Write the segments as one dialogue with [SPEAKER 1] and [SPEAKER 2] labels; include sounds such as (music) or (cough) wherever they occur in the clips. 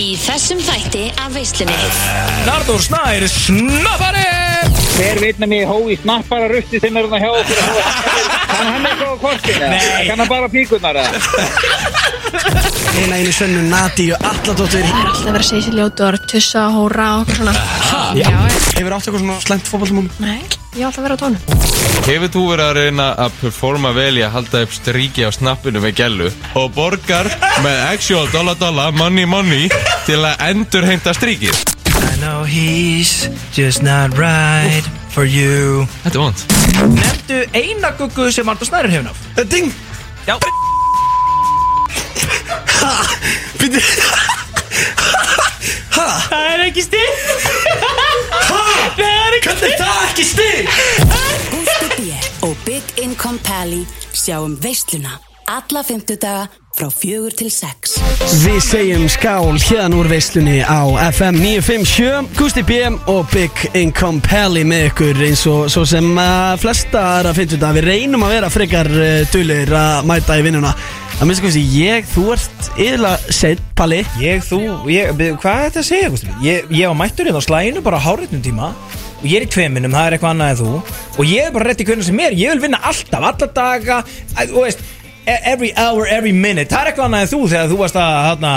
[SPEAKER 1] í þessum þætti af veislunni
[SPEAKER 2] Arnur Snær Snappari
[SPEAKER 3] Hver veit með mig hói snappara rusti sem er hann hjá okkur Kann hann eitthvað á kortinu?
[SPEAKER 2] Nei.
[SPEAKER 3] Kann hann bara píkunar eða?
[SPEAKER 4] Eina einu sönnu Nadíu Alladóttir
[SPEAKER 5] Það er alltaf verið að segja sér ljótu orð, tussa, hóra og eitthvað svona. Já, ég-
[SPEAKER 4] Hefur átt eitthvað svona slæmt fótballmum
[SPEAKER 5] nei, ég er alltaf verið á tónu.
[SPEAKER 6] Hefur þú verið að reyna að performa vel í að halda upp stríki á snappinu með gælu og borgar með actual dollar dollar money money til að endur heimta stríkið?
[SPEAKER 7] I know he's just not right for you
[SPEAKER 6] Þetta er vond.
[SPEAKER 2] Nefndu eina guggu sem Arnur Snær er hefn af
[SPEAKER 4] Ding
[SPEAKER 2] Já
[SPEAKER 4] Býtti
[SPEAKER 2] Það er ekki stig (laughs)
[SPEAKER 4] Hvernig er það ekki stig?
[SPEAKER 8] Gústi B. og Big Income Pally sjáum veisluna alla fymtudaga frá fjögur til sex.
[SPEAKER 4] Við segjum skál hérna úr veislunni á FM 957 Gusti B og Big Income Pally með ykkur eins og svo sem uh, flesta er að finnst þetta við reynum að vera frekar uh, dulir að mæta í vinnuna að minnst ekki ég, þú ert yfirlega seitt Palli
[SPEAKER 2] Ég, þú, ég, við- hvað er þetta að segja, Gústi? Ég, ég var mættur hérna á slæginu bara á hárétnum tíma og ég er í tveiminum, það er eitthvað annað en þú og ég er bara rétt í hvernig sem er, ég vil vinna alltaf, alla daga, að- þú veist e- every hour, every minute, það er eitthvað annað en þú þegar þú varst að hana,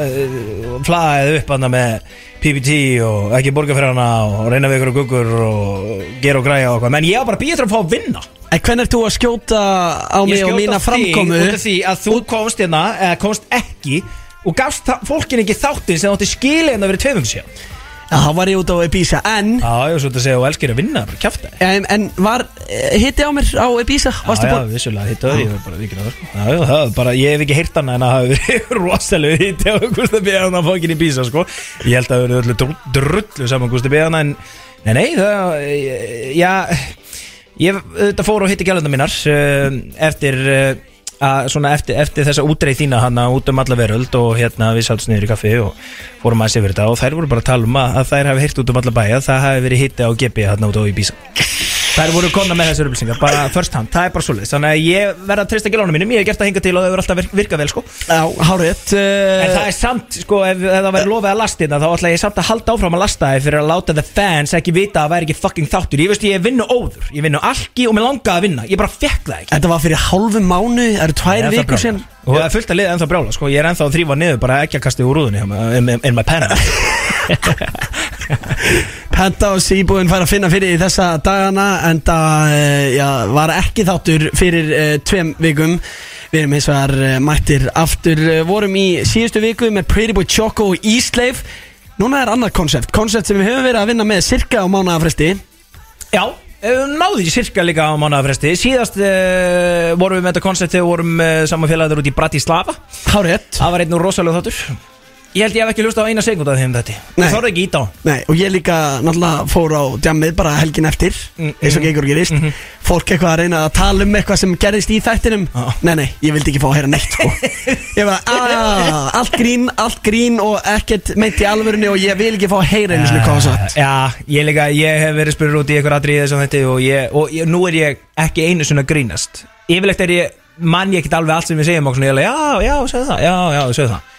[SPEAKER 2] uh, flaðið upp hana með PPT og ekki borga fyrir hana og reyna við ykkur og guggur og gera og græja og eitthvað, menn ég var bara býð eftir að fá að vinna
[SPEAKER 4] En hvernig ert þú að skjóta á mig og
[SPEAKER 2] skjóta
[SPEAKER 4] mína
[SPEAKER 2] þig
[SPEAKER 4] framkomu?
[SPEAKER 2] út af því að þú komst hérna eða komst ekki og gafst þa- fólkinu ekki þáttin sem þú átti skilið hérna en það verið tveimum síðan
[SPEAKER 4] Já, þá var ég út á Ibiza En,
[SPEAKER 2] Já, ég var svolítið að segja og elskir að vinna, bara kjafta
[SPEAKER 4] en, en var eh, hitti á mér á Ibiza?
[SPEAKER 2] Já,
[SPEAKER 4] Varstu
[SPEAKER 2] já,
[SPEAKER 4] búinn?
[SPEAKER 2] vissulega, hitt öðru, ég var bara vikið öðru sko. Já, já, það var bara, ég hef ekki heyrt hana en það hafi verið (laughs) rosalega hitt á Gústa Bíðan að fókin í Bísa, sko Ég held að það verið öllu drullu- drullu saman Gústa Bíðan en, nei, nei, það, eh, já Ég þetta fór og hitti gælunda mínar um, eftir uh, að svona eftir, eftir þessa útreið þína hana út um alla veröld og hérna við sátt niður í kaffi og fórum aðeins yfir þetta og þær voru bara að tala um að, að þær hafi heyrt út um alla bæja það hafi verið hitti á GB hérna út á í Bísa Þær voru komna með þessar upplýsingar, bara first hand, það er bara svolítið Þannig að ég verð að treysta gælunum mínum, ég hef gert það hinga til og það hefur alltaf virk- virkað vel sko
[SPEAKER 4] Já, hárið
[SPEAKER 2] En það er samt, sko, ef, ef það verður lofið að lasta hérna þá ætla ég samt að halda áfram að lasta þið fyrir að láta the fans ekki vita að það væri ekki fucking þáttur Ég veist ég vinnu óður, ég vinnu alki og mér langaði að vinna, ég bara fekk það ekki
[SPEAKER 4] Þetta var fyrir hálfu mánu, það eru tvær
[SPEAKER 2] Ég er ennþá
[SPEAKER 4] vikur
[SPEAKER 2] brjálaður.
[SPEAKER 4] sem
[SPEAKER 2] Og það er fullt að liða ennþá brjála, sko, ég er ennþá að þrýfa niður bara ekki að kasta úr rúðunni eh, in, in, in my
[SPEAKER 4] (laughs)
[SPEAKER 2] pen
[SPEAKER 4] Penta og Sýbúinn fær að finna fyrir í þessa dagana en það já, var ekki þáttur fyrir uh, tveim vikum Við erum hins vegar uh, mættir aftur uh, vorum í síðustu viku með Pretty Boy Choco og Ísleif Núna er annað konsept, konsept sem við höfum verið að vinna með cirka á mánaðafresti
[SPEAKER 2] Já, eh, náðu í cirka líka á mánuðafresti Síðast uh, vorum við með þetta koncept þegar við vorum uh, saman félagarnir út í Bratislava
[SPEAKER 4] Hárið
[SPEAKER 2] Það var einn og rosalega þáttur Ég held ég hef ekki lust á eina sekund af þeim þetta
[SPEAKER 4] Nei.
[SPEAKER 2] Ég þorði ekki ít á hann.
[SPEAKER 4] Nei, og ég líka náttúrulega fór á djammið bara helgin eftir
[SPEAKER 2] Mm,
[SPEAKER 4] eins og gengur og gerist fólk eitthvað að reyna að tala um eitthvað sem gerðist í þættinum
[SPEAKER 2] Já.
[SPEAKER 4] Nei, nei, ég vildi ekki fá að heyra neitt
[SPEAKER 2] (laughs)
[SPEAKER 4] sko. Ég var að allt grín, allt grín og ekkert meint í alvörunni og ég vil ekki fá að heyra einu svona hvað satt
[SPEAKER 2] Já, Eh, ég líka, ég hef verið spurður út í eitthvað aðrið þessum þetta og, ég, og ég, nú er ég ekki einu svona grínast Yfirlegt er ég, mann ég ekkert alveg allt sem við segjum og svona, ég er alveg, já, já, segðu það, já, já, segðu það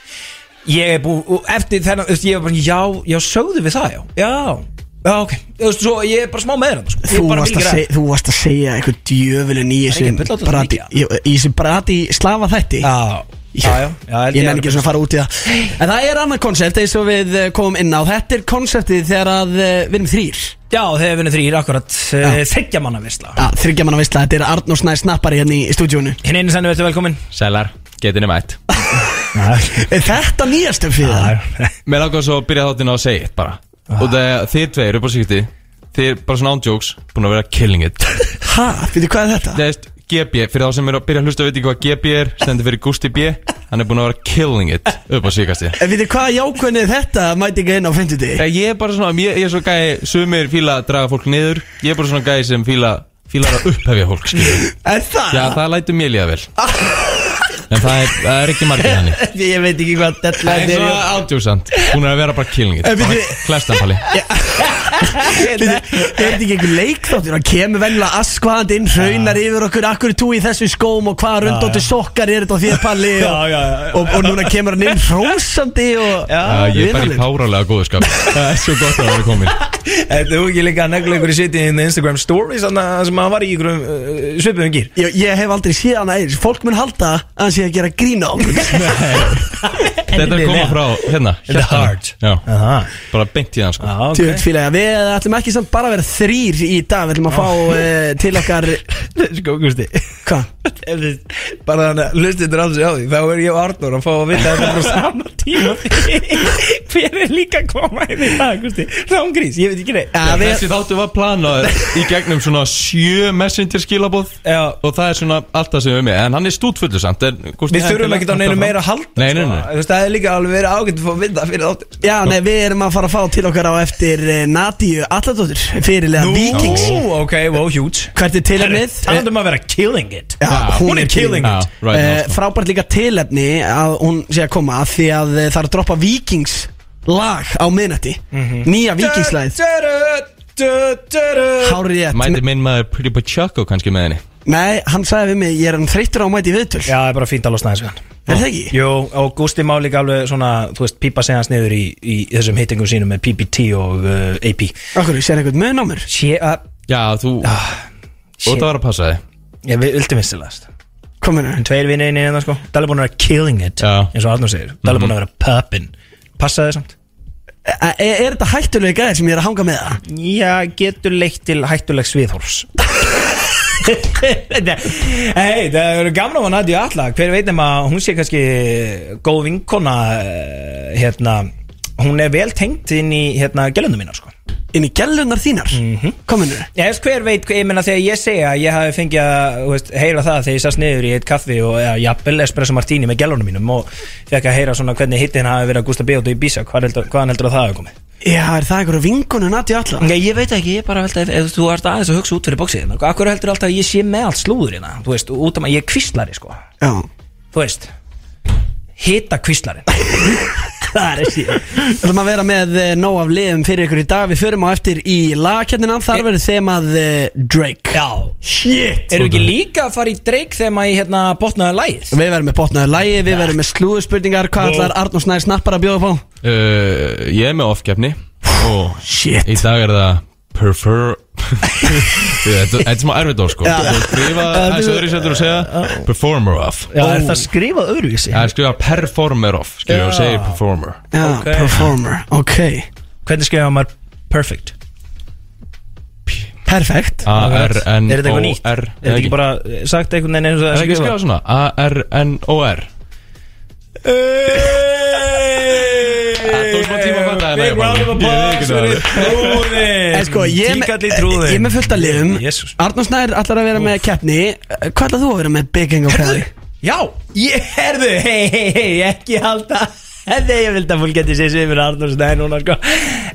[SPEAKER 2] Ég er búið, og eftir þennan, þú veist, ég er bara, já, já, sögðu við það, já, já, já, ok Þú veist, svo ég er bara smá meður hann, sko Ég
[SPEAKER 4] Þú
[SPEAKER 2] bara
[SPEAKER 4] varst,
[SPEAKER 2] vil
[SPEAKER 4] að
[SPEAKER 2] ekki
[SPEAKER 4] seg, þú varst að segja eitthvað djöfulinn í
[SPEAKER 2] ekki
[SPEAKER 4] þessum
[SPEAKER 2] að bulla út á
[SPEAKER 4] brati,
[SPEAKER 2] þetta
[SPEAKER 4] í í þessum brati slafa þætti
[SPEAKER 2] ræða. Já, já, já, já held
[SPEAKER 4] Ég nenni
[SPEAKER 2] að-
[SPEAKER 4] ekki svona að fara út í það En það er annað konsept eins og við eh, komum inn á Þetta er konseptið þegar að eh, við erum þrýr
[SPEAKER 2] Já, þegar vinnur þrýr, akkurat, þryggja manna visla
[SPEAKER 4] Já, þryggja manna veistla, þetta er Arnór Snæ snappari hérna í stúdíónu
[SPEAKER 2] Hinn einu sennu, verður velkomin
[SPEAKER 6] Sælar, getinni mætt.
[SPEAKER 4] Er þetta um nýjastum fyrir það?
[SPEAKER 6] (laughs) Mér langar svo að byrja þáttina á að segja eitt bara.
[SPEAKER 4] Ah.
[SPEAKER 6] Og það er að þið tveir upp á síkti, þið er bara svona ándjóks, búin að vera killing it.
[SPEAKER 4] (laughs) Ha, fyrir hvað er þetta?
[SPEAKER 6] Það veist, GB, fyrir þá sem eru að byrja að hlusta veit ekki hvað GB er, stendur fyrir Gusti B, hann er búin að vera killing it upp á síkasti.
[SPEAKER 4] En fyrir hvað jákvæðin er þetta að mæti ekki inn á 50 degi?
[SPEAKER 6] Ég er bara svona, ég, ég er svo gæi, sumir fíla að draga fólk niður, ég er bara svona gæi sem fíla, fílar að upphefja fólk,
[SPEAKER 2] (laughs)
[SPEAKER 6] skiljum.
[SPEAKER 4] Er það?
[SPEAKER 6] Já, það lætur mér líða vel. En það er, það er ekki margir hann
[SPEAKER 4] (laughs) Ég veit ekki hvað
[SPEAKER 6] Það er
[SPEAKER 4] deadline
[SPEAKER 6] svo ádjósand Hún er að vera bara killing it
[SPEAKER 4] En bíddu-
[SPEAKER 6] Klestan pali
[SPEAKER 4] Bíddu, Er þetta ekki einhver leikþáttur? Það kemur venjulega askvaðandi inn Hraunar yfir okkur, akkur er þú í þessum skóm Og hvaða röndóttu
[SPEAKER 2] já.
[SPEAKER 4] sokkar er þetta á þér palli og,
[SPEAKER 2] Já, já, já.
[SPEAKER 4] Og, og núna kemur hann inn hrósandi og,
[SPEAKER 6] Já, ég er bara í
[SPEAKER 4] vinalegur.
[SPEAKER 6] páralega góðu
[SPEAKER 2] (laughs)
[SPEAKER 6] skap Það er svo gott að það er komin
[SPEAKER 2] Þetta er Eh, ekki líka að negla ykkur í sitið inn í Instagram stories Þannig að sem hann var í ykkur uh, svipuðum gýr
[SPEAKER 4] ég, ég hef aldrei séð hann aðeins Fólk mun halda að hann sé að gera grína á
[SPEAKER 2] (laughs)
[SPEAKER 4] okkur
[SPEAKER 6] Þetta er komið frá hérna
[SPEAKER 2] The
[SPEAKER 6] hjartanu.
[SPEAKER 2] heart
[SPEAKER 6] Já,
[SPEAKER 2] Aha,
[SPEAKER 6] bara beint í hann sko
[SPEAKER 2] ah,
[SPEAKER 4] Tjöld
[SPEAKER 2] ok
[SPEAKER 4] fílega, við ætlum ekki samt bara að vera þrýr í dag Við ætlum að fá uh, til okkar
[SPEAKER 2] Sko, Gusti
[SPEAKER 4] Hvað?
[SPEAKER 2] (laughs) ef þið- Bara þannig að hlustindur á þessu á því Þá er ég og Arnur að fá að vita þetta frá sama tíma Hver er líka að koma inn í dag, Gusti Rámgrís, ég veit ekki neitt
[SPEAKER 4] Ja, við-
[SPEAKER 6] Þessi þáttu var planað í gegnum svona sjö messenger skilabóð
[SPEAKER 2] Já.
[SPEAKER 6] Og það er svona allt það sem við erum með En hann er stútfullur samt en, hvort
[SPEAKER 2] Við
[SPEAKER 6] ég
[SPEAKER 2] þurfum
[SPEAKER 6] endilega-
[SPEAKER 2] ekkert á neinu meira að halda
[SPEAKER 6] Nei, nei,
[SPEAKER 2] sko.
[SPEAKER 6] nei.
[SPEAKER 2] Þú veist, Það er líka alveg verið ágætt að fá að vinda fyrir þáttir
[SPEAKER 4] Já, nei, við erum að fara að fá til okkar á eftir eh, Nadíu Alladóttur, fyrirlega Víkings
[SPEAKER 2] Nú, ok, wow, huge
[SPEAKER 4] Hvert er tilefnið?
[SPEAKER 2] Talandum að vera killing it
[SPEAKER 4] Já,
[SPEAKER 2] hún er killing
[SPEAKER 6] it. Já, right now,
[SPEAKER 4] Eh,
[SPEAKER 6] sko.
[SPEAKER 4] Frábært líka tilefni að hún sé að koma af Því að eh, það er að droppa Víkings lag á miðnætti
[SPEAKER 2] Mhm.
[SPEAKER 6] Mhm.
[SPEAKER 4] Nýja Víkingslæð
[SPEAKER 2] Víkingslæð
[SPEAKER 4] Hárið ég
[SPEAKER 6] Mæti minn maður Pretty Pachaco kannski með henni
[SPEAKER 4] Nei, hann sagði við mig, ég er hann þreyttur á að mæti viðtöl
[SPEAKER 2] Já, það er bara fínt að losna þessu hann
[SPEAKER 4] Er það ekki?
[SPEAKER 2] Jú, og Gústi má líka alveg svona, þú veist, pípa sig hans niður í, í þessum hittingum sínum með PPT og uh, AP
[SPEAKER 4] Okkur, sér einhvern mun á mér?
[SPEAKER 2] Sjé, að,
[SPEAKER 6] Já, þú
[SPEAKER 2] Ah,
[SPEAKER 6] Og það var að passa þig
[SPEAKER 2] ég vil- vildi mistilegast
[SPEAKER 4] Hvað meina?
[SPEAKER 2] Tveir vinni inn í hérna, sko Dalli búin að vera killing it,
[SPEAKER 6] Já. Mhm.
[SPEAKER 2] eins og Arnur segir Dalli búin að vera poppin Passaði samt?
[SPEAKER 4] Er, E, er þetta hættulega gæðir sem ég er að hanga með það?
[SPEAKER 2] Já, getur leitt til hættulegs viðhorfs Hei, það eru gamla á Nadja Alla Hver veit nema að hún sé kannski góð vinkona eh, hérna, Hún er vel tengt inn í hérna, gelundum minna sko.
[SPEAKER 4] Inn í gellunar þínar? Mm -hmm. Hvað meina?
[SPEAKER 2] Ég veist hver veit, ég meina þegar ég segja að ég hafi fengið að þú veist, heyra það þegar ég sast niður í eitt kaffi og ja, jafnvel espresso martini með gelunum mínum og fekk að heyra svona hvernig hittin hafi verið að Gústa Bjóti í Bísa, hvað heldur, hvaðan heldur að það hafi komið?
[SPEAKER 4] Já, er það einhverju vinkonu Nadíu Alla?
[SPEAKER 2] Nei, ég veit ekki, ég bara held að ef þú ert aðeins að hugsa út fyrir bóksið hérna, Akkur heldur alltaf að ég sé með allt slúður hérna Þú veist, út af maður, ég er kvíslari sko
[SPEAKER 4] Já
[SPEAKER 2] Þú veist, hita kvíslari Það er ekki
[SPEAKER 4] Við ætlum að vera með eh, nóg af liðum fyrir ykkur í dag Við förum á eftir í lagkjarnina Þar verður þemað eh, Drake
[SPEAKER 2] Já,
[SPEAKER 4] Shit
[SPEAKER 2] eru ekki líka að fara í dreik þegar maður í, hérna botnaði lægið?
[SPEAKER 4] Við verðum með botnaðu lægi, við verðum með slúðspurningar Hvað ætlar Arnús Snær snappar að bjóða upp á?
[SPEAKER 6] uh, Ég er með ofgefni
[SPEAKER 2] Oh,
[SPEAKER 6] Og
[SPEAKER 4] Shit
[SPEAKER 6] í dag er það Prefer
[SPEAKER 2] (laughs)
[SPEAKER 6] Þetta þetta er smá erfitt á sko
[SPEAKER 4] Já.
[SPEAKER 6] Þú skrifa þessu öðru sættur og segja Performer of Oh.
[SPEAKER 2] Já, er það skrifað öðruvísi?
[SPEAKER 6] Það er skrifa performer of Skrifa og segir performer
[SPEAKER 4] Já,
[SPEAKER 2] Ok.
[SPEAKER 4] performer, ok
[SPEAKER 2] Hvernig skrifað maður perfect?
[SPEAKER 4] Perfekt
[SPEAKER 2] Er þetta eitthvað nýtt?
[SPEAKER 6] A-R-N-O-R
[SPEAKER 2] Er þetta ekki bara eh, sagt einhvern veginn eins og
[SPEAKER 6] E. Er
[SPEAKER 2] það
[SPEAKER 6] ekki skrifa svona? A-R-N-O-R Það tók smá tíma að fatta þetta,
[SPEAKER 2] Big
[SPEAKER 6] ég bara-
[SPEAKER 2] round
[SPEAKER 6] Ég
[SPEAKER 2] of
[SPEAKER 6] veit ekki
[SPEAKER 2] applause
[SPEAKER 6] það.
[SPEAKER 2] fyrir trúðin
[SPEAKER 4] En sko, ég er með-
[SPEAKER 2] Tíkall Eh, í trúðin
[SPEAKER 4] ég er með fullt af liðum
[SPEAKER 2] Jesus.
[SPEAKER 4] Arnús Snær ætlar að vera með keppni Hvað ætlar þú að vera með Big Gang og Kelly?
[SPEAKER 2] Já, ég herðu, hei, hei, hei, ekki halda Hefði ég vildi að fólk geti sér sér fyrir Arnur Snæði núna sko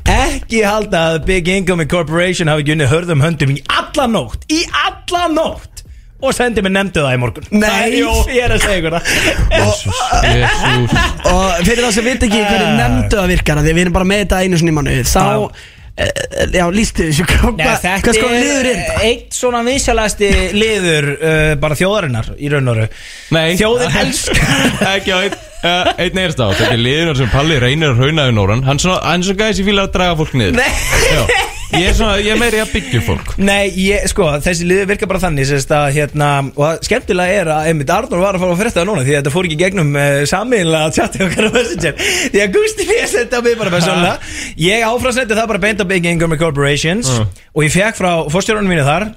[SPEAKER 2] Ekki halda að Big Income Corporation hafi ekki unnið hörðum höndum í alla nótt Í alla nótt Og sendi mér nefndu það í morgun
[SPEAKER 4] Nei.
[SPEAKER 2] Það er- Jú, ég er að segja ykkur það
[SPEAKER 6] Jesus,
[SPEAKER 2] (laughs)
[SPEAKER 6] Jesus
[SPEAKER 4] Og fyrir þá sem veit ekki hverju nefndu að virkar af Því við erum bara með þetta einu sinni mannu Þá, eh, já, lístu þessu Hvað
[SPEAKER 2] Nei,
[SPEAKER 4] hvað-
[SPEAKER 2] þetta
[SPEAKER 4] hvað sko liður er þetta?
[SPEAKER 2] eitt svona vinsalasti liður uh, bara þjóðarinnar í raun og raun
[SPEAKER 6] Nei
[SPEAKER 2] Þjóðin elskar
[SPEAKER 6] Ekki á einn uh, einn eirst á Þetta er liðunar sem Palli reynir að rauna við Nóran Hann svona, hann svona gæði sér fíla að draga fólk niður
[SPEAKER 2] Nei.
[SPEAKER 6] Já. Ég er svona, ég er meiri að byggja upp fólk
[SPEAKER 2] Nei, ég, sko, þessi liður virka bara þannig sérst að, hérna, og það skemmtilega er að einmitt Arnór var að fara að frétta það núna því að þetta fór ekki í gegnum uh, sammeðinlega chati okkar á Messenger því að Gusti fyrir að senda á mig bara persónulega ég áframsendi það bara beint á Big Income Corporations
[SPEAKER 6] Mm.
[SPEAKER 2] og ég fekk frá fórstjórunum mínu þar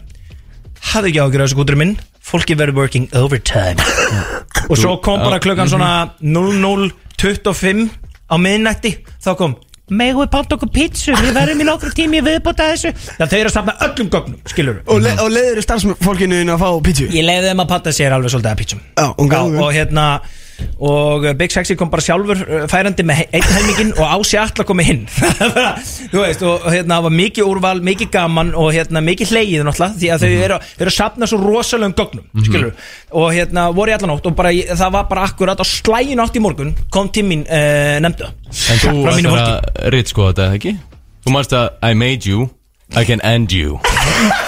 [SPEAKER 2] hafði ekki ágjörðu þessu gútur minn fólki verður working overtime og svo kom bara klukkan svona 00.25 á miðnætti þá kom megum við panta okkur pítsu, við verðum í nokkru tími viðbóta þessu, það þau eru að safna öllum gögnum, skilur
[SPEAKER 4] Og, le og leiður starfsfólkinu inn að fá pítju?
[SPEAKER 2] ég leiði þeim að panta sér alveg svolítið að pítsum
[SPEAKER 4] Já, ok, ok.
[SPEAKER 2] og hérna og uh, Big Sexy kom bara sjálfur uh, færandi með he- einn helmingin og Ási allar komið hinn (laughs) þú veist og hérna það var mikið úrval, mikið gaman og hérna mikið hleyið náttúrulega því að
[SPEAKER 4] Mhm.
[SPEAKER 2] þau eru, að- eru að sapna svo rosalegum gögnum skilur og hérna voru í allan ótt og bara ég- það var bara akkurat á slægin átt í morgun kom til mín uh, nefndu
[SPEAKER 6] En þú
[SPEAKER 2] frá mínu
[SPEAKER 6] ætlar
[SPEAKER 2] fólki
[SPEAKER 6] að rýtt sko þetta, ekki? Þú manst að I made you, I can end you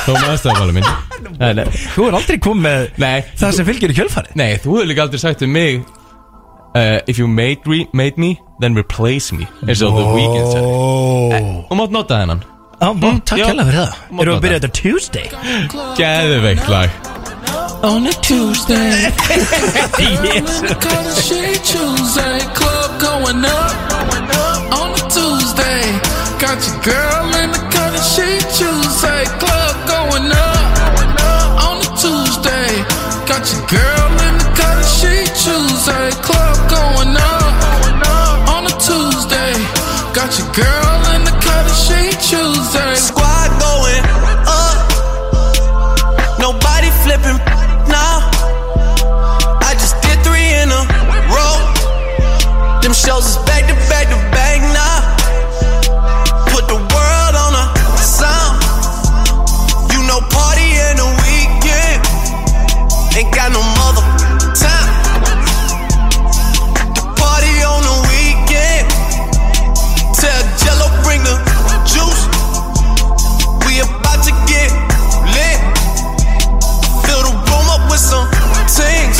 [SPEAKER 6] Þú manst það, Valur minn Nei, nei.
[SPEAKER 9] Þú er aldrei komið með
[SPEAKER 6] Nei,
[SPEAKER 9] það sem fylgir í kjölfarið
[SPEAKER 6] nei, þú hefur líka aldrei sagt um mig uh, If you made, re, made me, then replace me eins og The Weeknd sagði.
[SPEAKER 9] Ó,
[SPEAKER 6] Þú mátt nota þennan
[SPEAKER 9] bá, takk
[SPEAKER 6] já.
[SPEAKER 9] hella fyrir það Erum við
[SPEAKER 6] Má
[SPEAKER 9] að
[SPEAKER 6] nota.
[SPEAKER 9] byrja þetta Tuesday?
[SPEAKER 6] Geðveikt lag
[SPEAKER 10] On a
[SPEAKER 11] (laughs)
[SPEAKER 10] Tuesday,
[SPEAKER 9] Yes
[SPEAKER 10] the color shade Tuesday, club going up. On a Tuesday, got your girl in the color shade Tuesday, club going up. On a Tuesday, got your girl in the color shade Tuesday, club going up. On a Tuesday, got your girl in the color shade Tuesday.
[SPEAKER 11] Squad going up. Nobody flipping now. I just did three in a row. Them shows is back to back to back now. Put the world on a sound. You know, party in the weekend. Ain't got no mother time. The party on the weekend. Tell Jello bring the juice. We about to get lit. Fill the room up with some things.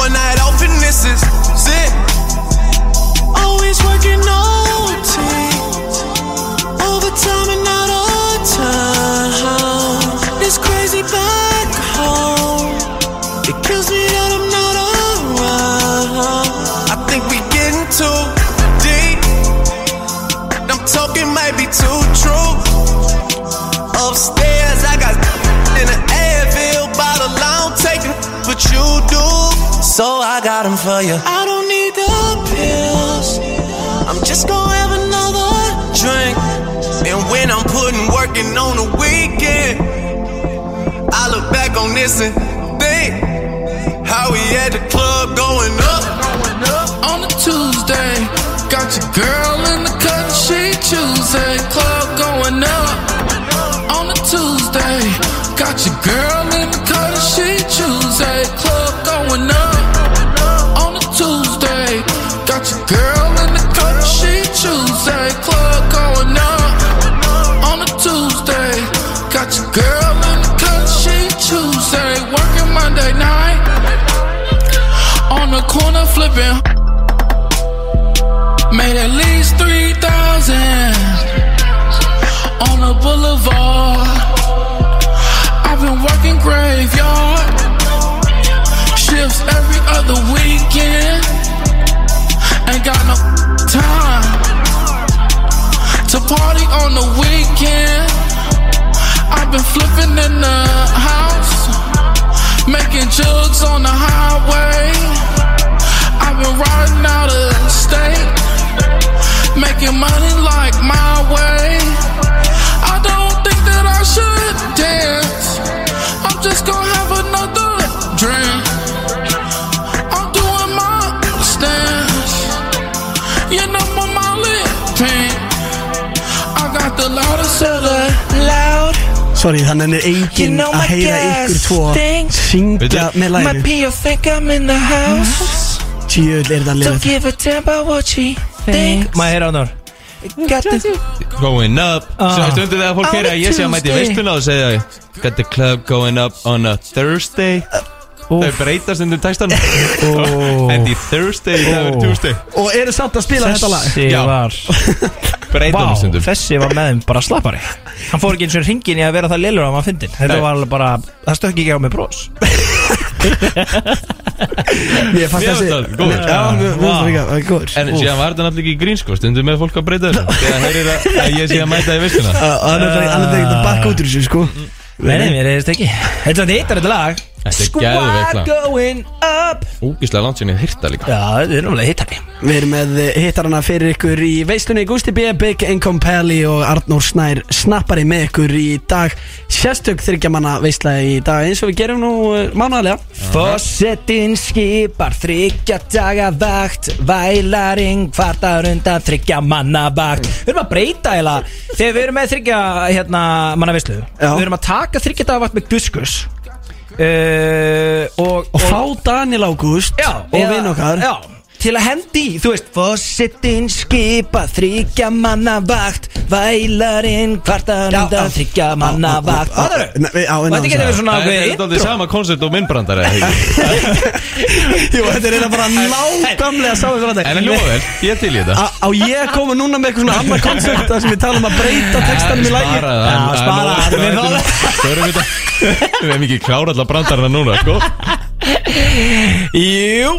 [SPEAKER 11] One night off and this is it. Always working OT. Overtime and not all time. This crazy back home. It kills me that I'm not around. I think we getting too deep. I'm talking might be too true. Upstairs, I got in an Advil bottle. I don't take 'em, but you do. So I got 'em for you. I don't need the pills. I'm just gonna have another drink. And when I'm putting working on the weekend, I look back on this and think how we at the club going up.
[SPEAKER 10] on a Tuesday. Got your girl in the cut, she Tuesday. Club going up on a Tuesday. Got your girl in the cut, she Tuesday. Club going up on a Tuesday. Got your girl in the cut, she Tuesday. Club going up on a Tuesday. Got your girl in the cut, she Tuesday. Working Monday night on the corner flipping. Made at least 3,000 on the boulevard. I've been working graveyard shifts every other weekend. Ain't got no time to party on the weekend. I've been flipping in the house, making jugs on the highway. I've been riding out of state, making money like my way. I don't think that I should dance. I'm just gonna have another drink. I'm doing my stance. You know my molly pink. I got the loudest of the loud.
[SPEAKER 4] Sorry, þannig er enginn
[SPEAKER 10] You know
[SPEAKER 4] að
[SPEAKER 10] my
[SPEAKER 4] heyra
[SPEAKER 10] gas
[SPEAKER 4] ykkur tvo
[SPEAKER 10] stink.
[SPEAKER 4] syngja
[SPEAKER 6] Veitu?
[SPEAKER 4] með
[SPEAKER 10] My
[SPEAKER 4] læri
[SPEAKER 10] peel think I'm in the house.
[SPEAKER 4] Tjöld er það
[SPEAKER 10] Don't
[SPEAKER 4] liður
[SPEAKER 10] give a damn about what she think.
[SPEAKER 9] Maður heyra á náður
[SPEAKER 10] Got the
[SPEAKER 6] Going up Svo
[SPEAKER 9] Ah.
[SPEAKER 6] stundu þegar fólk
[SPEAKER 10] On
[SPEAKER 6] heyra
[SPEAKER 10] a
[SPEAKER 6] að ég sé að mæti
[SPEAKER 10] Tuesday.
[SPEAKER 6] veistuna og segja Got the club going up on a Thursday Þau breytast undir textan Endi Thursday, það verður Tuesday
[SPEAKER 4] Og eru samt að spila þetta lag
[SPEAKER 9] Þessi
[SPEAKER 6] Já.
[SPEAKER 9] var
[SPEAKER 6] Breytum
[SPEAKER 9] Vá,
[SPEAKER 6] stundum
[SPEAKER 9] þessi var með þeim bara slappari Hann fór ekki eins og hringin í að vera það lillur að maður fyndin Þetta
[SPEAKER 6] Nei.
[SPEAKER 9] var alveg bara, það stökk ekki á mig brós
[SPEAKER 4] Ég
[SPEAKER 6] Mér
[SPEAKER 4] fannst þessi
[SPEAKER 6] fannst það góður.
[SPEAKER 4] Já,
[SPEAKER 9] Ah,
[SPEAKER 4] mér
[SPEAKER 9] Vá.
[SPEAKER 4] fannst það líka það er góður.
[SPEAKER 6] En
[SPEAKER 4] Úff.
[SPEAKER 6] síðan var þetta náttúrulega ekki grín sko Stundum með fólk að breyta þessu Þegar heyrir að að ég sé að mæta í veistuna
[SPEAKER 4] Já, Ah, Hann er það ekki að bakka út úr þessu sko
[SPEAKER 9] Nei, nei, mér reyðist ekki Þetta er hittar þetta lag
[SPEAKER 6] Þetta er geðveikt
[SPEAKER 9] Squad
[SPEAKER 6] lag.
[SPEAKER 9] going up
[SPEAKER 6] Úkislega langt sinni hýrta líka
[SPEAKER 9] Já, þetta er náttúrulega hittari
[SPEAKER 4] Við erum með hittarana fyrir ykkur í veislunni Gusti B, Big Income Pally og Arnór Snær snappari með ykkur í dag Sérstök þryggjamanna veisla í dag eins og við gerum nú eh, mánalega
[SPEAKER 9] Fossettin skipar þryggja daga vakt Vælaring kvartar undan þryggja manna vakt Við erum að breyta eða Þegar við erum með þryggja hérna, manna veislu
[SPEAKER 4] Já.
[SPEAKER 9] Við erum að taka þryggja daga vakt með guskus uh, og,
[SPEAKER 4] Og fá Daniel Ágúst
[SPEAKER 9] Já,
[SPEAKER 4] og
[SPEAKER 9] eða-
[SPEAKER 4] vinn okkar
[SPEAKER 9] Já,
[SPEAKER 2] til að hendi í, Þú veist, fósittin skipa þryggja manna vakt Vælarinn kvartar undan þryggja manna vakt Fattarðu? Og Þetta getur verið
[SPEAKER 6] Það
[SPEAKER 2] svona
[SPEAKER 6] er
[SPEAKER 2] ákveðið
[SPEAKER 6] þetta aldrei sama koncept og minnbrandar eða ekki?
[SPEAKER 4] (laughs) Jú, þetta er eiginlega bara nákvæmlega sáðu frá þetta
[SPEAKER 6] En hljóða vel, ég er til í þetta
[SPEAKER 4] Á á ég að koma núna með eitthvað svona annað koncept þar sem við tala um að breyta textanum í lægi
[SPEAKER 6] Spara það, en- en-
[SPEAKER 4] spara
[SPEAKER 6] en-
[SPEAKER 4] það
[SPEAKER 6] Við erum þetta Við hefum ekki klára allar brandarana núna, sko
[SPEAKER 2] Jú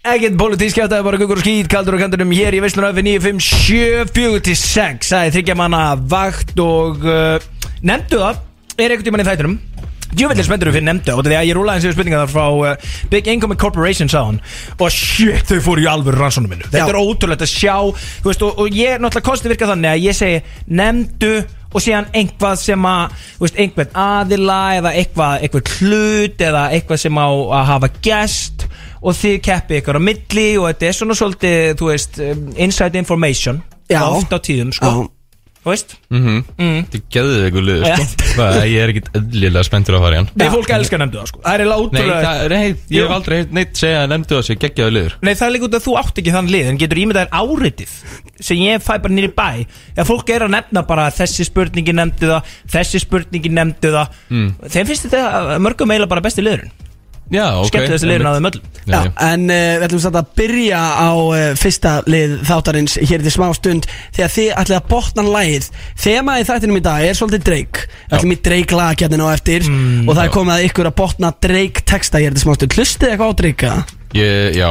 [SPEAKER 2] Ekkert pólitísk hjá þetta, bara gugur og skýt, kaldur og kandunum hér í Vestlunum FM 957 4 til 6 Það er þryggja manna vakt og uh, nefndu það, er einhvern tímann í þættunum Djúvillir spennturum fyrir nefndu og því að ég rúlaði eins yfir spurningar þar frá uh, Big Income Corporation sá hann og shit þau fóru í alvöru rannsónum minnu Þetta
[SPEAKER 4] Já.
[SPEAKER 2] er ótrúlegt að sjá þú veist, og, og ég náttúrulega kosti virka þannig að ég segi nefndu og síðan einhvað sem að þú veist, einhvern aðila eða eitthvað, eitthvað hlut eða eitthvað sem á að hafa gest og þið keppi ykkur á milli og þetta er svona svolítið þú veist, um, inside information
[SPEAKER 4] Já.
[SPEAKER 2] oft á tíðum sko
[SPEAKER 4] Já.
[SPEAKER 2] þú veist
[SPEAKER 6] Þetta er gæðið eitthvað liður, sko
[SPEAKER 2] Mhm. Já.
[SPEAKER 6] Það- Ég er ekkit eðlilega spenntur að fara í hann
[SPEAKER 2] Nei, fólk elskar nefndu það sko Það er eiginlega
[SPEAKER 6] Nei,
[SPEAKER 2] ótrúlega
[SPEAKER 6] það, nei, ég hef aldrei heyrt neitt segja að nefndu það sé geggjaðu liður
[SPEAKER 2] Nei, það er líka út að þú átt ekki þann lið En getur ímyndaðir áritið Sem ég fæ bara nýri bæ Ef fólk er að nefna bara Þessi spurningi nefndu það Þessi spurningi nefndu það Þeim finnst þetta að mörgum eiginlega bara besti liðurinn okay,
[SPEAKER 6] Já, ok
[SPEAKER 2] Skemmtu þessi liðurinn á þeim öllum
[SPEAKER 4] Já,
[SPEAKER 6] Já,
[SPEAKER 4] en uh, við ætlum samt að byrja á uh, fyrsta lið þáttarins hér til smá stund þegar þið ætlum að botna lagið þemaði þættinum í dag er svolítið Drake við ætlum í Drake lag hérna á eftir
[SPEAKER 6] Mm,
[SPEAKER 4] og það er komið að ykkur að botna Drake texta hér til smá stund hlustið eitthvað á Drake eða?
[SPEAKER 6] ég, já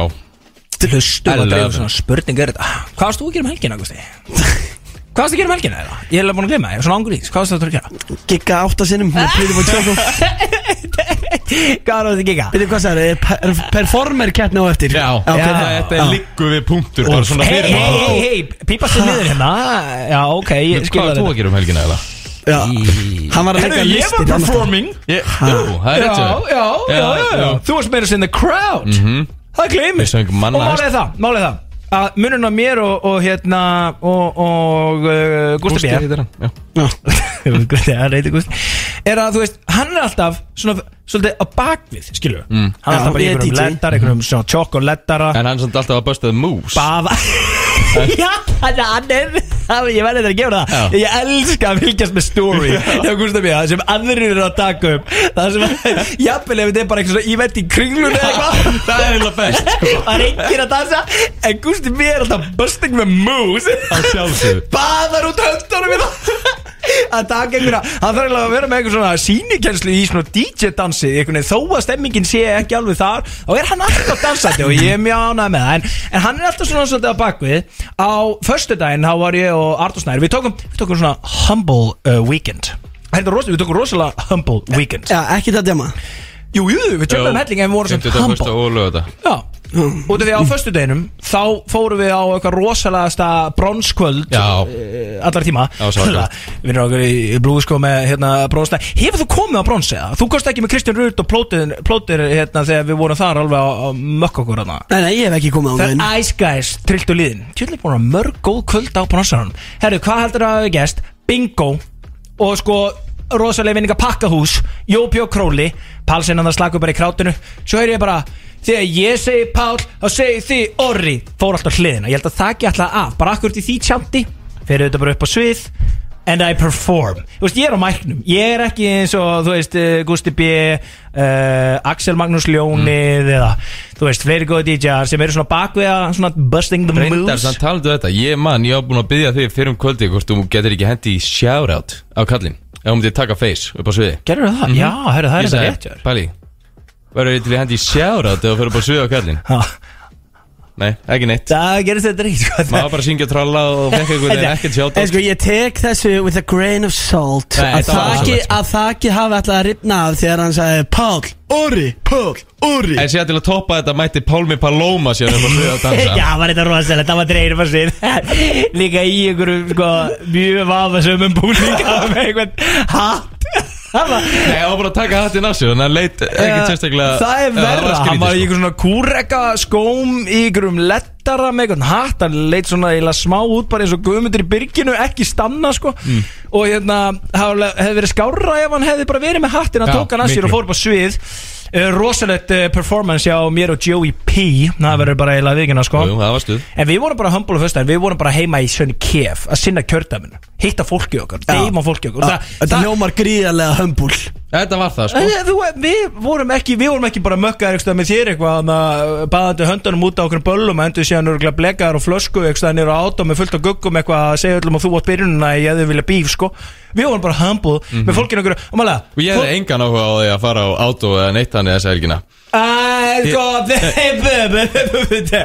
[SPEAKER 2] Hlustu
[SPEAKER 6] I
[SPEAKER 2] og
[SPEAKER 6] love
[SPEAKER 2] dreifum
[SPEAKER 6] it.
[SPEAKER 2] svona spurning er þetta Hvað varst þú að gera um
[SPEAKER 4] (laughs)
[SPEAKER 2] helgina, Gusti? Hvað varst þú að gera um helgina, eða? Ég er alveg búin að glemma, ég er svona ángur í því Hvað varst þú að gera?
[SPEAKER 4] gigga átta sinnum
[SPEAKER 2] (laughs)
[SPEAKER 4] og prýði búið tjókum
[SPEAKER 2] Hvað var þetta að gigga?
[SPEAKER 4] Við hvað sagði, er per performer keppni á eftir
[SPEAKER 6] Já,
[SPEAKER 4] ok,
[SPEAKER 6] já,
[SPEAKER 4] það-
[SPEAKER 6] þetta er
[SPEAKER 4] já.
[SPEAKER 6] liggu við punktur bara svona
[SPEAKER 2] Hei,
[SPEAKER 6] fyrir
[SPEAKER 2] hei,
[SPEAKER 6] maður.
[SPEAKER 2] hei, hei, pípast þið niður hérna Já, ok, ég hérna.
[SPEAKER 6] Hvað
[SPEAKER 2] skilja
[SPEAKER 6] er þú að
[SPEAKER 2] þetta
[SPEAKER 6] gera um helgina eða?
[SPEAKER 4] Já. Hann var að leika
[SPEAKER 2] Herru, ég
[SPEAKER 4] listir
[SPEAKER 2] var
[SPEAKER 4] annars staðar.
[SPEAKER 2] performing
[SPEAKER 6] Ég- Jú, það er
[SPEAKER 2] já,
[SPEAKER 6] rétt hjá þér.
[SPEAKER 2] já, já, já,
[SPEAKER 6] jú.
[SPEAKER 2] já. Þú varst meira sem the crowd Það gleymir
[SPEAKER 6] Við söngum manna
[SPEAKER 2] Og málið er það, málið er það að munurinn á mér og, og hérna og, og uh, Gústi
[SPEAKER 6] Gústi
[SPEAKER 2] B
[SPEAKER 6] heitir hann, já.
[SPEAKER 2] Gusti, (laughs) hann reytir Gusti er að þú veist, hann er alltaf svona, svolítið á bakvið, skilju mm. hann er
[SPEAKER 4] Já,
[SPEAKER 2] alltaf bara í
[SPEAKER 4] ég er
[SPEAKER 2] einhverjum
[SPEAKER 4] DJ.
[SPEAKER 6] (laughs)
[SPEAKER 2] leddar, einhverjum svona tjókoleddara
[SPEAKER 6] En hann er samt alltaf að böstaði mús
[SPEAKER 2] baða Já, þannig að hann er það- Ég verði þetta að gefa það
[SPEAKER 6] Já.
[SPEAKER 2] Ég elska að fylgjast með story Já, Gústa mér, það sem aðrir eru að taka upp Það sem, (laughs) jafnvel ef þetta er bara eitthvað svona Ívent í kringlunni eða eitthvað
[SPEAKER 6] (laughs) Það er eiginlega best sko.
[SPEAKER 2] (laughs) Það er enginn að dansa En Gústi mér er alltaf busting með moves
[SPEAKER 6] Að sjálfsögðu.
[SPEAKER 2] (laughs) Baðar út höndunum hérna. í það (laughs) Að taka einhverja Hann þarf eiginlega að vera með einhver svona sýnikenslu Í svona DJ-dansi Einhvern veginn þó að stemmingin sé ekki alveg þar Þá er hann alltaf dansandi og ég er mjög ánægð með það en, en hann er alltaf svona svolítið á bakvið Á föstudaginn þá var ég og Artur Snær Við tókum, við tókum svona humble uh, weekend Þetta er rosalega, við tókum rosalega humble weekend
[SPEAKER 4] Já, ekki það dema
[SPEAKER 2] Jú, jú, við tjöfum helling en við vorum svona humble
[SPEAKER 6] Þetta og lögða
[SPEAKER 2] Já, út af
[SPEAKER 6] Mm.
[SPEAKER 2] því að á föstudeginum þá fórum við á eitthvað rosalegasta bronskvöld
[SPEAKER 6] Já.
[SPEAKER 2] eh, allar tíma
[SPEAKER 6] Já, svakalegt.
[SPEAKER 2] Við erum okkur í blúðskó með hérna, bronsna Hefur þú komið á brons eða? Þú komst ekki með Kristján Rut og plótir, plótir hérna, þegar við vorum þar alveg á, á mökk okkur hérna. hana.
[SPEAKER 4] Nei, nei, ég hef ekki komið á
[SPEAKER 2] Það
[SPEAKER 4] það
[SPEAKER 2] er Ice Guys, trillt og liðin Tjöldur búin að hafa mörg góð kvöld á bronsanum Herru, hvað heldur að hafa gæst? Bingo Og sko, rosalega vinninga pakkahús Jópi og Króli Pálsinn hann að slaka bara í krátinu Svo heyri ég bara Þegar ég segi Pál, þá segi þið Orri Fór alltaf hliðina, ég held að það ekki alltaf af Bara akkur til því tjanti Fyrir þetta bara upp á svið And I perform Þú veist, ég er á mæknum Ég er ekki eins og, þú veist, eh, Gusti B uh, Axel Magnús Ljónið Eða, þú veist, fleiri góði DJ-ar Sem eru svona bakvega, svona busting the
[SPEAKER 6] Reyndar,
[SPEAKER 2] moves
[SPEAKER 6] þannig talaðu þetta Ég mann, ég á búin að byggja þig fyrir um kvöldi Hvort þú getur ekki hendi í shoutout á kallinn Ef hún myndi taka face upp á sviði
[SPEAKER 2] Gerðu það? Já, herru, það
[SPEAKER 6] Ég
[SPEAKER 2] er þetta
[SPEAKER 6] sagði,
[SPEAKER 2] rétt hjá þér.
[SPEAKER 6] Pæli, verður þið til að hendi í shoutout Ef þú fyrir upp á sviði á kallinn
[SPEAKER 2] Ha,
[SPEAKER 6] Nei, ekki neitt
[SPEAKER 2] Það gerist þetta rétt sko.
[SPEAKER 6] Má bara syngja og tralla og fekk einhvern veginn ekkert
[SPEAKER 4] En
[SPEAKER 6] shoutout
[SPEAKER 4] sko ég tek þessu with a grain of salt
[SPEAKER 6] Nei,
[SPEAKER 4] að,
[SPEAKER 6] þetta var
[SPEAKER 4] þaki,
[SPEAKER 6] rosalegt, sko.
[SPEAKER 4] að þaki hafi alltaf að ripna af þegar hann sagði Pál, Orri, Pál, Orri
[SPEAKER 6] En síðan til að toppa þetta mætti Pálmi Paloma síðan upp á sviði að dansa
[SPEAKER 2] (laughs) Já, var þetta rosalegt, það var dreyrið fyrir sig Líka í einhverju sko, mjög vafasömmum búninga með einhvern hatt Það var Eh,
[SPEAKER 6] Nei, það var bara að taka hattinn af sér Þannig að leit ekkert sérstaklega
[SPEAKER 2] Það er
[SPEAKER 6] eða
[SPEAKER 2] verra,
[SPEAKER 6] var
[SPEAKER 2] hann var í
[SPEAKER 6] skrítið, sko.
[SPEAKER 2] einhver svona kúreka skóm í einhverjum lettara með einhvern hatt, hann leit svona eiginlega smá út bara eins og guðmundur í byrginu, ekki stanna sko,
[SPEAKER 6] Mm.
[SPEAKER 2] og hérna það hefði verið skárra ef hann hefði bara verið með hattin, hann
[SPEAKER 6] Já,
[SPEAKER 2] tók hann að sér
[SPEAKER 6] miklu.
[SPEAKER 2] og fór upp á svið uh, rosalegt uh, performance hjá mér og Joey P það verður bara eiginlega vikina sko
[SPEAKER 6] Jú, það var stuð.
[SPEAKER 2] en við vorum bara humble og föstar við vorum bara heima í Sönni Kef að sinna kjördaminu hitta fólki okkar deyma fólki okkar
[SPEAKER 4] Já, Þetta hljómar gríðarlega hömbul
[SPEAKER 6] Þetta var það,
[SPEAKER 2] En,
[SPEAKER 6] sko
[SPEAKER 2] eh, Þú, við, vorum ekki, við vorum ekki bara mökkaðir eitthvað með þér eitthvað að baðandi höndunum út á okkur böllum að endur síðan örgulega blekaðar og flösku eitthvað nýra átó með fullt af guggum eitthvað að segja öllum að þú átt byrjunina í að þau vilja bíf sko Við vorum bara hambúð
[SPEAKER 4] Mhm.
[SPEAKER 2] með fólkinu okkur og mála
[SPEAKER 6] Og ég hefði engan áhuga á því að fara á átó eða neitt hann eða sælgina
[SPEAKER 2] I've (laughs) got the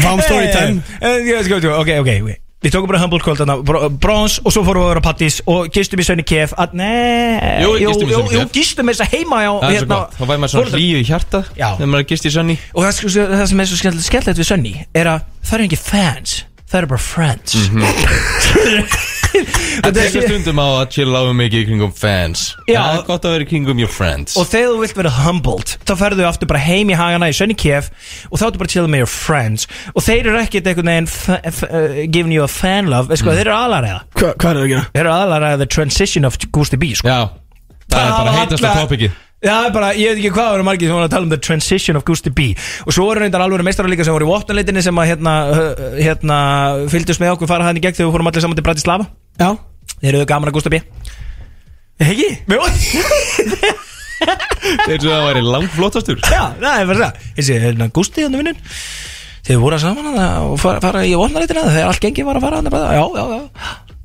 [SPEAKER 4] fáum story
[SPEAKER 2] Eh,
[SPEAKER 4] time.
[SPEAKER 2] time Ok, ok, ok Við tókum bara Humboldt kvöld þarna, brons og svo fórum við að vera pattis og gistum í Sönni Kef að, nei,
[SPEAKER 6] Jú, gistum í Sönni
[SPEAKER 2] jú,
[SPEAKER 6] Kef.
[SPEAKER 2] gistum þess að heima á,
[SPEAKER 6] Það er svo gott, þá væri maður svona hlýju í hjarta
[SPEAKER 2] hérna- Já.
[SPEAKER 6] Þegar maður gist í sönni
[SPEAKER 2] Og það, sko- það sem er svo skemmtilegt, skemmtilegt við Sunny Er að það eru ekki fans Það eru bara friends
[SPEAKER 6] Það
[SPEAKER 2] Mhm. (laughs) Þetta er-
[SPEAKER 6] tekur stundum á að chilla á mikið í kringum fans
[SPEAKER 2] Já.
[SPEAKER 6] Það er gott að vera í kringum your friends
[SPEAKER 2] Og þegar þú vilt vera humbled Þá ferðu aftur bara heim í hagana í Sunny Kef Og þá ertu bara chillin með your friends Og þeir eru ekkert einhvern veginn fa- f- uh, Giving you a fan love Veist hvað, þeir eru aðlaræða
[SPEAKER 4] Mm. Hva, Hvað er það að gera?
[SPEAKER 2] Þeir eru aðlaræða the transition of Gusti B sko.
[SPEAKER 6] Já, það er bara
[SPEAKER 2] hafa
[SPEAKER 6] heitast að
[SPEAKER 2] alla-
[SPEAKER 6] topikið
[SPEAKER 2] Já, það er bara, ég veit ekki hvað það eru margir sem voru að tala um The Transition of Gusti B Og svo voru reyndar alveg meistarar líka sem voru í vopnarleitinni sem að hérna, uh, hérna fylgdust með okkur fara hann í gegn þegar við fórum allir saman til Bratislava
[SPEAKER 4] Já
[SPEAKER 2] Þeir eru gaman að Gústa B
[SPEAKER 4] Heggi?
[SPEAKER 6] (laughs) Þeir svo það væri langflottastur
[SPEAKER 2] Já, það er bara það Þessi, hérna, Gústi, hérna vinnun Þeir voru saman að og fara, fara í vonarleitina Þegar allt gengið var að fara hann bara, Já, já, já,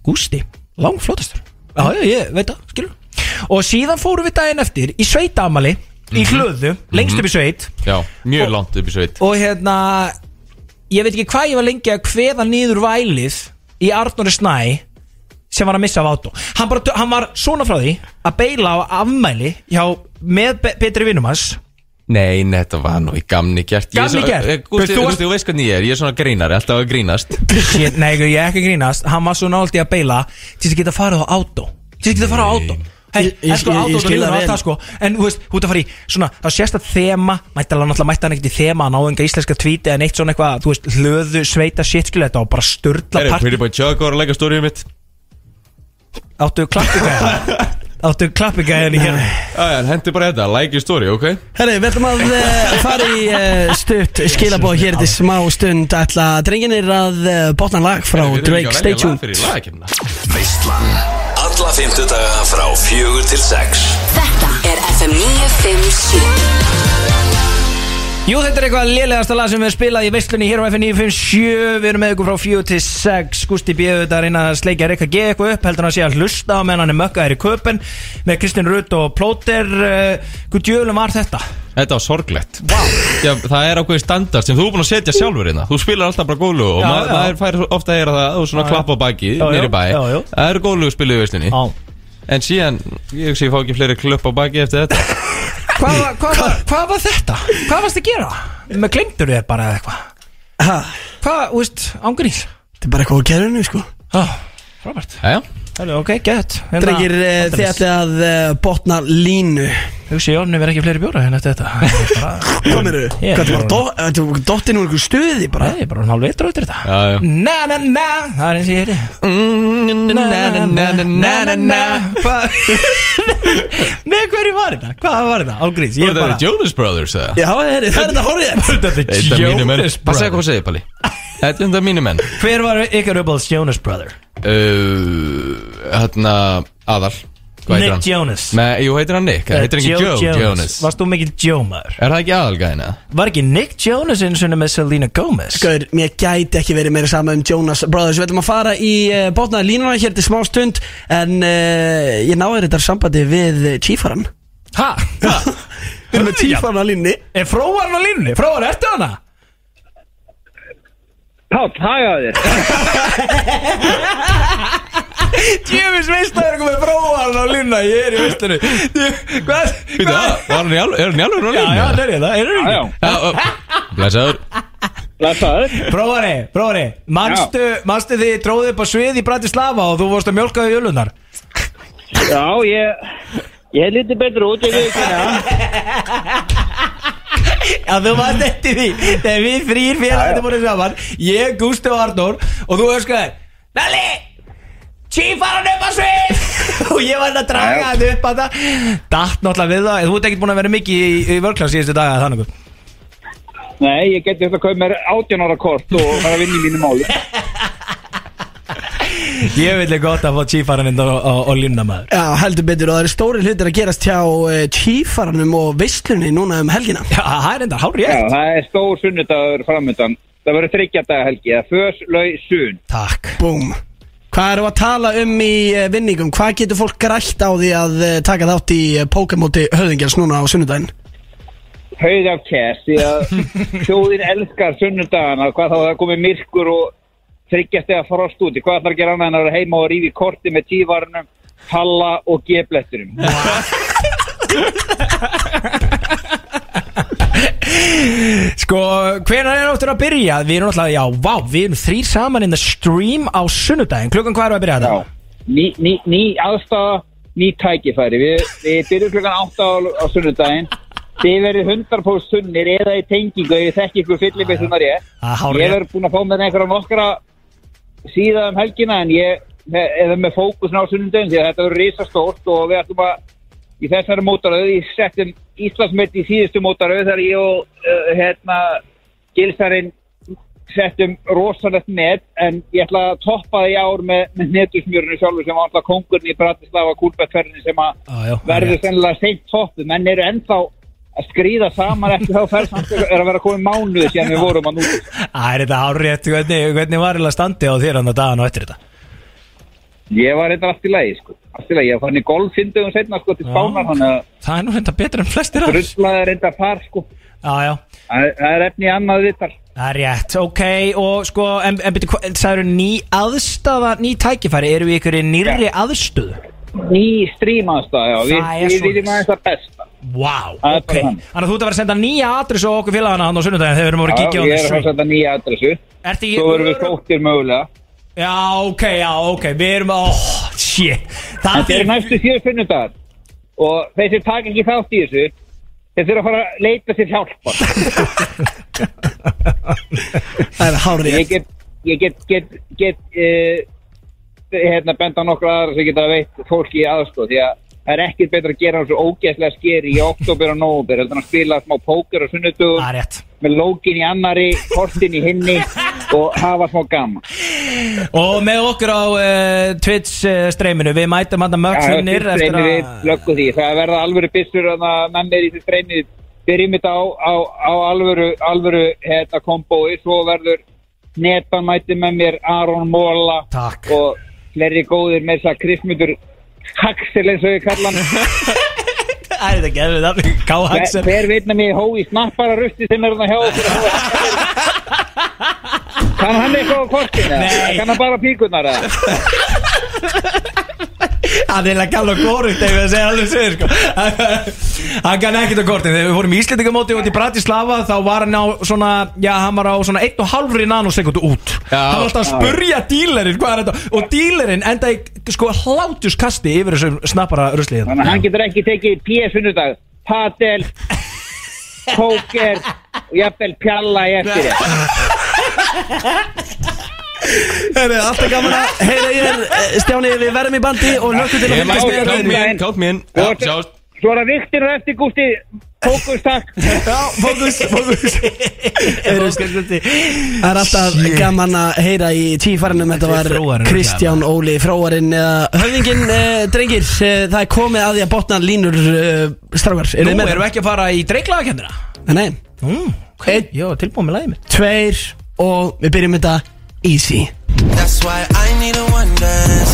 [SPEAKER 2] Gústi, langflottastur Já, já, ég veit það, skilur Og síðan fórum við daginn eftir Í sveitamali, í hlöðu Lengst upp í sveit
[SPEAKER 6] Mhm. Já, mjög langt upp í sveit
[SPEAKER 2] Og hérna, ég veit ekki hvað ég var lengi Að kveða niður vælið Í Arnóri Snæ sem var að missa af átó hann, bara, hann var svona frá því að beila á afmæli hjá með be betri vinnum hans
[SPEAKER 6] Nei, nei, þetta var nú í gamni gert Ég er
[SPEAKER 2] Gamni
[SPEAKER 6] svo-
[SPEAKER 2] gert?
[SPEAKER 6] Eh, Gústi,
[SPEAKER 2] Þú varst-
[SPEAKER 6] Gústi, þú veist hvernig ég er, ég er svona grínari, alltaf að grínast
[SPEAKER 2] Shit, nei, ég er ekki að grínast Hann var svo nált í að beila Til þess að geta farið á átó Til þess að geta farið á átó Hey,
[SPEAKER 4] Ég- ég-
[SPEAKER 2] en sko
[SPEAKER 4] ég- ég
[SPEAKER 2] átó, það
[SPEAKER 4] skil það
[SPEAKER 2] líður á
[SPEAKER 4] vel.
[SPEAKER 2] það sko En þú veist, hún er að fara í svona Það sést að þema Mætti alveg náttúrulega mætti hann ekkert í þema Hann á enga íslenska tvíti En eitt svona eitthvað Þú veist, hlöðu, sveita, shit skilja þetta Og bara sturla
[SPEAKER 6] Herru,
[SPEAKER 2] part
[SPEAKER 6] Pretty Boy Chuck var að leggja stóriðið mitt
[SPEAKER 2] Áttu
[SPEAKER 4] (laughs)
[SPEAKER 2] klappigæðan Áttu klappigæðan í hérna
[SPEAKER 6] Æja, hendi bara þetta, like your story, ok?
[SPEAKER 4] Herri, við ætlum að
[SPEAKER 2] eh,
[SPEAKER 4] uh, fara í uh, stutt skilabóð hér til smá stund ætla drenginir að uh, botna lag frá
[SPEAKER 6] Við erum
[SPEAKER 4] Drake,
[SPEAKER 6] ekki að
[SPEAKER 4] stay
[SPEAKER 6] velja lag
[SPEAKER 4] tuned
[SPEAKER 6] fyrir lagakefnina.
[SPEAKER 12] Veistlan Alla fymtudaga frá fjögur til sex
[SPEAKER 13] Þetta er FM 957
[SPEAKER 2] Jú, þetta er eitthvað lélegasta lag sem við spilaði í veislunni hér á FN957 Við erum með ykkur frá 4 til 6 Gústi B. auðvitað að reyna að sleikja Rikka G. eitthvað upp heldur hann að sé að hlusta á meðan hann er mökkaðir í köpun með Kristinn Rutt og Plóter uh, Hvað djöflum var þetta?
[SPEAKER 6] Þetta var sorglegt wow. Já, Það er ákveði standard sem þú er búin að setja sjálfur hérna Þú spilar alltaf bara gólu og
[SPEAKER 2] Já,
[SPEAKER 6] maður,
[SPEAKER 2] já.
[SPEAKER 6] maður fær ofta að heyra það og svona
[SPEAKER 2] Já,
[SPEAKER 6] klappa á baki
[SPEAKER 2] Já, já,
[SPEAKER 6] nýri bæ
[SPEAKER 2] já, já.
[SPEAKER 6] Það eru gólu spiluð í veislinni En síðan, ég hugsi ég fá ekki fleiri klöpp á baki eftir þetta
[SPEAKER 2] Hvað hva, hva, hva, hva var þetta? Hvað varst að gera? Með glemdur þér bara eða eitthvað?
[SPEAKER 4] Ha,
[SPEAKER 2] Hvað, þú veist, ángurís?
[SPEAKER 4] Þetta er bara eitthvað á gerðinu sko
[SPEAKER 2] Ah, Robert
[SPEAKER 6] Jæja,
[SPEAKER 2] Hello, Ok, gett Hérna,
[SPEAKER 4] Drengir, uh, þið ætla að uh, botna línu
[SPEAKER 2] Hugsi, Jónni verð ekki fleiri bjóra hérna eftir þetta Bara-
[SPEAKER 4] Hvað eru?
[SPEAKER 2] Ég-
[SPEAKER 4] Hvað er það? Dottir nú einhver stuði bara
[SPEAKER 2] Nei, bara hann hálf veitur eftir þetta
[SPEAKER 6] (laughs) já, já
[SPEAKER 2] Na na na Það er eins og ég heiti
[SPEAKER 4] Mm,
[SPEAKER 2] Na na na na na na na Hvað (laughs) Með hverju var þetta? Hvað var þetta? Ágríns
[SPEAKER 6] Þú þetta er Jonas Brothers eða?
[SPEAKER 4] Já, herri, það er þetta horrið
[SPEAKER 2] Þetta
[SPEAKER 6] Þetta er mínu menn Passa eitthvað að segja, Palli Þetta er þetta mínu menn
[SPEAKER 2] Hver var ykkar uppáðs Jonas brother?
[SPEAKER 6] Uh, Þarna, aðal Hvað heitir
[SPEAKER 2] Nick
[SPEAKER 6] hann?
[SPEAKER 2] Jonas Eh,
[SPEAKER 6] Nei, jú, heitir hann Nick Það heitir ekki Joe Jonas Er
[SPEAKER 2] Varst þú mikill Joe maður?
[SPEAKER 6] það ekki aðalgæðina?
[SPEAKER 2] Var ekki Nick Jonas eins og með Selena Gomez?
[SPEAKER 4] Gaur, mér gæti ekki verið meira sama um Jonas Brothers Við ætlum að fara í uh, botnaði línuna hér til smá stund En uh, ég náði þetta sambandi við eh, Tífaran
[SPEAKER 2] Ha? Ha?
[SPEAKER 4] Við erum með Tífaran að línni
[SPEAKER 2] Er fróarinn á línni? Fróar, ertu hana?
[SPEAKER 3] Páll, hagaði þér
[SPEAKER 2] Djöfis veist að það er komið fróarinn á línna Ég er í veistunni Hvað?
[SPEAKER 6] Býtu, var hann í alveg, er hann í alveg
[SPEAKER 2] Já, já, það er ég það, er það
[SPEAKER 3] Já,
[SPEAKER 2] ekki?
[SPEAKER 3] já,
[SPEAKER 6] já Blesaður
[SPEAKER 3] blessaður
[SPEAKER 2] Prófari, prófari, manstu, manstu þið tróðið upp á svið í Bratislava og þú vorst að mjölka í ölunar
[SPEAKER 3] Já, ég Ég er lítið betur út, ég veit ekki hana
[SPEAKER 2] Já, þú varst eftir því Þegar við þrýr félagandi voru saman Ég, Gústi og Arnór Og þú öskraði Nalli, tífaran upp á svið og ég var að draga þetta upp að það Datt náttúrulega við það, þú ert ekkert búin að vera mikið í, í vörklans síðustu daga þannig
[SPEAKER 3] Nei, ég geti þetta að kaupa mér 18 ára kort og fara að vinna í mínu máli
[SPEAKER 2] Ég vil er gott að fá tífaraninn og, og, og línna maður
[SPEAKER 4] (laughs) Já, heldur betur og það eru stóri hlutir að gerast hjá eh, Tífaranum og Veislunni núna um helgina
[SPEAKER 2] Já, það er enda hár
[SPEAKER 3] Já, það er stór sunnudagur framöndan Það verður þryggjadaga helgi Það fös, lau, sun
[SPEAKER 2] Takk
[SPEAKER 4] Búm Hvað erum við að tala um í eh, vinningum? Hvað getur fólk grætt á því að eh, taka þátt í eh, Pókamóti höfðingjars núna á sunnudaginn?
[SPEAKER 3] Hauð af kæs Því að þjóðin elskar sunnudagana Hvað þá það komið myrkur og þryggjadaga frost úti Hvað ætlar að gera annað en að vera heima og rífi korti með tívarnum Halla og gebletturum
[SPEAKER 2] Sko, hvenær er áttur að byrja? Við erum náttúrulega, já, vá, við erum þrýr saman in the stream á sunnudaginn Klukkan hvað er að byrja þetta?
[SPEAKER 3] Ný, ný, ný aðstafa, ný tækifæri Við, við byrjum klukkan 8 á, á sunnudaginn Þið verður 100% sunnir eða í tengingu ef ég þekki ykkur fyllibissunar ég
[SPEAKER 2] Ah, hárrétt.
[SPEAKER 3] Ég verður búin að fá með einhverja nokkra síðan um helgina en ég eða með fókusin á sunnundaginn því að þetta verður risastórt og við ætlum að í þessari mótaröðu, ég settum Íslandsmet í síðustu mótaröðu þegar ég og uh, hérna Gilsarinn settum rosalegt net en ég ætla að toppa það í ár með, með netusmjörinu sjálfur sem var alltaf kongurinn í Bratislava kúlbettferðinu sem að
[SPEAKER 2] Já, já,
[SPEAKER 3] verður
[SPEAKER 2] rétt.
[SPEAKER 3] sennilega seint toppu menn eru ennþá að skrýða saman eftir þá ferð samt er að vera komið mánuð síðan við vorum að nú
[SPEAKER 2] Æ, er þetta hárétt, hvernig, hvernig var eða standi á þér hann að dagan og eftir þetta?
[SPEAKER 3] ég var eitthvað allt í lagi sko allt í lagi, ég var hann í golfindugum setna sko til spánar hann að
[SPEAKER 2] Það er nú hérna betur en flestir af
[SPEAKER 3] drullaði reynda par sko
[SPEAKER 2] Já, já,
[SPEAKER 3] það er- það er efni í annað vittar
[SPEAKER 2] það er rétt, ok Og sko, en, en byrju, hvað- það eru ný aðstafa, ný tækifæri Eru við ykkur í nýrri aðstöðu?
[SPEAKER 3] ný strímaðstæð, já, við, við
[SPEAKER 2] Það er svoleiðis.
[SPEAKER 3] viljum aðeins það besta
[SPEAKER 2] Vá,
[SPEAKER 3] Það er
[SPEAKER 2] ok
[SPEAKER 3] bara þannig.
[SPEAKER 2] Þannig að þú ert að vera að senda nýja adress og okkur félagana hann á sunnudaginn Þegar við erum að
[SPEAKER 3] Já,
[SPEAKER 2] vera að kíkja á
[SPEAKER 3] ég er að fara
[SPEAKER 2] þessu
[SPEAKER 3] þetta nýja adressu
[SPEAKER 2] Ertu í-
[SPEAKER 3] Svo verðum við sóttir mögulega
[SPEAKER 2] Já, ok, já, ok, við erum að, oh, shit Það
[SPEAKER 3] Þetta er næstu síðu sunnudagar Og þeir sem taka ekki þátt í þessu Þeir þurfa að fara að leita sér hjálpar
[SPEAKER 2] (laughs)
[SPEAKER 4] Það er hárið
[SPEAKER 3] Ég get, ég get, get, get uh, Hérna benda á nokkra aðra sem geta veitt fólki í aðstoð Því að það er ekkert betra að gera hann svo ógeðslega skeri í oktober og nóvember heldur en að spila smá póker á sunnudugum
[SPEAKER 2] Það er rétt
[SPEAKER 3] með lókin í annari, kortin í
[SPEAKER 2] (laughs)
[SPEAKER 3] hinni og hafa smá gaman
[SPEAKER 2] Og með okkur á uh, Twitch uh, streyminu Við mætum hann að mögsunir
[SPEAKER 3] Já,
[SPEAKER 2] eftir
[SPEAKER 3] streymi við
[SPEAKER 2] að
[SPEAKER 3] löggum því Það verða alvöru byssur að menn er í þessu streymi byrjum þetta á, á, á alvöru, alvöru hérna, kombói svo verður Netan mæti með mér Aron Móla
[SPEAKER 2] Takk.
[SPEAKER 3] og fleiri góðir með þess að Krismundur Haxel eins og ég kalla hann
[SPEAKER 2] (laughs) Það er þetta geðvið það Ká
[SPEAKER 3] Hver-
[SPEAKER 2] Haxel
[SPEAKER 3] hver veit með mig hói snappara rusti sem er hann hjá
[SPEAKER 2] (laughs)
[SPEAKER 3] okkur Kann hann eitthvað á kortinu?
[SPEAKER 2] Nei.
[SPEAKER 3] Kann hann bara píkunar eða?
[SPEAKER 2] Hann er ekki alveg górugt ef ég að segja alveg sér sko. (laughs) Hann kann ekkert á kortin Þegar við fórum í Íslendingamóti út í Bratislava Þá var hann á svona Já, hann var á svona 1,5 nanosekundu út
[SPEAKER 6] Já.
[SPEAKER 2] Hann var alltaf að spurja dílerinn Hvað er þetta? Og dílerinn endaði sko hlátuskasti Yfir þessum snappara ruslið hérna.
[SPEAKER 3] Þannig að hann getur ekki tekið PF-sunnudag, padel, póker og jafnvel pjalla í eftir þér.
[SPEAKER 4] Herri, alltaf gaman að heyra ég er eh, Stjáni, við verðum í bandi og hlökkum til að
[SPEAKER 6] Ég
[SPEAKER 4] fylgjast
[SPEAKER 6] mætti,
[SPEAKER 4] með
[SPEAKER 6] kátt
[SPEAKER 4] þér.
[SPEAKER 6] mér inn, kátt mér inn Já,
[SPEAKER 3] Og
[SPEAKER 6] sjást
[SPEAKER 3] Svo er það viktir og eftir gústi, fókus takk.
[SPEAKER 2] Já, fókus, fókus
[SPEAKER 4] Það er alltaf gaman að heyra í tífarinum Þetta
[SPEAKER 2] Þetta er
[SPEAKER 4] var
[SPEAKER 2] Fróarinn,
[SPEAKER 4] Kristján Óli Fróarinn eða Höfðinginn, eh, drengir eh, Það er komið að því að botna línur eh, Strákar,
[SPEAKER 2] Nú
[SPEAKER 4] eru þið með?
[SPEAKER 2] erum við ekki að fara í dreiklagakendina
[SPEAKER 4] Nei,
[SPEAKER 2] mm,
[SPEAKER 4] Einn.
[SPEAKER 2] Ég var tilbúin með lagið mitt
[SPEAKER 4] tveir og við byrjum þetta easy
[SPEAKER 11] That's why I need a one dance.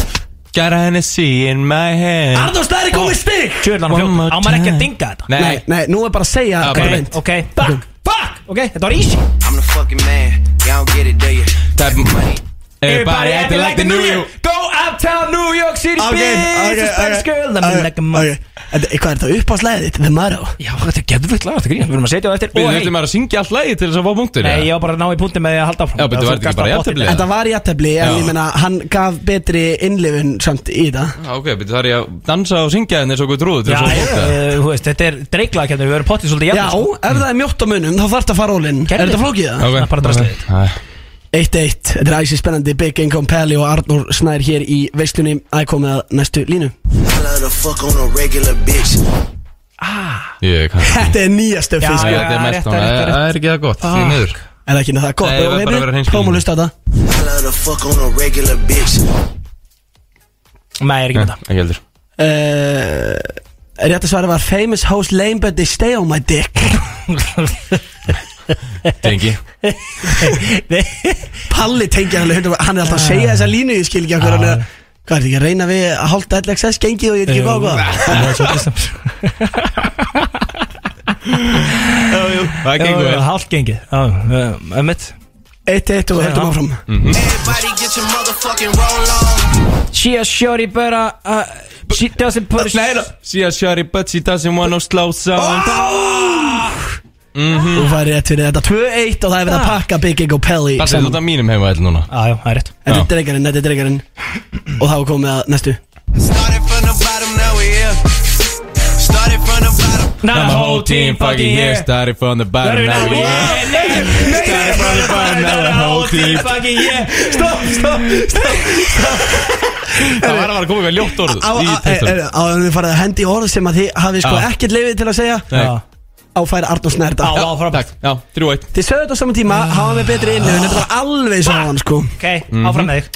[SPEAKER 6] Got a Hennessy in my hand
[SPEAKER 4] Arnórs, það er komið stig!
[SPEAKER 2] Tjöðlan
[SPEAKER 6] One more
[SPEAKER 2] fljótt Á maður ekki að
[SPEAKER 6] time.
[SPEAKER 2] dinga þetta
[SPEAKER 4] Nei,
[SPEAKER 6] Nei,
[SPEAKER 4] nei, nú er bara að segja
[SPEAKER 6] Ah,
[SPEAKER 4] hvað
[SPEAKER 6] bara-
[SPEAKER 4] meint.
[SPEAKER 2] Ok, back, back Ok, þetta var easy
[SPEAKER 11] I'm the fucking man. Y'all don't get it, do you?
[SPEAKER 6] það er Everybody acting like the new you
[SPEAKER 2] Go uptown New York City
[SPEAKER 4] Ok, ok,
[SPEAKER 2] bitch It's a Spanish girl I'm in like a
[SPEAKER 4] ok,
[SPEAKER 2] man
[SPEAKER 4] ok. Þetta- Hvað er þetta uppáðslegið þitt? The Murrow
[SPEAKER 2] Já, þetta er geðvögt lag Þetta grín Við erum að setja það eftir
[SPEAKER 6] Við
[SPEAKER 2] Og
[SPEAKER 6] þurfum
[SPEAKER 2] hei
[SPEAKER 6] að syngja allt lagi til þess að fá punktur
[SPEAKER 2] Nei,
[SPEAKER 6] eða?
[SPEAKER 2] ég var bara að ná í punktin með því að halda áfram
[SPEAKER 6] Já, betur,
[SPEAKER 2] Þú
[SPEAKER 6] var þetta ekki
[SPEAKER 2] gasta
[SPEAKER 6] bara
[SPEAKER 2] botninn.
[SPEAKER 6] jafntefli?
[SPEAKER 4] Þetta var jættefli en
[SPEAKER 6] Já.
[SPEAKER 4] ég meina hann gaf betri innlifun samt í þetta
[SPEAKER 6] Já, Ok, betur þarf ég að dansa og syngja henni eins og hvað trúðu til
[SPEAKER 2] Já,
[SPEAKER 6] þess að fá
[SPEAKER 2] ég,
[SPEAKER 6] punktur eða?
[SPEAKER 2] eh, þú veist, þetta er dreiklað Við verðum pottið svolítið
[SPEAKER 4] Já,
[SPEAKER 2] jafn
[SPEAKER 4] ef það er mjótt á munum þá þarf þetta að fara ólinn Er
[SPEAKER 2] Gerðu. (laughs)
[SPEAKER 4] þetta flókið það?
[SPEAKER 6] Ok,
[SPEAKER 2] bara
[SPEAKER 6] ok.
[SPEAKER 2] drastlið.
[SPEAKER 6] Æ.
[SPEAKER 4] 1-1, þetta er æsir spennandi Big Income Pally og Arnór Snær hér í veislunni Ækomið að næstu línu
[SPEAKER 11] Holla the fuck on a regular bitch.
[SPEAKER 6] Ég kann
[SPEAKER 4] Þetta er nýja stöfið
[SPEAKER 6] Já, já, þetta er mest núna. Það það er ekki það gott, því
[SPEAKER 4] Fuck.
[SPEAKER 6] miður
[SPEAKER 4] Er það ekki það
[SPEAKER 6] Nei,
[SPEAKER 4] gott?
[SPEAKER 6] ég verð bara að vera hreinskilinn.
[SPEAKER 4] Fáum að hlusta á þetta
[SPEAKER 11] Holla the fuck on a regular bitch.
[SPEAKER 2] Nei, ég er ekki með það
[SPEAKER 6] Ekki heldur
[SPEAKER 4] Eh, Rétt að svara var Famous hoes lame but they stay on my
[SPEAKER 6] (laughs)
[SPEAKER 2] (laughs)
[SPEAKER 4] dick
[SPEAKER 6] Tengi
[SPEAKER 4] Palli tengja hann alveg 100% Hann er alltaf
[SPEAKER 2] Ah.
[SPEAKER 4] að segja þessa línu Ég skil ekki okkur hann er Hvað er þetta ekki að reyna við að halda LXS gengið og ég er ekki góð góð (laughs)
[SPEAKER 6] Það gengur vel
[SPEAKER 2] Hálf gengið Já, eh, emmitt
[SPEAKER 4] 1-1 og höldum áfram
[SPEAKER 6] Mhm.
[SPEAKER 11] Everybody get your motherfucking roll on.
[SPEAKER 2] She a shorty but uh, She doesn't put a
[SPEAKER 6] See a shawty but she doesn't wanna slow sound
[SPEAKER 4] Þú fær rétt fyrir þetta 2-1 og það er verið að pakka Big Egg og Pelly
[SPEAKER 6] Það er
[SPEAKER 4] saman.
[SPEAKER 6] þetta mínum heima ætl núna
[SPEAKER 2] Ah, Já, já, það er rétt
[SPEAKER 4] Þetta er dreikarinn, þetta er dreikarinn Og þá er komið að næstu
[SPEAKER 11] Started from the bottom, now we here. Started from the bottom.
[SPEAKER 2] Now
[SPEAKER 6] My whole team fucking here Started from the bottom Now we here Started from the bottom Now the whole team
[SPEAKER 2] Fucking yeah
[SPEAKER 6] Það var að vera að koma eitthvað ljótt orð
[SPEAKER 4] Á eh,
[SPEAKER 6] í textanum.
[SPEAKER 4] að við farið að hendi í orð sem að þið hafið sko
[SPEAKER 6] Já.
[SPEAKER 4] ekkert lefið til að segja
[SPEAKER 6] Nei.
[SPEAKER 4] Á fær Arnúr Snærda
[SPEAKER 2] Já,
[SPEAKER 6] Já,
[SPEAKER 2] frábært.
[SPEAKER 6] takk Já, 3-1
[SPEAKER 4] Þið sögðu þetta á saman tíma, hafa með betri innlöfun Þetta var alveg svo á hann sko
[SPEAKER 2] Ok, áfram með þig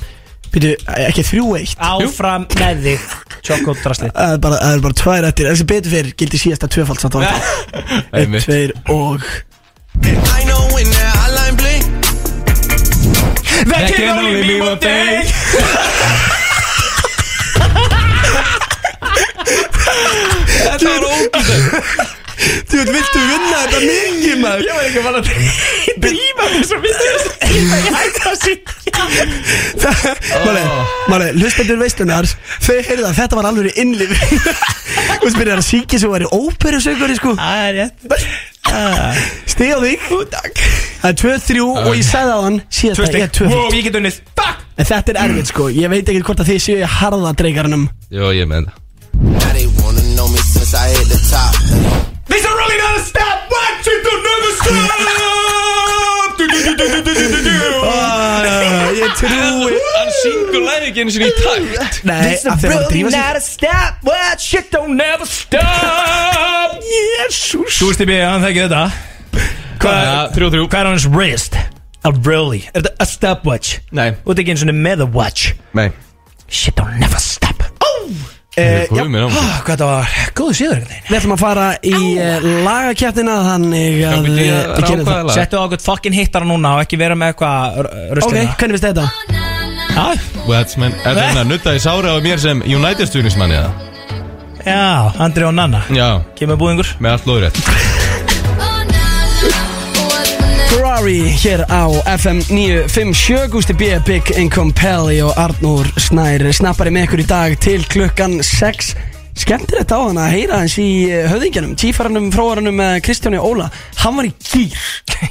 [SPEAKER 4] Býtu, ekki 3-1
[SPEAKER 2] Áfram með þig Tjókóttrasli
[SPEAKER 4] Það er bara, það er bara tvær eftir Þessi betur fyrir gildi síðasta tvöfald
[SPEAKER 2] (laughs)
[SPEAKER 4] samt á Einn,
[SPEAKER 6] Einmitt.
[SPEAKER 4] tveir og
[SPEAKER 11] I know when that hotline blink.
[SPEAKER 2] That
[SPEAKER 6] can only be one thing.
[SPEAKER 4] Þetta var ógæð Þú veit, viltu vinna þetta mikið maður?
[SPEAKER 2] Ég var ekki að fara að dríma þessu Ég er hægt að sitja
[SPEAKER 4] Máli, máli, hlustendur veislunar Þau heyrðu það, þetta var alveg innlif Þú veist, byrjar að síkja sem væri óperusökari sko
[SPEAKER 2] Það er rétt
[SPEAKER 4] Stig á þig Það er 2-3 og ég sagði á hann Síðast að ég er 2-5
[SPEAKER 2] Wow, ég get unnið Fuck
[SPEAKER 4] En þetta er erfitt sko, ég veit ekki hvort að þið séu í harða dreikarinnum
[SPEAKER 6] Jó, ég með þetta
[SPEAKER 11] Now they wanna know me since I hit the top.
[SPEAKER 2] These are rolling on the stop Watch it don't never stop Du, du, du, du, du, du, du, du,
[SPEAKER 4] Ah, Ég trúi
[SPEAKER 6] Hann syngur lægi ekki einu sinni í takt
[SPEAKER 4] Nei, að þeir
[SPEAKER 2] These are
[SPEAKER 4] var að
[SPEAKER 2] rolling
[SPEAKER 4] drífa sig
[SPEAKER 2] on the stop Watch it don't never stop
[SPEAKER 4] Jésús
[SPEAKER 2] Þú veist ég byrja, hann þekki þetta Hvað
[SPEAKER 6] Ja, þrjú, þrjú.
[SPEAKER 2] Hvað er hans wrist? A really Er þetta a stopwatch?
[SPEAKER 6] Nei.
[SPEAKER 2] Þú ert ekki eins og með a watch
[SPEAKER 6] Nei
[SPEAKER 2] Shit don't never stop Oh
[SPEAKER 4] Eh,
[SPEAKER 6] Guð minn ámáttur.
[SPEAKER 2] Ah, Hvað það var Góðu síður einhvern veginn
[SPEAKER 4] Við ætlum að fara í uh, lagakjæftina Þannig
[SPEAKER 6] Já,
[SPEAKER 4] að
[SPEAKER 6] byrju,
[SPEAKER 4] eh,
[SPEAKER 6] ég
[SPEAKER 4] við gerum
[SPEAKER 6] rákvaði
[SPEAKER 4] það
[SPEAKER 6] lag.
[SPEAKER 2] Settu á okkur fucking hittara núna og ekki vera með eitthvað
[SPEAKER 4] Ok,
[SPEAKER 2] rustina
[SPEAKER 4] hvernig finnst þetta?
[SPEAKER 2] Já,
[SPEAKER 6] Wetsman Er það hann að nutta í sára á mér sem United stuðnismann eða?
[SPEAKER 2] já Andri og Nanna
[SPEAKER 6] Já
[SPEAKER 2] Kemur búðingur
[SPEAKER 6] Með allt lóðrétt
[SPEAKER 4] Ferrari hér á FM 957 Gústi B, Big Income Pelli og Arnúr Snær Snappari með ykkur í dag til klukkan 6 Skemmtilegt á hann að heyra hans í eh, höfðingjanum Tífaranum, fróaranum með Kristjáni Óla Hann var í gýr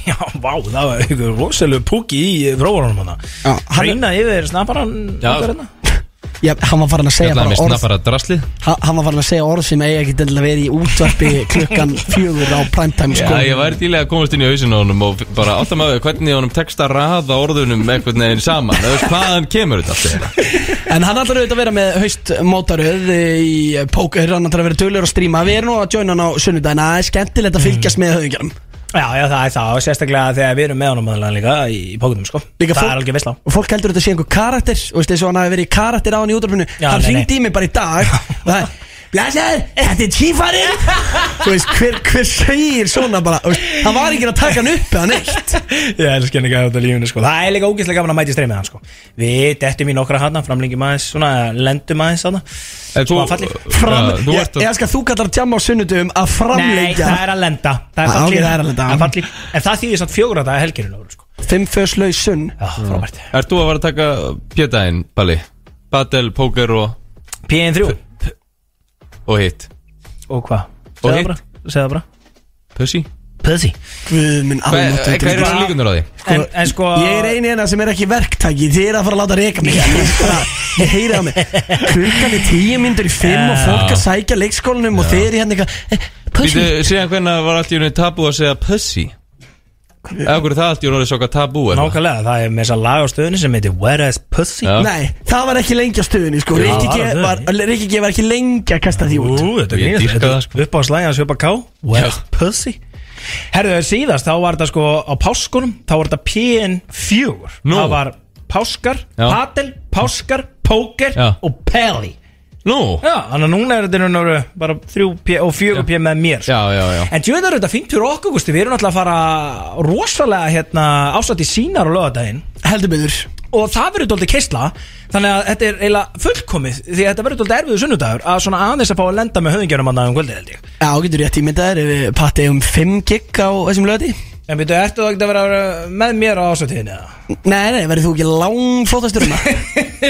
[SPEAKER 2] Já, vá, það var einhver rosalega púki í fróðanum hana
[SPEAKER 4] Já, hann-
[SPEAKER 2] Hreina yfir snapparan
[SPEAKER 6] Já.
[SPEAKER 2] okkar hérna.
[SPEAKER 4] Já, hann var farin að segja
[SPEAKER 6] Þetta er
[SPEAKER 4] bara
[SPEAKER 6] mér
[SPEAKER 4] orð
[SPEAKER 6] snappara draslið
[SPEAKER 4] Ha- hann var farin að segja orð sem eiga ekki til að vera í útvarpi
[SPEAKER 2] (laughs)
[SPEAKER 4] klukkan fjögur á primetime
[SPEAKER 6] Já,
[SPEAKER 4] sko.
[SPEAKER 6] ég væri til í að komast inn í hausinu á honum og bara alltaf maður hvernig honum tekst að raða orðunum einhvern veginn saman Það veist hvaðan kemur þetta allt eiginlega?
[SPEAKER 4] en hann ætlar auðvitað að vera með haustmótaröð í eh, póker, hann ætlar að vera tölur að stríma við erum nú að joina hann á sunnudagina það er skemmtilegt
[SPEAKER 2] Mm.
[SPEAKER 4] að fylgjast með höfingjarum
[SPEAKER 2] Já, já, það er það og Sérstaklega þegar við erum með honum aðlega líka í pókutum sko
[SPEAKER 4] Líka
[SPEAKER 2] Það
[SPEAKER 4] fólk-
[SPEAKER 2] er alveg veist á
[SPEAKER 4] og fólk heldur þetta sé einhver karakter og veist þessu hann hafi verið í karakter á hann í útvarpinu
[SPEAKER 2] Já,
[SPEAKER 4] hann
[SPEAKER 2] nei,
[SPEAKER 4] hringdi
[SPEAKER 2] nei.
[SPEAKER 4] í mig bara í dag og það er Blæsaður, þetta er tífarinn Þú veist, hver, hver segir svona bara þú veist, Hann var ekki að taka hann upp eða neitt
[SPEAKER 2] (laughs) Ég elska henni gæða þetta lífinu sko Það er líka ógeðslega gaman að mæti streymið hann sko Við dettum í nokkra hana, framlengjum aðeins svona, lendum aðeins Sko, hana
[SPEAKER 6] En þú-
[SPEAKER 2] Svona fallið
[SPEAKER 4] Fram,
[SPEAKER 6] Já, þú
[SPEAKER 4] ég,
[SPEAKER 6] ert að-
[SPEAKER 4] ég elska að þú kallar tjama á sunnudum að
[SPEAKER 2] Nei,
[SPEAKER 4] framleikja
[SPEAKER 2] það er að lenda
[SPEAKER 4] Ah,
[SPEAKER 2] Það er fallið
[SPEAKER 4] ok, það er að lenda.
[SPEAKER 2] Það er fallið En það þýðir samt fjögur að það er helgirinn ára sko
[SPEAKER 4] Fimm föslaug sunn
[SPEAKER 2] Já, frábært
[SPEAKER 6] Ert þú að vera að taka pjötaðinn, Palli? Battle, póker og,
[SPEAKER 2] PN3
[SPEAKER 6] og hitt
[SPEAKER 2] Og hvað?
[SPEAKER 6] Og
[SPEAKER 2] Segðu það
[SPEAKER 6] hitt?
[SPEAKER 2] bara, segðu það bara
[SPEAKER 6] Pussy?
[SPEAKER 2] Pussy
[SPEAKER 4] Guð minn
[SPEAKER 6] Hvað
[SPEAKER 4] almátt
[SPEAKER 6] hvað Eh, eru svona líkunar á því?
[SPEAKER 2] En, en sko
[SPEAKER 4] Ég er eini hérna sem er ekki verktæki Þið er að fara að láta reka mig Ég, er bara, ég heyri það mig Klukkan er tíu myndur í fimm og fólk að sækja leikskólanum og þið er í hérna eitthvað eh,
[SPEAKER 6] Býtu,
[SPEAKER 4] Pussy
[SPEAKER 6] síðan hvernig var allt í unni tabú að segja pussy? Af hverju það allt í hún orðið svo hvað tabú er
[SPEAKER 2] Nákvæmlega, það er með þess að laga á stöðunni sem heitir Where is Pussy
[SPEAKER 6] Já.
[SPEAKER 4] Nei, það var ekki lengi á stöðunni sko.
[SPEAKER 2] Já,
[SPEAKER 4] Rikki
[SPEAKER 2] það
[SPEAKER 4] G,
[SPEAKER 2] var á
[SPEAKER 4] var- Rikki G var ekki lengi að kasta því
[SPEAKER 2] Ú,
[SPEAKER 4] út
[SPEAKER 2] þetta er
[SPEAKER 6] Ég
[SPEAKER 2] nýjast
[SPEAKER 6] dýrka
[SPEAKER 2] Þetta
[SPEAKER 6] það, sko.
[SPEAKER 2] er upp á slæðan sjöpa ká Where is Pussy Herðu, síðast, þá var þetta sko á páskunum Þá var þetta PN4
[SPEAKER 6] Nú.
[SPEAKER 2] Það var páskar,
[SPEAKER 6] Já.
[SPEAKER 2] patel, páskar, póker
[SPEAKER 6] Já.
[SPEAKER 2] og peli
[SPEAKER 6] Nú,
[SPEAKER 2] Já, þannig að núna er þetta í raun og veru bara þrjú p og fjögur p með mér sko.
[SPEAKER 6] já, já, já
[SPEAKER 2] En djöðan er þetta fínt fyrir okkur, gústi, við erum alltaf að fara rosalega hérna, ásatt í sínar á lögadaginn
[SPEAKER 4] Heldur byggður
[SPEAKER 2] og það verður doldið kistla þannig að þetta er eiginlega fullkomið því að þetta verður doldið erfiðu sunnudagur að svona aðeins að fá að lenda með höfingjörum að um kvöldið held ég
[SPEAKER 4] Já, getur rétt ímyndaður ef við patti um 5 gig á þessum löti
[SPEAKER 2] En byrju, ertu það ekki að vera með mér á ásatíðinni eða?
[SPEAKER 4] Nei, nei, verður þú ekki langflótastur um það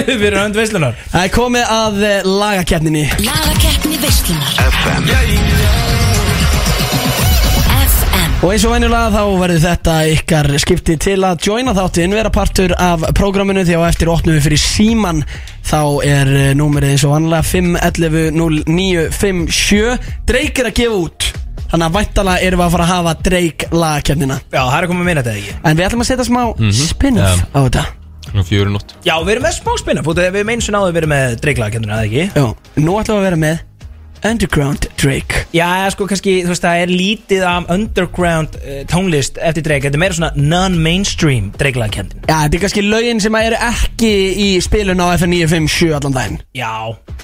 [SPEAKER 2] (laughs) Fyrir hönd veislunar
[SPEAKER 4] Það er komið að eh, lagakeppninni
[SPEAKER 14] Lagakeppni veislunar FM
[SPEAKER 4] Og eins og venjulega þá verður þetta ykkar skipti til að joina þáttinn, vera partur af prógraminu því á eftir opnum við fyrir síman þá er eh, númerið eins og vanlega 511-0957 Drake er að gefa út þannig að væntala erum við að fara að hafa Drake lagakefnina
[SPEAKER 2] Já, það er komið minna þetta ekki
[SPEAKER 4] en við ætlum að setja smá spin-off á þetta
[SPEAKER 6] Mhm. Nú fjöru nótt
[SPEAKER 2] Já, við erum með smá spinna fótið Við erum eins og náðu verið með dreiklagakendurinn, eða ekki?
[SPEAKER 4] Jó, nú ætlum við að vera með Underground Drake
[SPEAKER 2] Já, sko, kannski, þú veist, það er lítið af underground uh, tónlist eftir dreik Þetta er meira svona non-mainstream dreiklagakendin
[SPEAKER 4] Já, þetta er kannski lögin sem eru ekki í spilun á FN957 allan daginn
[SPEAKER 2] Já,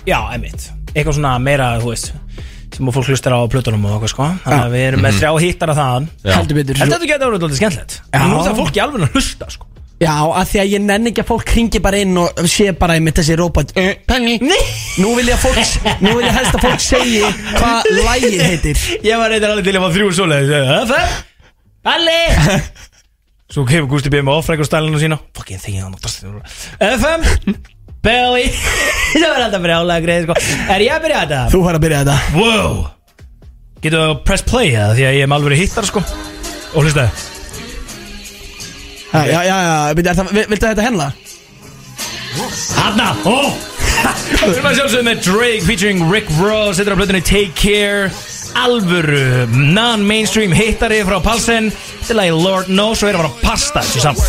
[SPEAKER 2] já, emitt Eitthvað svona meira, þú veist sem að fólk hlustar á plötunum og okkur, sko
[SPEAKER 4] Já.
[SPEAKER 2] Þannig að við erum með þrjá hittara þaðan
[SPEAKER 4] heldur betur
[SPEAKER 2] En þetta getur orðið skemmtilegt
[SPEAKER 4] Já.
[SPEAKER 2] Nú er það fólk í alveg að hlusta, sko
[SPEAKER 4] Já, að því að ég nenni ekki að fólk ringi bara inn og sé bara einmitt þessi rópat eh, Penny Nei. Nú vil ég að fólk, nú vil ég helst að fólk segi hvað lægið heitir
[SPEAKER 2] Ég var reyndar alveg til að fá þrjú svoleiðis FM Palli Svo kemur Gústi B. með ofræk og stælinu sína Fucking þegið hann og drastinu FM Belly (laughs) Það var alltaf brjálega greið sko Er ég að byrja þetta?
[SPEAKER 4] Þú fær að byrja þetta
[SPEAKER 2] Wow Getur þú að press play eða því að ég er með alveg hittar sko Og hlusta
[SPEAKER 4] Já, já, já, já, byrja, er það, vil- viltu þetta hérna? henla?
[SPEAKER 2] Hanna Ó Við erum að sjálfsögum með Drake featuring Rick Ross Þetta er á blöðunni Take Care Alvöru non-mainstream hittari frá Palsen Þetta er lagi Lord Knows og við erum að fara að pasta þessu saman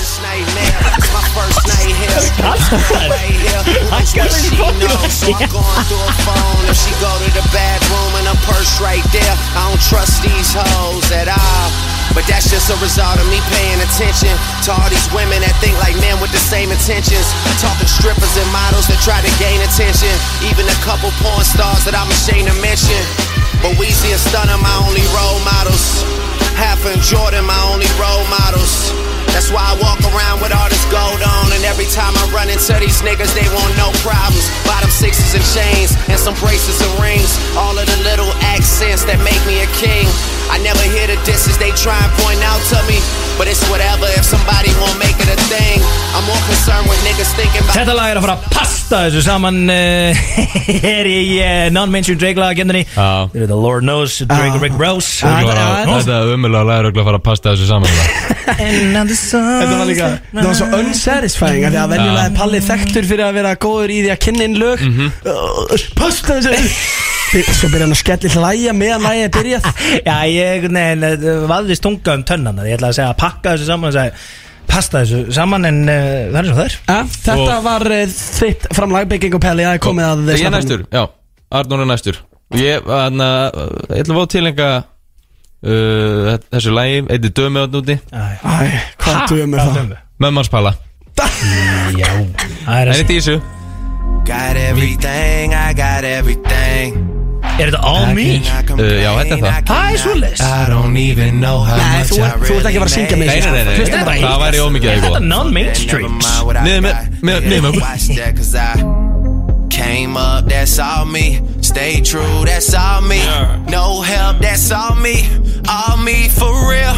[SPEAKER 9] But that's just a result of me paying attention to all these women that think like men with the same intentions. Talking strippers and models that try to gain attention. Even a couple porn stars that I'm ashamed to mention. But Weezy and Stunner, my only role models. Half and Jordan, my only role models. That's why I walk around with all this gold on. And every time I run into these niggas, they want no problems. Bottom sixes and chains, and some braces and rings. All of the little accents that make me a king. I never hear the disses they try and point out to me. But it's whatever if somebody won't make it a thing. I'm more concerned with niggas thinking about.
[SPEAKER 2] Þetta lag er að fara að pasta þessu saman uh, (laughs) Her í uh, non-mainstream Drake lag agendinni
[SPEAKER 6] Já.
[SPEAKER 2] Þetta er The Lord Knows, Drake og Rick Ross
[SPEAKER 4] Já.
[SPEAKER 6] Þetta var-
[SPEAKER 4] já.
[SPEAKER 6] þetta er umulega læruglega að fara að pasta þessu saman
[SPEAKER 4] Þetta var líka Það var svo unsatisfying af Því að
[SPEAKER 6] Ah.
[SPEAKER 4] venjulega er Palli þekktur fyrir að vera góður í því að kynna inn lög mm
[SPEAKER 6] Mhm.
[SPEAKER 4] Pasta þessu Fyr- Svo byrja hann að skelli hlæja meðan lægið er
[SPEAKER 9] (laughs)
[SPEAKER 4] byrjað
[SPEAKER 2] Já, ég nein, vaðist tunga um tönnana Ég ætla að segja að pakka þessu saman og segja Pasta þessu saman en uh,
[SPEAKER 9] eh,
[SPEAKER 2] það er svo það er
[SPEAKER 4] Ja, Þetta
[SPEAKER 6] Og-
[SPEAKER 4] var eh, þitt framlag Bygging og Pelli, það er komið
[SPEAKER 6] Ég
[SPEAKER 4] að
[SPEAKER 6] er
[SPEAKER 4] snappanum.
[SPEAKER 6] næstur, já, Arnur er næstur Og Ég, hann, ég ætla að fá tilenga uh, þessu lægi, eitthvað dömi átn úti
[SPEAKER 4] Æ, hvað duðum við það?
[SPEAKER 6] Mömmarspala,
[SPEAKER 2] Það er,
[SPEAKER 6] henni
[SPEAKER 2] þessi.
[SPEAKER 6] dísu
[SPEAKER 9] Got everything, I got everything.
[SPEAKER 2] er þetta all me?
[SPEAKER 6] Uh, já, þetta er það.
[SPEAKER 2] Það er svoleiðis
[SPEAKER 9] I don't even know how
[SPEAKER 4] Nei,
[SPEAKER 9] much
[SPEAKER 4] þú,
[SPEAKER 9] I
[SPEAKER 4] þú ert ekki að fara að syngja með
[SPEAKER 6] Nei, nei, nei, nei.
[SPEAKER 4] Hlusta bara í
[SPEAKER 6] Það væri ómikið
[SPEAKER 2] Er
[SPEAKER 6] eitthvað.
[SPEAKER 2] þetta
[SPEAKER 9] Never
[SPEAKER 2] non-mainstream?
[SPEAKER 9] mind what I
[SPEAKER 6] Never-
[SPEAKER 9] got.
[SPEAKER 6] never-
[SPEAKER 9] Yeah,
[SPEAKER 6] never.
[SPEAKER 9] Watch that, cause I came up, that's all me. Stay true, that's all me. No help, that's all me. All me for real.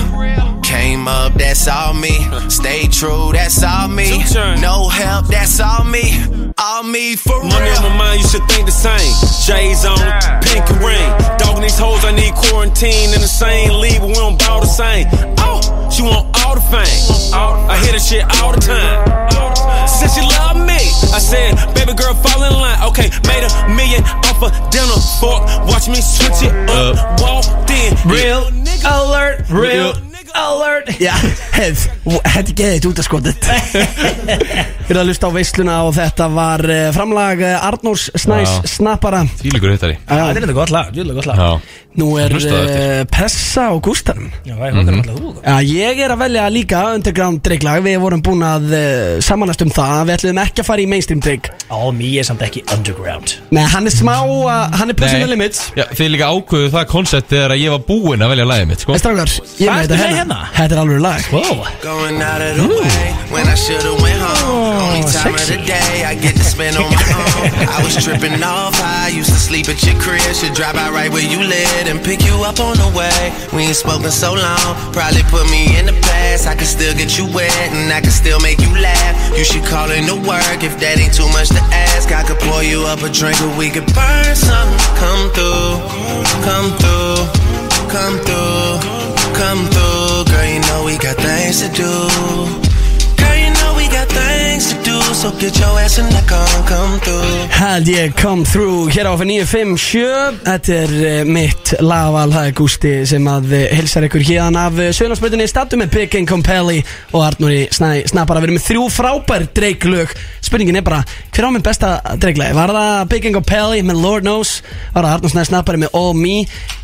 [SPEAKER 9] Came up, that's all
[SPEAKER 8] (laughs)
[SPEAKER 9] me. Stay true, that's all me. No help, that's all me. All me for
[SPEAKER 8] Money on
[SPEAKER 9] real.
[SPEAKER 8] my mind, you should think the same. J's on, pink and ring. Dogging these hoes, I need quarantine in the same league, but we don't bow the same. Oh, she want all the fame. I hear this shit all the time. Since she love me, I said, baby girl, fall in line. Okay, made a million off a dinner fork. Watch me switch it up, walk in.
[SPEAKER 2] Real alert, real
[SPEAKER 6] Real
[SPEAKER 2] alert
[SPEAKER 4] Já, hefð, hefði geðið út að
[SPEAKER 6] (laughs)
[SPEAKER 4] skotit Við erum að lusta á veisluna og þetta var eh, framlag eh, Arnórs Snæs
[SPEAKER 6] Já.
[SPEAKER 4] Snappara
[SPEAKER 6] Þvílíkur hittari
[SPEAKER 4] Já,
[SPEAKER 2] þetta er gott lag, þetta er gott lag
[SPEAKER 6] Já
[SPEAKER 4] Nú er
[SPEAKER 6] Hlustaðu
[SPEAKER 4] eh, Pressa og Gústarum
[SPEAKER 2] Já, það er hóttur alltaf þú
[SPEAKER 4] Já, ég er að velja líka underground dreiklag Við vorum búin að uh, samanast um það Við ætlum ekki að fara í mainstream dreik
[SPEAKER 2] Á, mér er samt ekki underground
[SPEAKER 4] Nei, hann er smá, að- hann er pushing the limits
[SPEAKER 6] Já, þið líka ákveðu það koncept þegar að ég var búinn að velja lagið mitt, sko
[SPEAKER 4] En strákar, ég er
[SPEAKER 6] Hvað
[SPEAKER 4] með
[SPEAKER 6] ertu
[SPEAKER 4] þetta
[SPEAKER 6] með
[SPEAKER 4] hérna Þetta er alveg lag
[SPEAKER 2] Wow
[SPEAKER 11] Going out of the way when I should've went home. Only time of the day I get to spend on my own. I was tripping off high, used to sleep at your crib. Should drive out right where you live and pick you up on the way. We ain't spoken so long, probably put me in the past. I can still get you wet and I can still make you laugh. You should call in to work if that ain't too much to ask. I could pour you up a drink or we could burn something. Come through, come through, come through. Come through, girl, you know we got things to do. Girl, you know we got things to do. So get your ass in the car and come through.
[SPEAKER 4] Held ég come through hér á F957 Þetta er eh, mitt lagval, það er Gústi sem að eh, hilsar ykkur héðan af Sjölandsmöldinni Stattum með Big Income Pelli og Arnóri Snæ Snappara Við erum með þrjú frábær dreiklög Spurningin er bara, hver á minn besta dreiklagi? Var það Big Income Pelli með Lord Knows? Var það Arnór Snæ Snappari með All Me?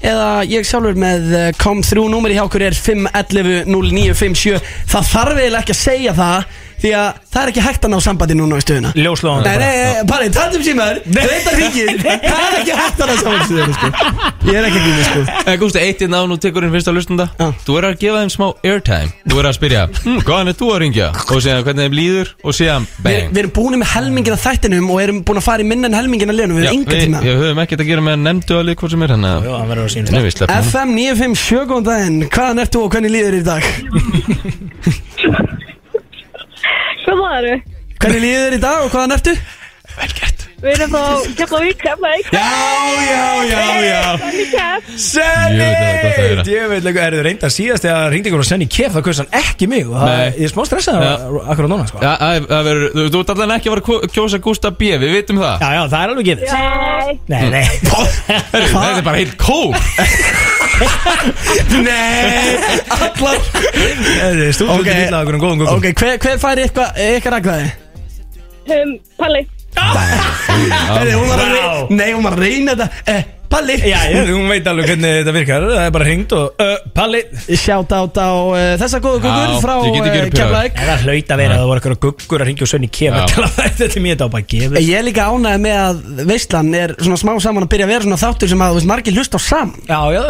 [SPEAKER 4] Eða ég sjálfur með eh, come through Númeri hjá okkur er 511-0957 Það þarf eiginlega ekki að segja það Því að það er ekki hægt að ná sambandi núna í stöðuna
[SPEAKER 2] Ljóslóðan
[SPEAKER 4] Nei, nei, nei, bara taldum (laughs) símaður Þetta ringir, það er ekki hægt að það saman sem sko. Ég er ekki að grína sko
[SPEAKER 6] En Eh, Gústi, eitt inn á nú tekur hinn fyrst að lustunda Þú er að gefa þeim smá airtime Þú er að spyrja, hm, hvaðan er þú að ringja? Og segja hvernig þeim líður og segja
[SPEAKER 4] Við
[SPEAKER 6] bang
[SPEAKER 4] við erum búin með helmingina þættinum og erum búin að fara í minna en helmingina liðanum Við
[SPEAKER 6] Já,
[SPEAKER 4] erum yngan tíma
[SPEAKER 6] Við höfum ekkert að gera með nefndu alveg hvort sem er hérna. hann Já,
[SPEAKER 2] hann verður á sínum
[SPEAKER 6] stað
[SPEAKER 4] FM 957 góðan daginn, hvaðan ert þú og hvernig líður þér í dag?
[SPEAKER 15] Hvað var þau?
[SPEAKER 4] Hvernig líður þér í dag og hvaðan ertu?
[SPEAKER 15] Við erum frá Keflavík, Keflavík
[SPEAKER 6] Já, já, já,
[SPEAKER 15] já
[SPEAKER 9] Sennit Ég veit leika, eh, er þið reynda síðast þegar hann ringdi ykkur og senni kef það kaus hann ekki mig og það,
[SPEAKER 6] Nei.
[SPEAKER 9] ég er smá stressað
[SPEAKER 6] Já.
[SPEAKER 9] akkur á núna sko.
[SPEAKER 6] Já, það er- það verður, þú- þú ert allan ekki að vera að ko- kjósa Gústa B, við vitum það
[SPEAKER 2] Já, já, það er alveg gefið
[SPEAKER 15] Nei
[SPEAKER 6] Mm.
[SPEAKER 2] Nei,
[SPEAKER 4] (laughs)
[SPEAKER 2] nei
[SPEAKER 6] Herru, þetta er bara heilt kók
[SPEAKER 2] Nei
[SPEAKER 4] Allar Eh,
[SPEAKER 9] Þetta er stúlsvöldi okay. lilla okkur um góðum góðum
[SPEAKER 4] Ok, hver, hver fær eitthvað, eitthvað rækvaði?
[SPEAKER 15] um, Palli
[SPEAKER 4] Herri, hún var að reyna, nei, hún var að reyna þetta eh, Palli
[SPEAKER 9] Já, já, hún veit alveg hvernig þetta virkar Það er bara hringt og uh, Palli
[SPEAKER 4] Sjátt átt á uh, þessa góðu guggur frá eh,
[SPEAKER 9] ég
[SPEAKER 2] eh,
[SPEAKER 9] get ekki verið
[SPEAKER 4] Keflæk
[SPEAKER 2] Það hlaut að vera að það voru eitthvað guggur að ringja og sönni kef
[SPEAKER 9] Já.
[SPEAKER 2] Þetta er mér þetta á bara gefið
[SPEAKER 4] Ég er líka ánægð með að veistlan er svona smá saman að byrja að vera svona þáttur sem að þú veist margir hlust á saman
[SPEAKER 2] Já, já,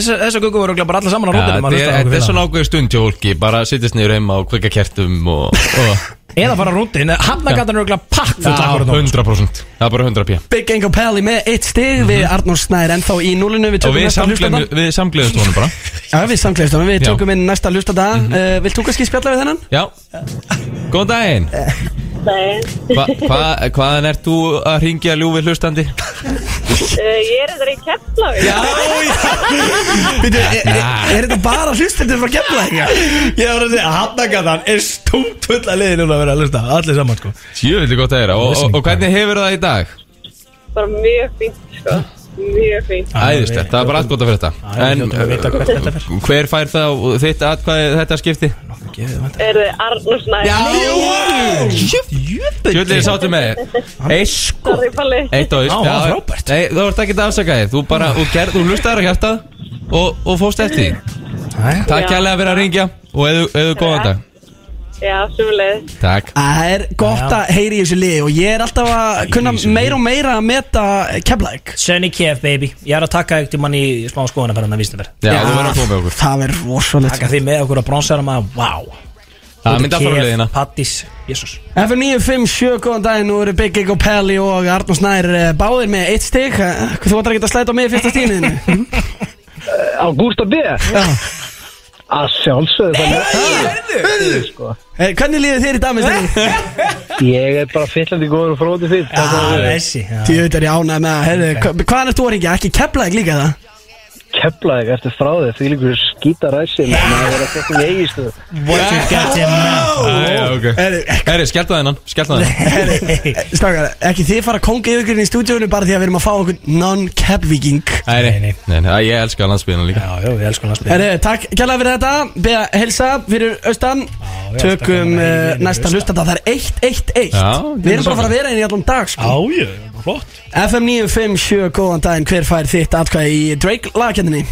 [SPEAKER 2] þessa, þessa guggur voru örugglega bara alla saman á
[SPEAKER 6] Já,
[SPEAKER 2] rótinum að
[SPEAKER 6] Þetta
[SPEAKER 2] hlusta
[SPEAKER 6] er-
[SPEAKER 2] á okkur
[SPEAKER 6] þetta er svona
[SPEAKER 2] hérna. félaga.
[SPEAKER 6] ákveð stund hjá fólki Bara að sittast niður heima og kvika kertum og, og
[SPEAKER 2] Eða fara á eh, rúndin, hafnagatan er auðvitað pakk
[SPEAKER 6] Já,
[SPEAKER 2] full akkur á núna
[SPEAKER 6] 100% Það er bara 100 p
[SPEAKER 4] Big Gang og Pally með eitt stig við Arnór Snær ennþá í núlinu við
[SPEAKER 6] Mhm. Og
[SPEAKER 4] tökum
[SPEAKER 6] við
[SPEAKER 4] næsta
[SPEAKER 6] samgleðum-
[SPEAKER 4] hlustanda
[SPEAKER 6] við samgleðumst honum bara
[SPEAKER 4] Já við samgleðist honum, við
[SPEAKER 6] Já. Mhm.
[SPEAKER 4] tökum inn næsta hlustanda uh, Vilt þú kannski spjalla við þennan?
[SPEAKER 6] Já, góðan daginn
[SPEAKER 15] Nei
[SPEAKER 6] hva, hva, Hvaðan ert þú að ringja ljúfi hlustandi?
[SPEAKER 15] uh, Ég er þetta í Keflavík
[SPEAKER 4] Já, já Býtu, er, er, er þetta bara hlustendur frá Keflæk?
[SPEAKER 9] Ah. Ég var að segja, hafnagatan er stúmt full að liði núna að vera að lusta Allir saman sko
[SPEAKER 6] Jöfnvillig gott að gera og, og, og hvernig hefur það í dag?
[SPEAKER 15] Bara mjög fínt sko Mjög fínt
[SPEAKER 6] Æðislegt, það er bara allt gott að fyrir þetta En uh, hver fær það þitt atkvæði í þetta skipti?
[SPEAKER 15] Er þið Arnur Snæ
[SPEAKER 4] Já,
[SPEAKER 6] Jöfnvillig sáttu með þið Eisk
[SPEAKER 15] Sorry Palli
[SPEAKER 6] Eitt á
[SPEAKER 15] Já,
[SPEAKER 6] eisk
[SPEAKER 15] það var
[SPEAKER 6] frábært Nei, þú ert ekki að afsaka þig Þú bara, þú, ger, þú hlustaðar að hjarta og, og fóst eftir því Takk
[SPEAKER 15] Já.
[SPEAKER 6] kærlega fyrir að ringja og eðu, eðu góðan dag
[SPEAKER 15] Já, sumulegð
[SPEAKER 6] Takk
[SPEAKER 4] Það er gott að heyri í þessu liði og ég er alltaf að kunna meira og meira að meta Keflæk
[SPEAKER 2] Sönni kef, baby Ég er að taka eitt í mann í smá skoðanaferðan að vísnabær
[SPEAKER 6] Já, þú verður að koma með okkur
[SPEAKER 4] Það verður rosalegt
[SPEAKER 2] Taka því með okkur að bronsarum að, wow
[SPEAKER 6] Það myndi að fara um leiðina
[SPEAKER 2] Pattis, jésus
[SPEAKER 4] F957, góðan daginn, nú eru Big Egg og Pelli og Arnur Snær eh, báðir með eitt stig Eh, Þú ætlar ekki að slæta á mig í fyrsta stíðinu
[SPEAKER 8] (laughs) Á Gústa Eh, B? Já Að sjálfsögðu þannig Hörðu sko.
[SPEAKER 4] Eh, Hvernig líður þér í
[SPEAKER 8] (laughs)
[SPEAKER 4] dag, minnst
[SPEAKER 8] Ég er bara fyllandi góður og fróði fyrir
[SPEAKER 2] Já, þessi
[SPEAKER 4] Því auðvitað er ég ánægð með að, heyrðu, hva- hvaðan ert þú að ringja? Ekki kepla þig líka það?
[SPEAKER 8] keflaðið eftir frá þig því líkur skítaræsi menn að vera að geta um eigistu
[SPEAKER 6] What you got in
[SPEAKER 4] now?
[SPEAKER 6] Herri, skellta þennan, skellta þennan
[SPEAKER 4] Eh, Strákar, ekki þið fara að konga yfir ykkur í stúdíónu bara því að við erum að fá okkur non-cap viking
[SPEAKER 6] Nei, nei, nei, nei, ég elska landsbyðina líka Já, já, ég elska
[SPEAKER 4] Herri, takk kjærlega fyrir þetta Beða helsa fyrir austan
[SPEAKER 6] já,
[SPEAKER 4] Tökum
[SPEAKER 6] stakkarinn er
[SPEAKER 4] uh,
[SPEAKER 6] í vinnu
[SPEAKER 4] næsta hlusta Það er 1-1-1
[SPEAKER 6] Já,
[SPEAKER 4] Við erum bara að fara að vera inn í allan dag sko.
[SPEAKER 9] Já, já, flott
[SPEAKER 4] FM 957, góðan daginn Hver fær þitt atkvæði í Drake lagkjöndinni?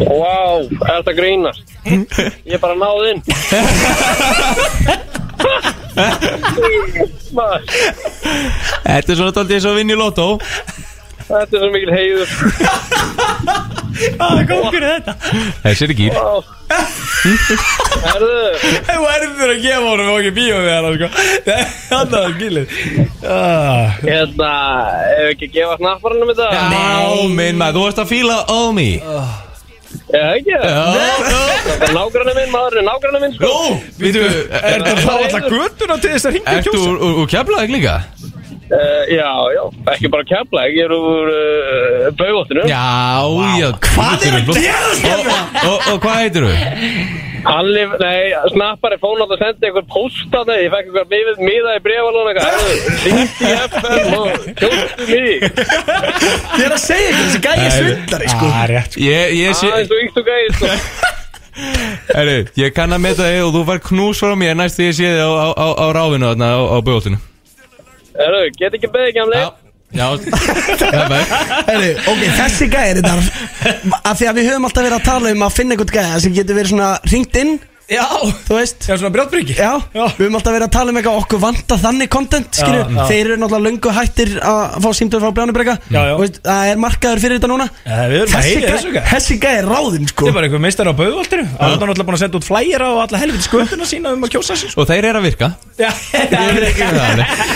[SPEAKER 8] Vá, wow, er þetta
[SPEAKER 4] (laughs)
[SPEAKER 8] grínast? Ég bara náði inn Maður,
[SPEAKER 6] Þetta er svona taldið eins og að vinna í lotó
[SPEAKER 8] Þetta er svo mikil (laughs) heiður Ah,
[SPEAKER 2] Það er kókur í þetta
[SPEAKER 6] Þessi er ekki
[SPEAKER 8] Herðu
[SPEAKER 2] Þú erður að gefa honum okkur bíó við hann sko. Þannig að gilið
[SPEAKER 8] Hérna, ef ekki að gefa snapparanum þetta
[SPEAKER 6] Á minn maður, þú varst að fíla á mig
[SPEAKER 8] Já, ekki Þetta er nágrannu minn, maður er nágrannu minn sko. Jó,
[SPEAKER 6] Vítu, er
[SPEAKER 8] þetta þá alla
[SPEAKER 9] göttuna til þess að
[SPEAKER 6] hringja Ertu úr- úr- úr keflaðið líka?
[SPEAKER 8] Uh, já, já, ekki bara kemla, ég er úr uh, baugóttinu
[SPEAKER 6] Já, já Hvað er að gerast hérna? Og hvað heitir þú?
[SPEAKER 8] Halli, nei, snappari fóna að senda einhver posta þegar ég fekk einhver miðið miða í brefalónu eitthvað Ringt í FM og kjóttu mig
[SPEAKER 4] Ég er að segja ykkur, þessi gæi er svindlari sko.
[SPEAKER 6] Ég, ég sé
[SPEAKER 8] Aðeins og yngt og gæði sko.
[SPEAKER 6] Herru, ég kann að meta þig og þú fær knús frá mér næst því ég sé þig á, á, á, á ráfinu þarna á, á bjóðoltinu
[SPEAKER 8] Erðu, get ekki beðið gamli
[SPEAKER 6] Já,
[SPEAKER 4] Herri, ok, þessi gæi er þetta Af því að við höfum alltaf verið að tala um að finna einhvern gæi sem getur verið svona ringt inn
[SPEAKER 2] Já
[SPEAKER 4] Þú veist
[SPEAKER 2] Já, svona brjóttbringi
[SPEAKER 4] Já, við höfum alltaf verið að tala um eitthvað okkur vanta þannig content,
[SPEAKER 2] Já,
[SPEAKER 4] skilju
[SPEAKER 2] já.
[SPEAKER 4] Þeir eru náttúrulega löngu hættir að fá símtöð frá Brjánubrekka
[SPEAKER 2] Já, já.
[SPEAKER 4] Og veist, Það er markaður fyrir þetta núna
[SPEAKER 9] Já, við erum að
[SPEAKER 4] Þessi
[SPEAKER 9] heyra
[SPEAKER 4] gæ-
[SPEAKER 9] þessu, gæ-
[SPEAKER 4] Þessi gæi er ráðinn, sko
[SPEAKER 9] Þetta er bara einhver meistar á bauðvaldinu Það er náttúrulega búin að senda út flæjara og alla helviti skönduna sína um að kjósa sig sko.
[SPEAKER 6] Og þeir eru að virka
[SPEAKER 9] Já,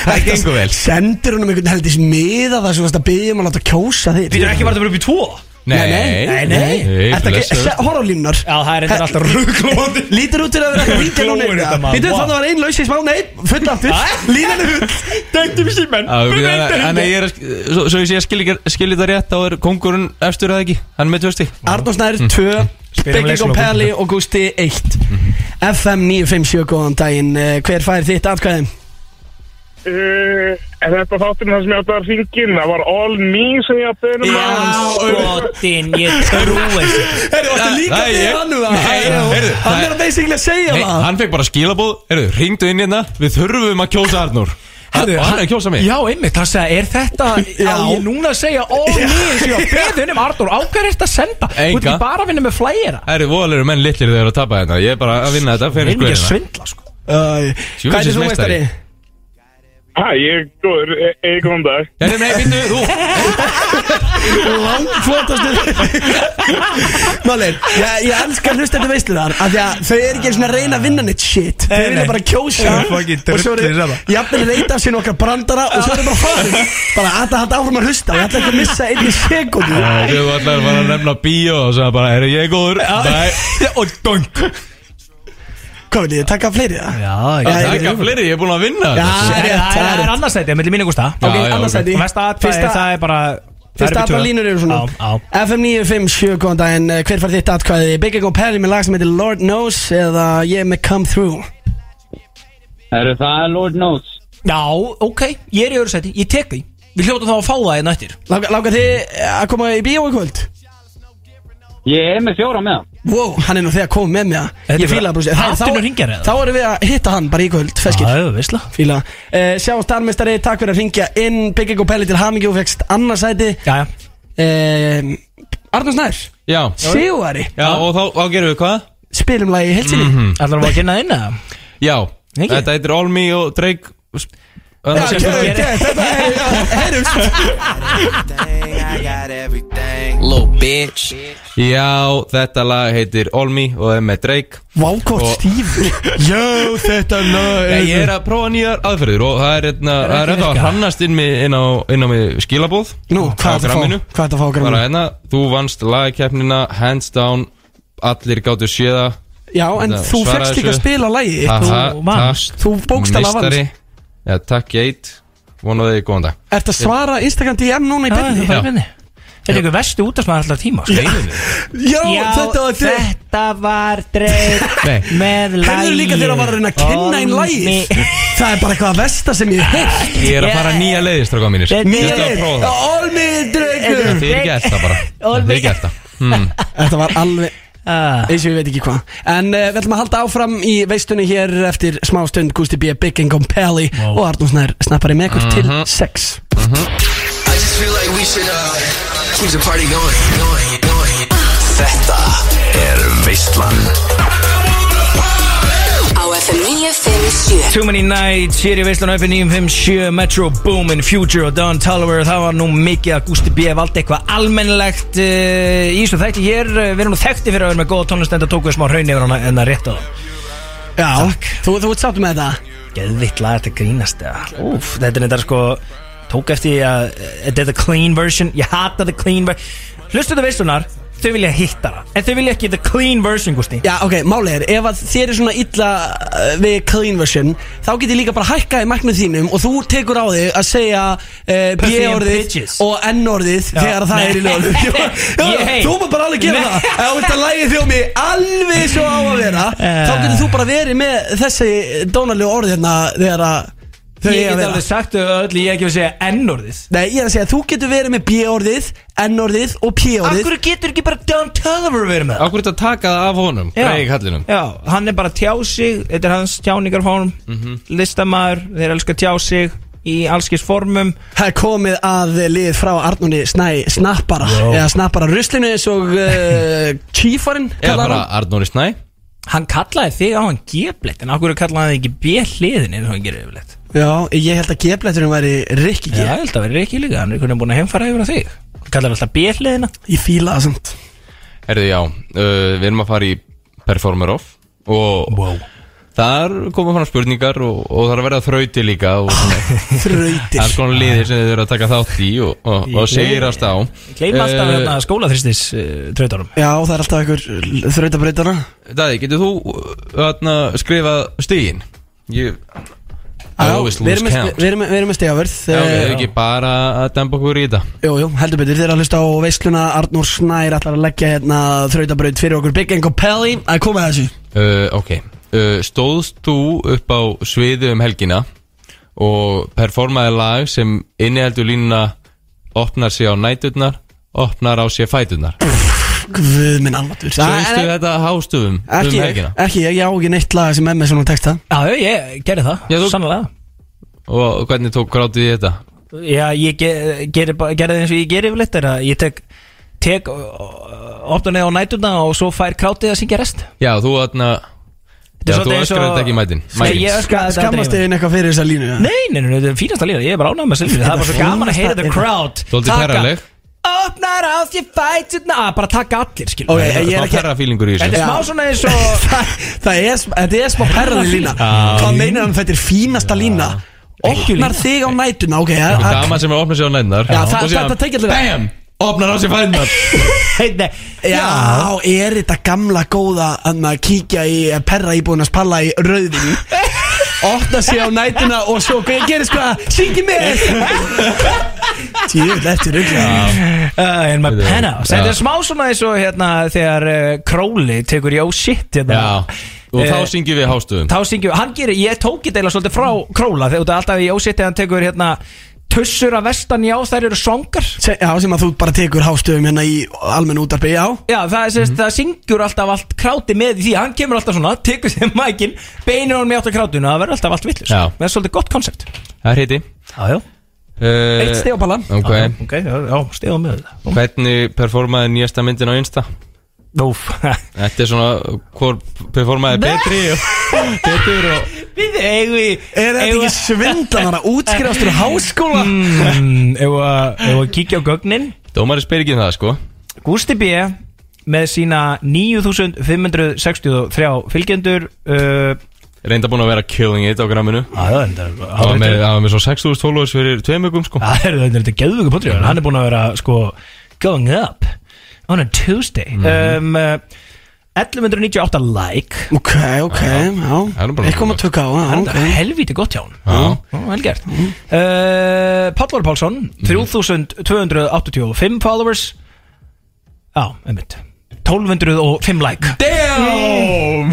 [SPEAKER 6] Það gengur vel
[SPEAKER 4] Sendur honum einhvern heldis miða það sem þú varst að byggja um að láta kjósa þig
[SPEAKER 9] Býtur ekki bara að vera upp í tvo
[SPEAKER 6] Nei,
[SPEAKER 4] Nei, nei Ertu ekki- se- Horf á línunar Já,
[SPEAKER 9] það er
[SPEAKER 4] reyndar
[SPEAKER 9] alltaf ruglóðandi
[SPEAKER 4] (laughs) Lítur út til að vera eitthvað ringja núna
[SPEAKER 9] Glóir þetta, maður.
[SPEAKER 4] Býtu,
[SPEAKER 9] Vá.
[SPEAKER 4] þannig var einn laus í smá Nei, full aftur Línan er full
[SPEAKER 9] Dæktum í símen
[SPEAKER 6] Þannig að ég er að sk- Svo, svo ég sé að skilja ekki- skilja það rétt Þá er kongurinn eftir eða ekki Hann er með tvö Mm. stík
[SPEAKER 4] Arnór Snær 2 Bygging og Perli og Gusti 1
[SPEAKER 6] Mhm.
[SPEAKER 4] FM 957, góðan daginn Eh, Hver fær þitt atkvæði?
[SPEAKER 16] Uh, en þetta þátturinn það sem ég átti að ringin það var all me sem ég átti að
[SPEAKER 2] skotin, ég trúi
[SPEAKER 10] (laughs)
[SPEAKER 4] Herru, varstu líka
[SPEAKER 6] Nei,
[SPEAKER 4] með
[SPEAKER 6] ég-
[SPEAKER 4] hann um
[SPEAKER 6] Nei,
[SPEAKER 4] það? Já,
[SPEAKER 6] heyrðu,
[SPEAKER 4] Hann
[SPEAKER 6] það-
[SPEAKER 4] er að basically að segja
[SPEAKER 6] Nei,
[SPEAKER 4] það
[SPEAKER 6] hann fekk bara skilabóð Herru, ringdu inn hérna Við þurfum að kjósa Arnur Hann
[SPEAKER 2] Herru,
[SPEAKER 6] og hann er að kjósa mig
[SPEAKER 2] Já, einmitt, það segja, er þetta Já, ég núna að segja, ó, nýjum sem ég beði hennum Arnur, um á hvað er þetta að senda? Þú ert
[SPEAKER 6] Enga.
[SPEAKER 2] ekki bara að vinna með flæjera
[SPEAKER 6] Herru, voðalegur menn litlir þegar að tapa þetta Ég er bara að vinna þetta
[SPEAKER 2] Við
[SPEAKER 6] Fyrir
[SPEAKER 2] erum ekki að
[SPEAKER 6] skoðina
[SPEAKER 2] svindla, sko
[SPEAKER 4] Æ,
[SPEAKER 6] Hvað er þú meistari?
[SPEAKER 16] Hæ, ég er góður, ég kom dag
[SPEAKER 6] Herru, nei, býttu, þú
[SPEAKER 4] Langflottastu Málin, ég, ég elska að hlusta þetta veislunar af því að þau eru ekki eins og að reyna að vinna neitt shit Þau
[SPEAKER 2] Nei,
[SPEAKER 4] vilja
[SPEAKER 2] nei.
[SPEAKER 4] bara kjósa
[SPEAKER 2] Þau eru fucking
[SPEAKER 4] Og svo
[SPEAKER 2] drullir
[SPEAKER 4] eru
[SPEAKER 2] saman.
[SPEAKER 4] jafnir reyta af sín okkar brandara Og svo eru bara farin Bara að það hætti áfram að hlusta Ég ætla ekki að missa einni sekundu
[SPEAKER 6] Já, Þau var allar bara að nefna bíó og sagði bara, er ég er góður? Nei Og dunk
[SPEAKER 4] Hvað vil ég, taka fleiri það?
[SPEAKER 2] Já,
[SPEAKER 6] Ég taka fleiri, ég er búin að vinna
[SPEAKER 2] Já,
[SPEAKER 6] þetta.
[SPEAKER 2] það er rétt, það er annarsæti, millir mín og Gústa
[SPEAKER 6] Já, já, ok.
[SPEAKER 2] Mesta atkvæði,
[SPEAKER 4] Fyrsta-
[SPEAKER 2] það er bara það er
[SPEAKER 4] Fyrst
[SPEAKER 2] upp í
[SPEAKER 4] alla
[SPEAKER 2] tvö.
[SPEAKER 4] línur eru svona
[SPEAKER 2] Já, já
[SPEAKER 4] FM 957, góðan daginn, eh, hver fær þitt atkvæði? Big Ego Perry með lag sem heitir Lord Knows eða ég með Come Through
[SPEAKER 8] Herru, það er Lord Knows
[SPEAKER 2] Já, ok, ég er í öðru sæti, ég tek því Við hljóttum þá að fá það hérna í nættir
[SPEAKER 4] Láka, láka þið eh, að koma í bíó í kvöld?
[SPEAKER 8] Ég er með fjóra með hann
[SPEAKER 4] Wow, hann er nú þegar komið með mér
[SPEAKER 2] Þetta
[SPEAKER 4] Ég
[SPEAKER 2] er
[SPEAKER 4] fíla
[SPEAKER 2] bara-
[SPEAKER 4] það brúsi Þá-
[SPEAKER 2] Haldinu
[SPEAKER 4] þá-
[SPEAKER 2] hringjar eða?
[SPEAKER 4] Þá erum við að hitta hann bara í kvöld Feskir
[SPEAKER 2] Já, já, veistla
[SPEAKER 4] Fíla uh, Sjá starmestari, takk fyrir að ringja inn Bygging og Pelli til Hamingi og fegst annarsæti
[SPEAKER 2] Já, já
[SPEAKER 4] uh, Arnur Snær
[SPEAKER 6] Já
[SPEAKER 4] Sigurari
[SPEAKER 6] Já, og þá, þá gerum við hvað?
[SPEAKER 4] Spilum lagi í helsinni
[SPEAKER 6] Mhm.
[SPEAKER 2] Ætlar að kynna þinn eða?
[SPEAKER 6] Já,
[SPEAKER 2] Ekki?
[SPEAKER 6] þetta heitir All Me og Drake
[SPEAKER 4] Já, gerðu, gerðu, þetta er- já, heyrjumst.
[SPEAKER 12] Little bitch
[SPEAKER 6] Já, þetta lag heitir All Me og það er með Drake
[SPEAKER 4] Vákort
[SPEAKER 6] Og-
[SPEAKER 4] stífur
[SPEAKER 6] Já, þetta lag Nei, ég er að prófa nýjar aðferðir og það er hérna
[SPEAKER 4] Það er
[SPEAKER 6] Það er
[SPEAKER 4] ekki
[SPEAKER 6] hérna að
[SPEAKER 4] virka.
[SPEAKER 6] hrannast inn, með- inn á, inn á mig skilabóð
[SPEAKER 4] Nú, hvað er þetta að fá? Hvað er þetta að fá á
[SPEAKER 6] Bara
[SPEAKER 4] gramminu?
[SPEAKER 6] hérna, þú vannst lagkeppnina Hands down, allir gáttu séða
[SPEAKER 4] Já, en
[SPEAKER 6] Þetta,
[SPEAKER 4] þú
[SPEAKER 6] svaraðu
[SPEAKER 4] fegst líka að
[SPEAKER 6] þessu.
[SPEAKER 4] spila lagið
[SPEAKER 6] Ha,
[SPEAKER 4] Þú
[SPEAKER 6] ha,
[SPEAKER 4] vannst.
[SPEAKER 6] takk,
[SPEAKER 4] Þú bókstala
[SPEAKER 6] meistari.
[SPEAKER 4] vannst
[SPEAKER 6] Já, takk ég eitt Vonaði þig góðan dag
[SPEAKER 4] Ert að svara Instagram DM núna í byrni?
[SPEAKER 6] Já.
[SPEAKER 2] Þetta er ykkur vestu útastmaður alltaf tíma sko.
[SPEAKER 4] Já, þetta var þreytt.
[SPEAKER 2] Þetta var þreytt Með lægi
[SPEAKER 4] Hvernig líka þegar hann var að reyna að kenna einn lægir Það er bara eitthvað að vesta sem ég hef
[SPEAKER 6] Ég er að fara nýja leiðir, stráka mínir Ég ætla að prófa það
[SPEAKER 4] Olmi draugur
[SPEAKER 6] Þið er ekki eftir það bara Þið er Hmm. ekki eftir það
[SPEAKER 4] Þetta var alveg eins og ég veit ekki hvað En uh, við ætlum að halda áfram í veistunni hér eftir smá stund Gusti B. Big and Compelli og Arnús Nær snappari með ykkur
[SPEAKER 6] Mhm.
[SPEAKER 4] til 6
[SPEAKER 12] I just feel like we should uh, keep the party going, going, going. Þetta er Veistland
[SPEAKER 13] Á FM 957
[SPEAKER 2] Too Many Nights hér í Veislan FM 957 Metro Boomin, Future og Don Tolliver það var nú mikið að Gusti B. valdi eitthvað almennilegt uh, í svo þætti hér Uh, við erum nú þekkti fyrir að vera með góða tónlist en það tók við smá hraun yfir hana en það rétt á það
[SPEAKER 4] Já, þú, þú ert sátt með það
[SPEAKER 2] Geðvitt lag, þetta grínast eða. Úf, þetta er þetta sko tók eftir því að eh, þetta er the clean version ég hata the clean version hlustu þetta Veislunar, þau vilja hitta það en þau vilja ekki the clean version Gusti
[SPEAKER 4] Já, ok, málið er, ef að þér er svona illa uh, við clean version þá get ég líka bara hækkað í magnum þínum og þú tekur á þig að segja uh,
[SPEAKER 2] Pussy and
[SPEAKER 4] B-orðið
[SPEAKER 2] bitches.
[SPEAKER 4] og N-orðið
[SPEAKER 2] Já.
[SPEAKER 4] þegar það er í lögum
[SPEAKER 2] Nei. (laughs) Ég-
[SPEAKER 4] Þú maður bara alveg gera
[SPEAKER 2] Nei. (laughs)
[SPEAKER 4] það Ef þú ert að lægi þjómi alveg svo á að vera
[SPEAKER 2] Eh.
[SPEAKER 4] þá getur þú bara verið með þessi dónalegu orðið hérna þegar að þau
[SPEAKER 2] ég
[SPEAKER 4] eiga að
[SPEAKER 2] get
[SPEAKER 4] vera
[SPEAKER 2] alveg sagt þau öll ég er ekki að segja n-orðið
[SPEAKER 4] Nei, ég er að segja, þú getur verið með B-orðið, N-orðið og P-orðið
[SPEAKER 2] Akkur getur ekki bara Don Tolliver verið með það?
[SPEAKER 6] Akkur þetta taka það af honum
[SPEAKER 2] Já.
[SPEAKER 6] Greig Hallinum
[SPEAKER 2] Já, hann er bara að tjá sig Þetta er hans tjáningarform Listamaður, þeir elskar að tjá sig Í allskis formum
[SPEAKER 4] Það er komið að lið frá Arnóni Snæ Snappara Eða Snappara ruslinu eins og uh, (laughs) Tífarinn
[SPEAKER 6] Eða bara Arnóri Snæ
[SPEAKER 2] Hann kallaði þig á hann geblett En akkur kallaði hann þig ekki B-hliðin eins og hann gerir yfirleitt
[SPEAKER 4] Já, ég held að geflætturinn væri Rikki
[SPEAKER 2] Já,
[SPEAKER 4] G
[SPEAKER 2] ég held að vera ekki líka Hann er einhvern veginn búin að heimfara yfir á þig Hann kallaði alltaf B-hliðina
[SPEAKER 4] Ég fíla það samt
[SPEAKER 6] Herðu já, uh, við erum að fara í Performer Off Og þar koma fram spurningar og, og það er að verða þrauti líka og svona
[SPEAKER 4] (laughs) Þrautir
[SPEAKER 6] alls konar liðir sem þið eru að taka þátt í og, og, og segirast á
[SPEAKER 2] Gleima alltaf
[SPEAKER 6] Eh,
[SPEAKER 2] hérna skólaþristis uh, Trautunum
[SPEAKER 4] Já, það er alltaf einhver þrautabrautana
[SPEAKER 6] Daði, getur þú hérna, skrifað stígin? Ég I
[SPEAKER 4] Já,
[SPEAKER 6] always
[SPEAKER 4] Við
[SPEAKER 6] lose
[SPEAKER 4] erum með-
[SPEAKER 6] count
[SPEAKER 4] við erum með- við erum með stegavörð
[SPEAKER 6] Já, ok, er ekki bara að dempa okkur í þetta
[SPEAKER 4] Jú, jú, heldur betur, þeir eru að hlusta á veisluna Arnór Snær ætlar að leggja hérna þrautabraut fyrir okkur Big and Compelli að koma að þessu
[SPEAKER 6] uh, Ok, uh, stóðst þú upp á sviði um helgina og performaði lag sem inniheldur línuna opnar sig á næturnar opnar á sér fæturnar
[SPEAKER 4] Guð minn almatur
[SPEAKER 6] Stóðstu þetta hástöfum um
[SPEAKER 4] Ekki ég,
[SPEAKER 6] helgina
[SPEAKER 4] ekki ég, ég á ekki neitt lag sem er með svona texta
[SPEAKER 2] Já, ég gerði það,
[SPEAKER 6] Já, þú-
[SPEAKER 2] sannlega
[SPEAKER 6] og hvernig tók grátið í þetta?
[SPEAKER 2] Já, ég ge- geri bara- gerði eins og ég geri yfirleitt er að ég tek, tek opnaðið á nætuna og svo fær krátið að syngja rest
[SPEAKER 6] Já, þú þarna Já, þú
[SPEAKER 2] svolítið eins og-
[SPEAKER 6] öskrar þetta ekki í mætin
[SPEAKER 2] Nei, ég öskra þetta
[SPEAKER 4] Skammast
[SPEAKER 2] aldrei.
[SPEAKER 4] þið inn eitthvað fyrir þessa línu eða?
[SPEAKER 2] Nei, nei, nei, þetta er fínasta lína, ég er bara ánægð með þessu línu Það er bara svo gaman að heyra the crowd
[SPEAKER 6] Svolítið
[SPEAKER 2] taka-
[SPEAKER 6] perraleg
[SPEAKER 2] Opnar á því fætuna að bara taka allir, skil
[SPEAKER 4] Ok,
[SPEAKER 6] Það
[SPEAKER 4] ég
[SPEAKER 6] er
[SPEAKER 4] er
[SPEAKER 6] smá
[SPEAKER 4] ekki
[SPEAKER 6] perrafílingur í
[SPEAKER 2] Þetta er
[SPEAKER 6] þessu
[SPEAKER 2] smá svona eins og
[SPEAKER 4] (laughs) Það- Það er, sm- þetta er smá perraði lína Hvað meinar hann þetta er fínasta lína Opnar þig á nætuna Ok, það-
[SPEAKER 6] Einhver
[SPEAKER 4] það-
[SPEAKER 6] dama sem er að opna sér á nætnar
[SPEAKER 4] Já, það- þetta tekja allir vel.
[SPEAKER 6] Bam! Opnar á sér
[SPEAKER 4] (laughs)
[SPEAKER 6] fætnar
[SPEAKER 2] Nei,
[SPEAKER 4] Já, er þetta gamla góða Að maður kíkja í eh, perra íbúinars palla í
[SPEAKER 6] (laughs)
[SPEAKER 4] rauðinu Opna sig á nætuna Og svo hvað ég gerir sko að Syngi mig Tjöfull eftir
[SPEAKER 2] (laughs)
[SPEAKER 4] rugla
[SPEAKER 2] uh, In
[SPEAKER 6] Þetta
[SPEAKER 2] my
[SPEAKER 6] er-
[SPEAKER 2] penthouse
[SPEAKER 6] Já.
[SPEAKER 2] Þetta er smá svona eins og hérna þegar uh, Króli tekur yo shit
[SPEAKER 6] Já
[SPEAKER 2] hérna
[SPEAKER 6] Og þá
[SPEAKER 2] Eh,
[SPEAKER 6] syngjum við hástöðum
[SPEAKER 2] þá syngjum, hann gerir, ég tók í deila svolítið frá króla þegar þetta er alltaf í ósitt hann tekur hérna tussur að vestan já þær eru svangar
[SPEAKER 4] Se- Já, sem að þú bara tekur hástöfum hérna í almenn Mhm. útarpi Já,
[SPEAKER 2] Já, það, mm -hmm. það syngjur alltaf allt kráti með í því hann kemur alltaf svona, tekur sér mækin beinir hann með átt að krátinu, það verður alltaf allt vittlust
[SPEAKER 6] Já.
[SPEAKER 2] það er svolítið gott koncept
[SPEAKER 6] Það er heiti
[SPEAKER 2] Já, já, eitt stig á ballan
[SPEAKER 6] Ok.
[SPEAKER 2] Já, ok, já, já stig á með það
[SPEAKER 6] Hvernig performaði nýjasta myndin á Insta?
[SPEAKER 2] (laughs) Úf,
[SPEAKER 6] Þetta er svona Hvor performaði betri og Betur og
[SPEAKER 2] við eigum við
[SPEAKER 4] er þetta ekki svindlan að útskrifast úr háskóla
[SPEAKER 2] Mm, ef að- ef að kíkja á gögnin
[SPEAKER 6] Dómari spyr ekki um það sko
[SPEAKER 2] Gústi B með sína 9563 fylgjendur uh,
[SPEAKER 6] Reynda búin að vera killing it á gramminu
[SPEAKER 2] Það er þetta
[SPEAKER 6] Það var með- það var með svo 6.000 followers fyrir tveimugum sko
[SPEAKER 2] Það er þetta geðvöku potri Hann er búin að vera sko going up on a Tuesday um, uh, 1198 like
[SPEAKER 4] Ok, ok, já Eitthvað maður tökka á, já,
[SPEAKER 2] Það
[SPEAKER 4] ok Mhm.
[SPEAKER 2] er helvítið gott hjá hún Vel gert uh, Pállur Pálsson 3285 followers Já, einmitt 1205 like Damn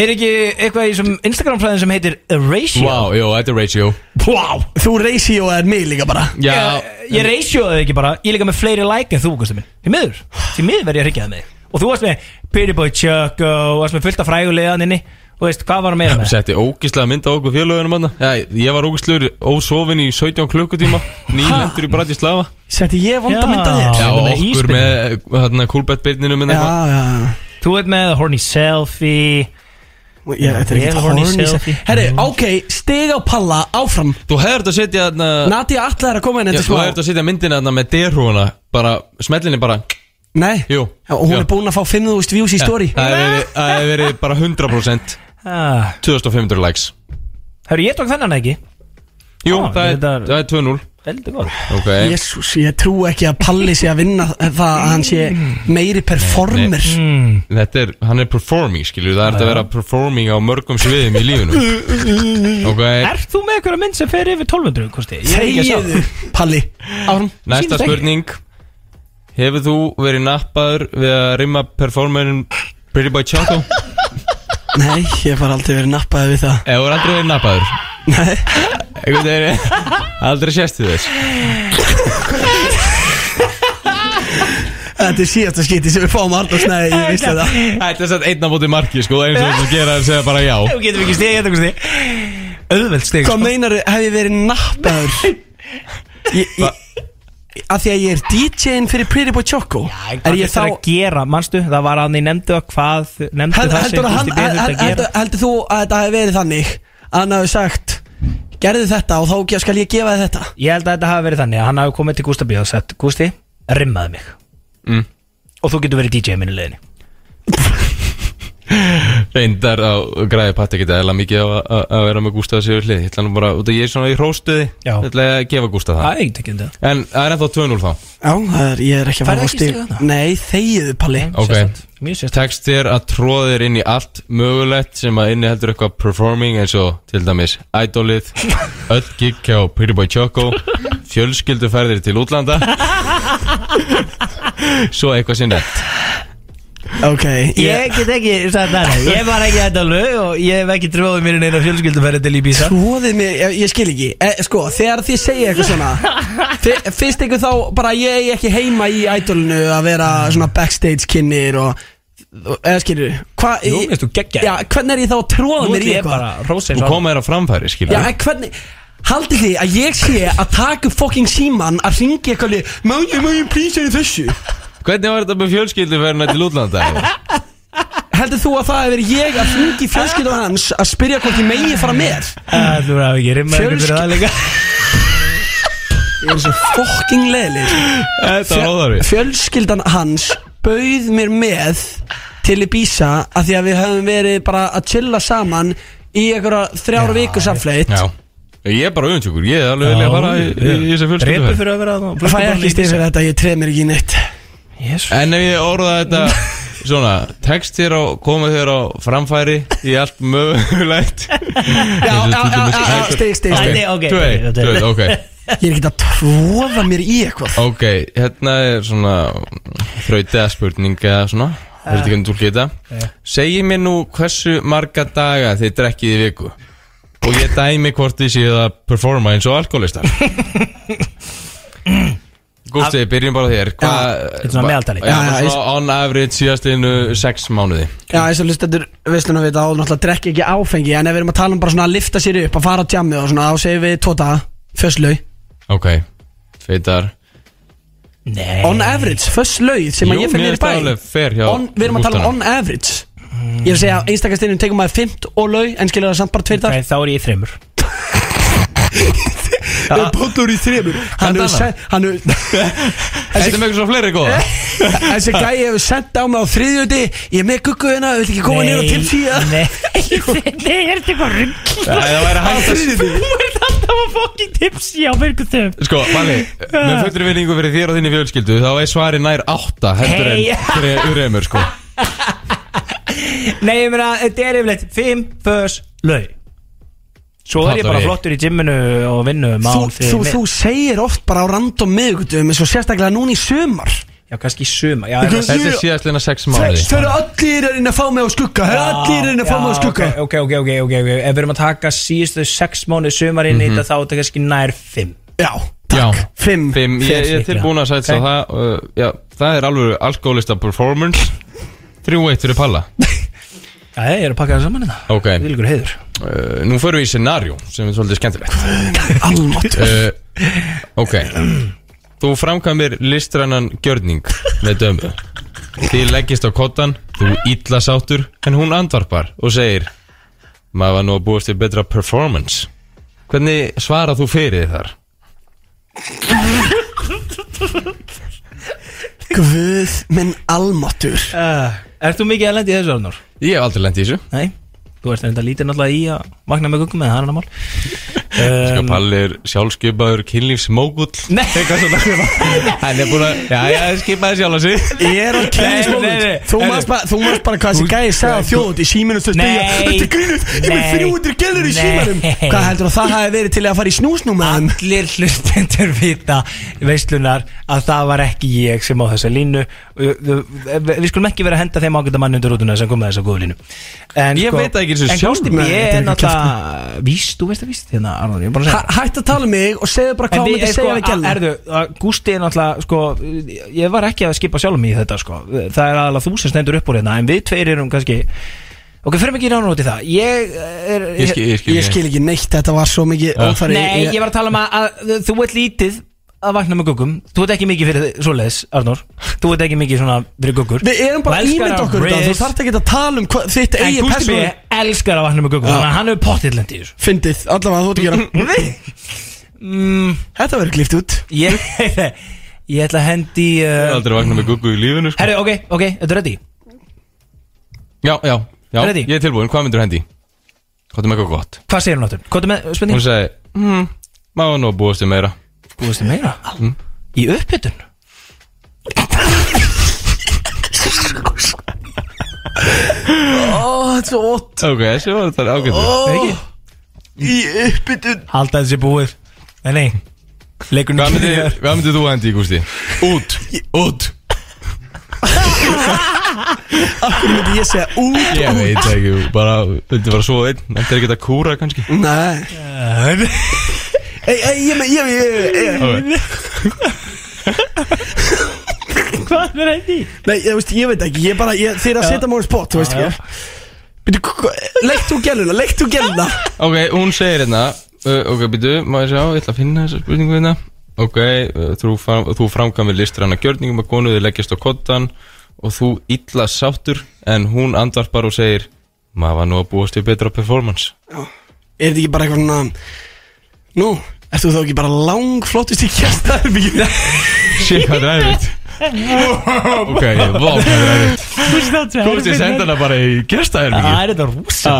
[SPEAKER 2] Er ekki eitthvað í þessum Instagram fræðin sem heitir Ratio?
[SPEAKER 6] Wow, jú, þetta er ratio
[SPEAKER 2] wow.
[SPEAKER 4] Þú ratio er mig líka bara
[SPEAKER 6] Já,
[SPEAKER 2] Ég, ég ratioði ekki bara, ég er líka með fleiri like en þú, Gusti minn Því miður, því miður verð ég að ringjaði mig Og þú varst með Pretty Boy Chuck og varst með fullt af frægulegan inni Og veist, hvað var hann meira með?
[SPEAKER 6] Setti ógislega mynd á okkur félögunum hann Já, ég var ógislegur ósofin í 17
[SPEAKER 4] (laughs)
[SPEAKER 6] klukkutíma Nýlendur í Bratislava
[SPEAKER 4] Setti ég vonda mynd að þér
[SPEAKER 6] Já, okkur með hérna kúlbettbyrninu minn eitthvað
[SPEAKER 4] Já, já, já
[SPEAKER 2] Þú ert með horny selfie
[SPEAKER 4] Já, þetta er
[SPEAKER 2] Vel
[SPEAKER 4] ekkert
[SPEAKER 2] horny
[SPEAKER 4] horny
[SPEAKER 2] selfie. Mm.
[SPEAKER 4] Herri, ok, stig á palla áfram
[SPEAKER 6] Mm. Þú hefur þetta að setja þarna
[SPEAKER 4] Nadia allar er að koma inn
[SPEAKER 6] Já,
[SPEAKER 4] eftir
[SPEAKER 6] Þú hefur
[SPEAKER 4] smá
[SPEAKER 6] þetta að setja myndina þarna með derhúana Bara, smellinni bara
[SPEAKER 4] Nei,
[SPEAKER 6] Jú
[SPEAKER 4] Já, og hún er búin að fá 5.000 views í story
[SPEAKER 6] Það hefur verið- það hefur verið bara 100%
[SPEAKER 2] Ah.
[SPEAKER 6] 2500 likes
[SPEAKER 2] Hörru, ég tók þennan ekki
[SPEAKER 6] Jú,
[SPEAKER 2] Ah,
[SPEAKER 6] það er-
[SPEAKER 2] þetta-
[SPEAKER 6] það er 2-0
[SPEAKER 2] Heldur góð
[SPEAKER 6] Ok
[SPEAKER 4] Jésús, ég trú ekki að Palli sé að vinna það að hann sé meiri performer
[SPEAKER 6] Þetta er, hann er performing, skilju Það er þetta að vera performing á mörgum sviðum í lífinu Ok
[SPEAKER 2] Ert þú með einhverja mynd sem fer yfir 1200 kosti?
[SPEAKER 4] Þegiðu, Palli Áfram
[SPEAKER 6] Næsta spurning Hefur þú verið nappaður við að rimma performerin Pretty Boy Choco?
[SPEAKER 4] (laughs) Nei, ég far aldrei verið nappaði við það
[SPEAKER 6] Eða voru aldrei verið nappaður? Nei Einhvern veginn Aldrei sést þið þess
[SPEAKER 4] Þetta er síðasta skiti sem við fáum Arnars Nei, ég vissi það
[SPEAKER 6] Þetta er satt einna móti marki sko eins og þess að gera að segja bara já
[SPEAKER 2] Þú getum ekki stig, getum ekki stig Auðveld stig sko.
[SPEAKER 4] Hvað meinar, hef ég verið nappaður? Ég, ég, að því að ég er DJ-in fyrir Pretty Boy Choco Er ég þá
[SPEAKER 2] að gera, manstu, það var hann í nefndu að hvað nefndu
[SPEAKER 4] Held-
[SPEAKER 2] það
[SPEAKER 4] heldur, að hann,
[SPEAKER 2] Björn þurfti
[SPEAKER 4] held, heldur, heldur þú að þetta hefði verið þannig að hann hafi sagt gerðu þetta og þá skal ég gefa þér þetta
[SPEAKER 2] Ég held að þetta hafi verið þannig að hann hafi komið til Gústa Bíó og sagt Gústi, rimmaði mig
[SPEAKER 6] Mm.
[SPEAKER 2] og þú getur verið DJ minni leðinni
[SPEAKER 6] Reyndar á græði patti ekki eða mikið á að- að að vera með Gústaf sér hlið Ég ætla nú bara, út að ég er svona í hróstuði
[SPEAKER 2] Já.
[SPEAKER 6] Ég ætla að gefa Gústaf það
[SPEAKER 2] Það er ekki þetta
[SPEAKER 6] En það er ennþá 2-0 þá
[SPEAKER 4] Já, það er, ég er ekki að
[SPEAKER 2] Færðu
[SPEAKER 4] fara á
[SPEAKER 2] ekki
[SPEAKER 4] stig
[SPEAKER 2] stig þarna?
[SPEAKER 4] Nei, þegiðu Palli
[SPEAKER 6] Ok
[SPEAKER 2] Mjög sérst
[SPEAKER 6] Tekst þér að tróða þér inn í allt mögulegt sem að inni heldur eitthvað performing eins og til dæmis
[SPEAKER 2] (laughs)
[SPEAKER 6] Idolið, öll gig hjá Pretty Boy Choco, fjölskylduferðir til útlanda Svo eitthvað sinn rétt
[SPEAKER 4] Ok, ég
[SPEAKER 2] Ég get ekki sagt það Ég var ekki þetta lög og ég hef ekki tróðið mér neina fjölskylduferði til Ibiza
[SPEAKER 4] Tróðið mig, ég, ég skil ekki e, Sko, þegar þið segja eitthvað
[SPEAKER 2] (laughs)
[SPEAKER 4] svona fi- Fyrst ykkur þá, bara ég eigi ekki heima í ædolinu að vera svona backstage kynir og og- eða skilur, hvað
[SPEAKER 2] Jú, veist þú, geggjað.
[SPEAKER 4] Já, hvernig er ég þá að tróða
[SPEAKER 2] Nú
[SPEAKER 4] mér
[SPEAKER 2] ætlum
[SPEAKER 4] í
[SPEAKER 2] ég
[SPEAKER 4] eitthvað
[SPEAKER 2] bara að rósa
[SPEAKER 6] Þú
[SPEAKER 2] eins og
[SPEAKER 6] koma þér á framfæri, skilur
[SPEAKER 4] Já, en hvernig Haldið þið að ég sé að taka upp fucking síman að ringi eitthvað lið Má ég, má ég please er í þessu
[SPEAKER 6] Hvernig var þetta með fjölskylduferðina til útlanda?
[SPEAKER 2] (laughs)
[SPEAKER 4] Heldur þú að það hefur verið ég að ringi fjölskyldu hans að spyrja hvort ég megi fara með Ah.
[SPEAKER 2] Æ, Þú hafði ekki rimmað ykkur fyrir
[SPEAKER 4] Fjölsky-
[SPEAKER 2] það líka
[SPEAKER 4] (laughs) Ég er svo fucking leðileg
[SPEAKER 6] Þetta var óðarvið
[SPEAKER 4] Fjölskyldan hans bauð mér með til Ibiza að því að við höfum verið bara að chilla saman í einhverja þrjára viku samfleitt
[SPEAKER 6] Já Ég er bara auðvitað, ég er alveg vilja að fara í, í, í þessu
[SPEAKER 2] Repu
[SPEAKER 6] fjölskylduferð
[SPEAKER 2] fyrir að vera þarna og
[SPEAKER 4] Fæ
[SPEAKER 2] flöskubolla
[SPEAKER 4] ekki
[SPEAKER 2] í
[SPEAKER 4] stið
[SPEAKER 2] Ibiza.
[SPEAKER 4] fyrir þetta, ég treð mér ekki í neitt
[SPEAKER 2] Jesús.
[SPEAKER 6] En ef ég orða þetta svona Tekst þér á, koma þér á framfæri Í allt mögulegt
[SPEAKER 4] Já, já, já, já, já, stig, stig, stig
[SPEAKER 2] Nei, ok,
[SPEAKER 6] Tvei,
[SPEAKER 2] ok,
[SPEAKER 6] tvei, ok
[SPEAKER 4] (laughs) Ég er ekki að tróða mér í eitthvað
[SPEAKER 6] Ok, hérna er svona Þrautiða spurning eða svona
[SPEAKER 2] Eh.
[SPEAKER 6] Þetta er hvernig tólkið þetta Segji mér nú hversu marga daga þið drekkið í viku Og ég dæmi hvort þið séu að performa eins og
[SPEAKER 2] (coughs)
[SPEAKER 6] alkoholistar Gústi, byrjum bara á þér Hvað-
[SPEAKER 2] Þetta er svona meðaltali.
[SPEAKER 6] Já,
[SPEAKER 4] Já, já,
[SPEAKER 6] svona on average síðastinu sex mánuði
[SPEAKER 4] Já, eins og hlustendur veistluna við þetta og náttúrulega drekki ekki áfengi en ef við erum að tala um bara svona að lifta sér upp að fara á tjammi og svona þá segir við Tota, tóta föslau
[SPEAKER 6] Ok, feitar
[SPEAKER 2] Nei
[SPEAKER 4] on average, föslau sem að ég fyrir niður í bæ
[SPEAKER 6] Fer hjá
[SPEAKER 4] on, við erum að tala um on average ég er að segja að einstakastinnum tekum maður 5 og lau en skilur það samt bara tveir
[SPEAKER 2] Ok,
[SPEAKER 4] dag
[SPEAKER 2] Þá er ég í þreymur
[SPEAKER 4] Póllur í þremur hann
[SPEAKER 6] Þetta
[SPEAKER 4] hefur sent hann hefur (laughs)
[SPEAKER 6] Þetta með eitthvað svo fleiri góða
[SPEAKER 2] Eh?
[SPEAKER 4] þessi gæi hefur sendt á mig á þriðjöndi ég er með gugguðina, vil ekki koma niður og til síðan (laughs)
[SPEAKER 2] Nei, nei, er þetta eitthvað
[SPEAKER 6] Nei,
[SPEAKER 2] ruggl
[SPEAKER 6] Það væri hægt að
[SPEAKER 2] Þú ert alltaf að fokkin tipsi á virkutum
[SPEAKER 6] Sko, Valli,
[SPEAKER 2] Ah.
[SPEAKER 6] með fullri vinningu fyrir þér og þinni fjölskyldu þá er svari nær átta heldur
[SPEAKER 2] Hey. (laughs)
[SPEAKER 6] en fyrir Uremur, sko Já,
[SPEAKER 2] Nei, ég meina, þetta er yfirleitt Fimm, fös, lög Svo er ég bara flottur í gymminu og um vinnu
[SPEAKER 4] Þú, þú, þú segir oft bara á random miðgutum eins og sérstaklega núna í sumar
[SPEAKER 2] Já, kannski í suma já,
[SPEAKER 4] Þetta-
[SPEAKER 6] Þetta er síðastlega sex mánuði
[SPEAKER 4] Þau eru allir að reyna að fá mig á skugga Það eru allir að reyna að fá mig á skugga
[SPEAKER 2] Ok, ok, ok, ok, ok Ef við erum að taka síðustu sex mánu sumarinn í
[SPEAKER 6] Mhm.
[SPEAKER 2] þetta Þá er þetta kannski nær fimm
[SPEAKER 4] Já
[SPEAKER 6] Já,
[SPEAKER 4] fimm,
[SPEAKER 6] fimm. Ég, ég er
[SPEAKER 2] Fer-
[SPEAKER 6] tilbúin að sætsa
[SPEAKER 2] Ok.
[SPEAKER 6] það uh, já, Það er alveg alkoholista performance 3-1 fyrir
[SPEAKER 2] (laughs)
[SPEAKER 6] Palla
[SPEAKER 2] Já, ég er að pakka það saman þetta
[SPEAKER 6] Ok
[SPEAKER 2] Vilgur heiður
[SPEAKER 6] uh, Nú förum við í scenarjó sem er
[SPEAKER 8] (laughs)
[SPEAKER 6] svolítið skemmtilegt
[SPEAKER 4] Almáttur
[SPEAKER 6] uh, Ok Þú framkvæmir listrannan gjörning með dömu Þið leggist á kottan, þú illa sáttur en hún andvarpar og segir maður var nú að búast til betra performance Hvernig svarar þú fyrir þið þar?
[SPEAKER 4] Guð minn almáttur
[SPEAKER 2] uh, Ert þú mikið að lendi í þessu Arnur?
[SPEAKER 6] Ég hef aldrei lendi í þessu
[SPEAKER 2] Nei, þú ert enda lítið náttúrulega í að vakna með guggum eða það er annar mál
[SPEAKER 6] Ska Sko, Palli er sjálfskeipaður kynlífsmógull
[SPEAKER 2] Eh,
[SPEAKER 6] Nei Eitthvað
[SPEAKER 2] (laughs)
[SPEAKER 6] svona Hann er búin að Já, já, skipaði sjálf að sig
[SPEAKER 4] Ég er á kynlismóðund Þú manst bara, þú
[SPEAKER 6] (laughs)
[SPEAKER 4] manst bara hvað þessi gæði sagði á þjóðund í síminum Þú spyrja,
[SPEAKER 2] Nei.
[SPEAKER 4] þetta er grínust, ég er með
[SPEAKER 2] Nei.
[SPEAKER 4] 300 gælur í
[SPEAKER 2] Nei.
[SPEAKER 4] símanum Hvað heldur að það hafi verið til að fara í snúsnúma
[SPEAKER 2] Allir hlustendur vita veislunar að það var ekki ég sem á þessa línu Við við skulum ekki vera að henda þeim ágæta manni undir rútuna sem kom með þessa góðu línu en, sko,
[SPEAKER 6] Ég veit það ekki eins og
[SPEAKER 2] En
[SPEAKER 6] sjálf.
[SPEAKER 2] Kosti B
[SPEAKER 6] Nei, þetta er
[SPEAKER 2] er
[SPEAKER 6] ekki
[SPEAKER 2] náttúrulega víst, þú veist það víst hérna Arnur, ég er bara að segja það.
[SPEAKER 4] Hætt að tala um mig og segðu bara
[SPEAKER 2] En
[SPEAKER 4] hvað hún
[SPEAKER 2] við,
[SPEAKER 4] myndi
[SPEAKER 2] sko,
[SPEAKER 4] segja við
[SPEAKER 2] að-
[SPEAKER 4] gælur
[SPEAKER 2] erðu, að Gústi er náttúrulega, sko, ég var ekki að skipa sjálf mig í þetta, sko Það er aðalega þú sem stendur upp úr hérna, en við tveir erum kannski Ok, fyrir ekki rána út í það Ég eh, er
[SPEAKER 6] Ég skil- ég skil-
[SPEAKER 4] Ég skil ekki neitt, þetta var svo mikið
[SPEAKER 6] Já.
[SPEAKER 4] óþarri
[SPEAKER 2] Nei, ég var að tala um að, að þú ert lítið að vakna með guggum Þú ert ekki mikið fyrir svoleiðis, Arnór Þú ert ekki mikið svona fyrir guggur
[SPEAKER 4] Við erum bara ímynd okkur þetta, þú þarf ekki að tala um hvað- þitt
[SPEAKER 2] En
[SPEAKER 4] eigið
[SPEAKER 2] Gústi B
[SPEAKER 4] persónu
[SPEAKER 2] elskar að vakna með guggum
[SPEAKER 4] Já.
[SPEAKER 2] Þannig að hann hefur pottið lendi í þessu
[SPEAKER 4] Fyndið, allavega þú ert ekki að gera
[SPEAKER 2] mm,
[SPEAKER 4] Þetta verður klift út
[SPEAKER 2] Ég, (laughs) ég ætla að hendi
[SPEAKER 6] Ég er
[SPEAKER 2] uh,
[SPEAKER 6] aldrei vakna með guggu í lífinu sko.
[SPEAKER 2] Herri, ok, ok, þetta er ready
[SPEAKER 6] Já, já, já
[SPEAKER 2] Ready?
[SPEAKER 6] Ég er tilbúin, hvað myndur hendi? Hvað er með eitthvað gott?
[SPEAKER 2] Hvað segir hún áttur? Hvað er með
[SPEAKER 6] Hún
[SPEAKER 2] spurning? Hmm.
[SPEAKER 6] segi, mm, maður nú að búast til meira
[SPEAKER 2] Búist þið meira?
[SPEAKER 6] Mm.
[SPEAKER 2] Í uppbytun?
[SPEAKER 4] Ó, þetta er svo ótt
[SPEAKER 6] Ok, þessi var þetta ágætlega
[SPEAKER 2] Ekki?
[SPEAKER 4] Í uppbytun
[SPEAKER 2] Halda þessi búið Nei, nei Leikur
[SPEAKER 6] Hvað myndir, hvað myndir þú hendi, Gústi? Út, út
[SPEAKER 4] Akkur myndi ég segja út
[SPEAKER 6] Ég veit það ekki, þú bara, vildi bara svo einn Þetta er ekki að kúra kannski
[SPEAKER 4] Nei Ei, ei, ég með, ég með, ég
[SPEAKER 6] Ok.
[SPEAKER 2] (laughs) Hvað er hendi?
[SPEAKER 4] Nei, ég veist, ég veit ekki, ég bara, ég, þeir að setja mér á spott, þú veist
[SPEAKER 6] Já, já.
[SPEAKER 4] ekki Býtu, leikt þú gæluna, leikt þú gæluna
[SPEAKER 6] Ok, hún segir hérna uh, Ok, býtu, má ég sjá, ég ætla að finna þessa spurningu hérna Ok, uh, þú, fram, þú framkvæmir listræna gjörningum að konu þið leggjast á kottan og þú illa sáttur en hún andvarpar og segir maður var nú að búast til betra performance
[SPEAKER 4] Er þetta ekki bara eitthvað svona Nú, ert þú þá ekki bara langflottist í kjæstaðarbyggjum
[SPEAKER 6] Shit, hvað þetta er erfitt (laughs) Ok, vá, hvað þetta er erfitt Gústi, senda hana bara í Ah. gestahermingi
[SPEAKER 2] Það er þetta rúsa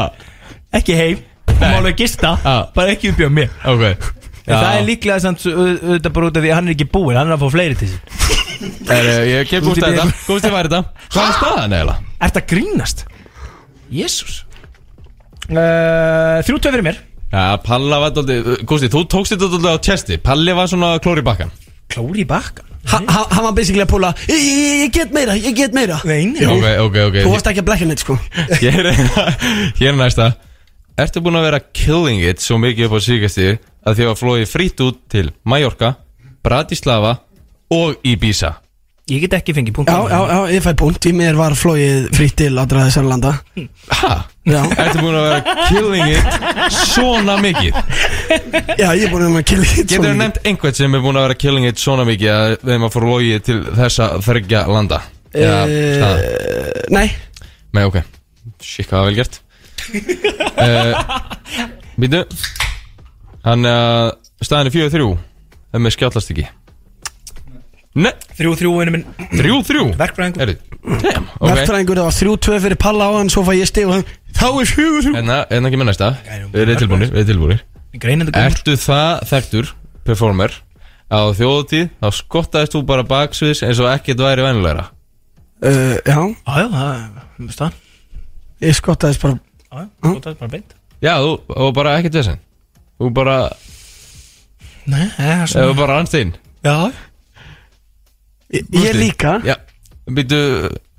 [SPEAKER 2] Ekki heim Má alveg gista Bara ekki uppjöð mér
[SPEAKER 6] Ah. Ok Ah.
[SPEAKER 2] En það
[SPEAKER 6] Já.
[SPEAKER 2] er líklega samt au- auðvitað bara út af því að hann er ekki búinn Hann er að fá fleiri til sín
[SPEAKER 6] Heru, Ég gef Gústi þetta Gústi var þetta Hvað er staðan eða?
[SPEAKER 2] Ert að grínast? Jésús uh, Þrjú tvö fyrir mér
[SPEAKER 6] Já, Palla var dálítið Gústi, þú tókst þetta dálítið á tjesti Palli var svona klóri bakkan
[SPEAKER 2] Klóri bakkan?
[SPEAKER 4] Hann var basically að púla "Ég- Ég ég get meira, ég get meira
[SPEAKER 2] Nei, nei
[SPEAKER 6] Ok, ok, ok
[SPEAKER 4] Þú varst ekki að blekka neitt, sko
[SPEAKER 6] (laughs) Ég er, hérna, ég er næsta Ertu búin að vera killing it svo mikið upp á síkasti að þið var flóið frýtt út til Mallorca, Bratislava og Ibiza
[SPEAKER 2] Ég get ekki fengið punkt
[SPEAKER 4] Já, já, já, ég fæ punkt, í mér var flóið fritt til aðra þessar landa
[SPEAKER 2] Hm.
[SPEAKER 6] Hæ?
[SPEAKER 4] Já,
[SPEAKER 6] Ertu búin að vera killing it svona mikið?
[SPEAKER 4] já, ég er búin að killa hitt
[SPEAKER 6] Getur þú nefnt einhvern sem er búin að vera killing it svona mikið að við erum að fór logið til þessa þryggja landa? Eða
[SPEAKER 4] Eh,
[SPEAKER 6] staða?
[SPEAKER 4] Nei,
[SPEAKER 6] Nei, ok Shit, hvað var vel gert uh, Býtu Hann, uh, staðan er 4-3 Það með skjállast ekki Nei,
[SPEAKER 2] Þrjú þrjú vinnu minn
[SPEAKER 6] 3-3
[SPEAKER 2] Verkfræðingur
[SPEAKER 6] Erðu, damn, ok
[SPEAKER 4] verktræðingur, það var 3-2 fyrir Palla á hann, svo fæ ég stig og hann Þá er 4-3
[SPEAKER 6] Enna, enna ekki með Hérna, næsta Við erum tilbúinir, við erum tilbúinir
[SPEAKER 2] Greinandi góður
[SPEAKER 6] Ertu það þekktur, performer Á þjóðutíð, þá skottaðist þú bara baksviðs eins og ekkert væri vennilegra
[SPEAKER 4] uh, Já
[SPEAKER 2] Já, já, það er stað
[SPEAKER 4] Ég skottaðist bara
[SPEAKER 2] Já, já, það er bara beint
[SPEAKER 6] Já, þú, og bara ekkert þessin Þú bara,
[SPEAKER 2] Nei, það er
[SPEAKER 6] þú
[SPEAKER 2] svona
[SPEAKER 6] bara rannst inn
[SPEAKER 2] Já
[SPEAKER 4] Ég líka
[SPEAKER 6] Já, býtu,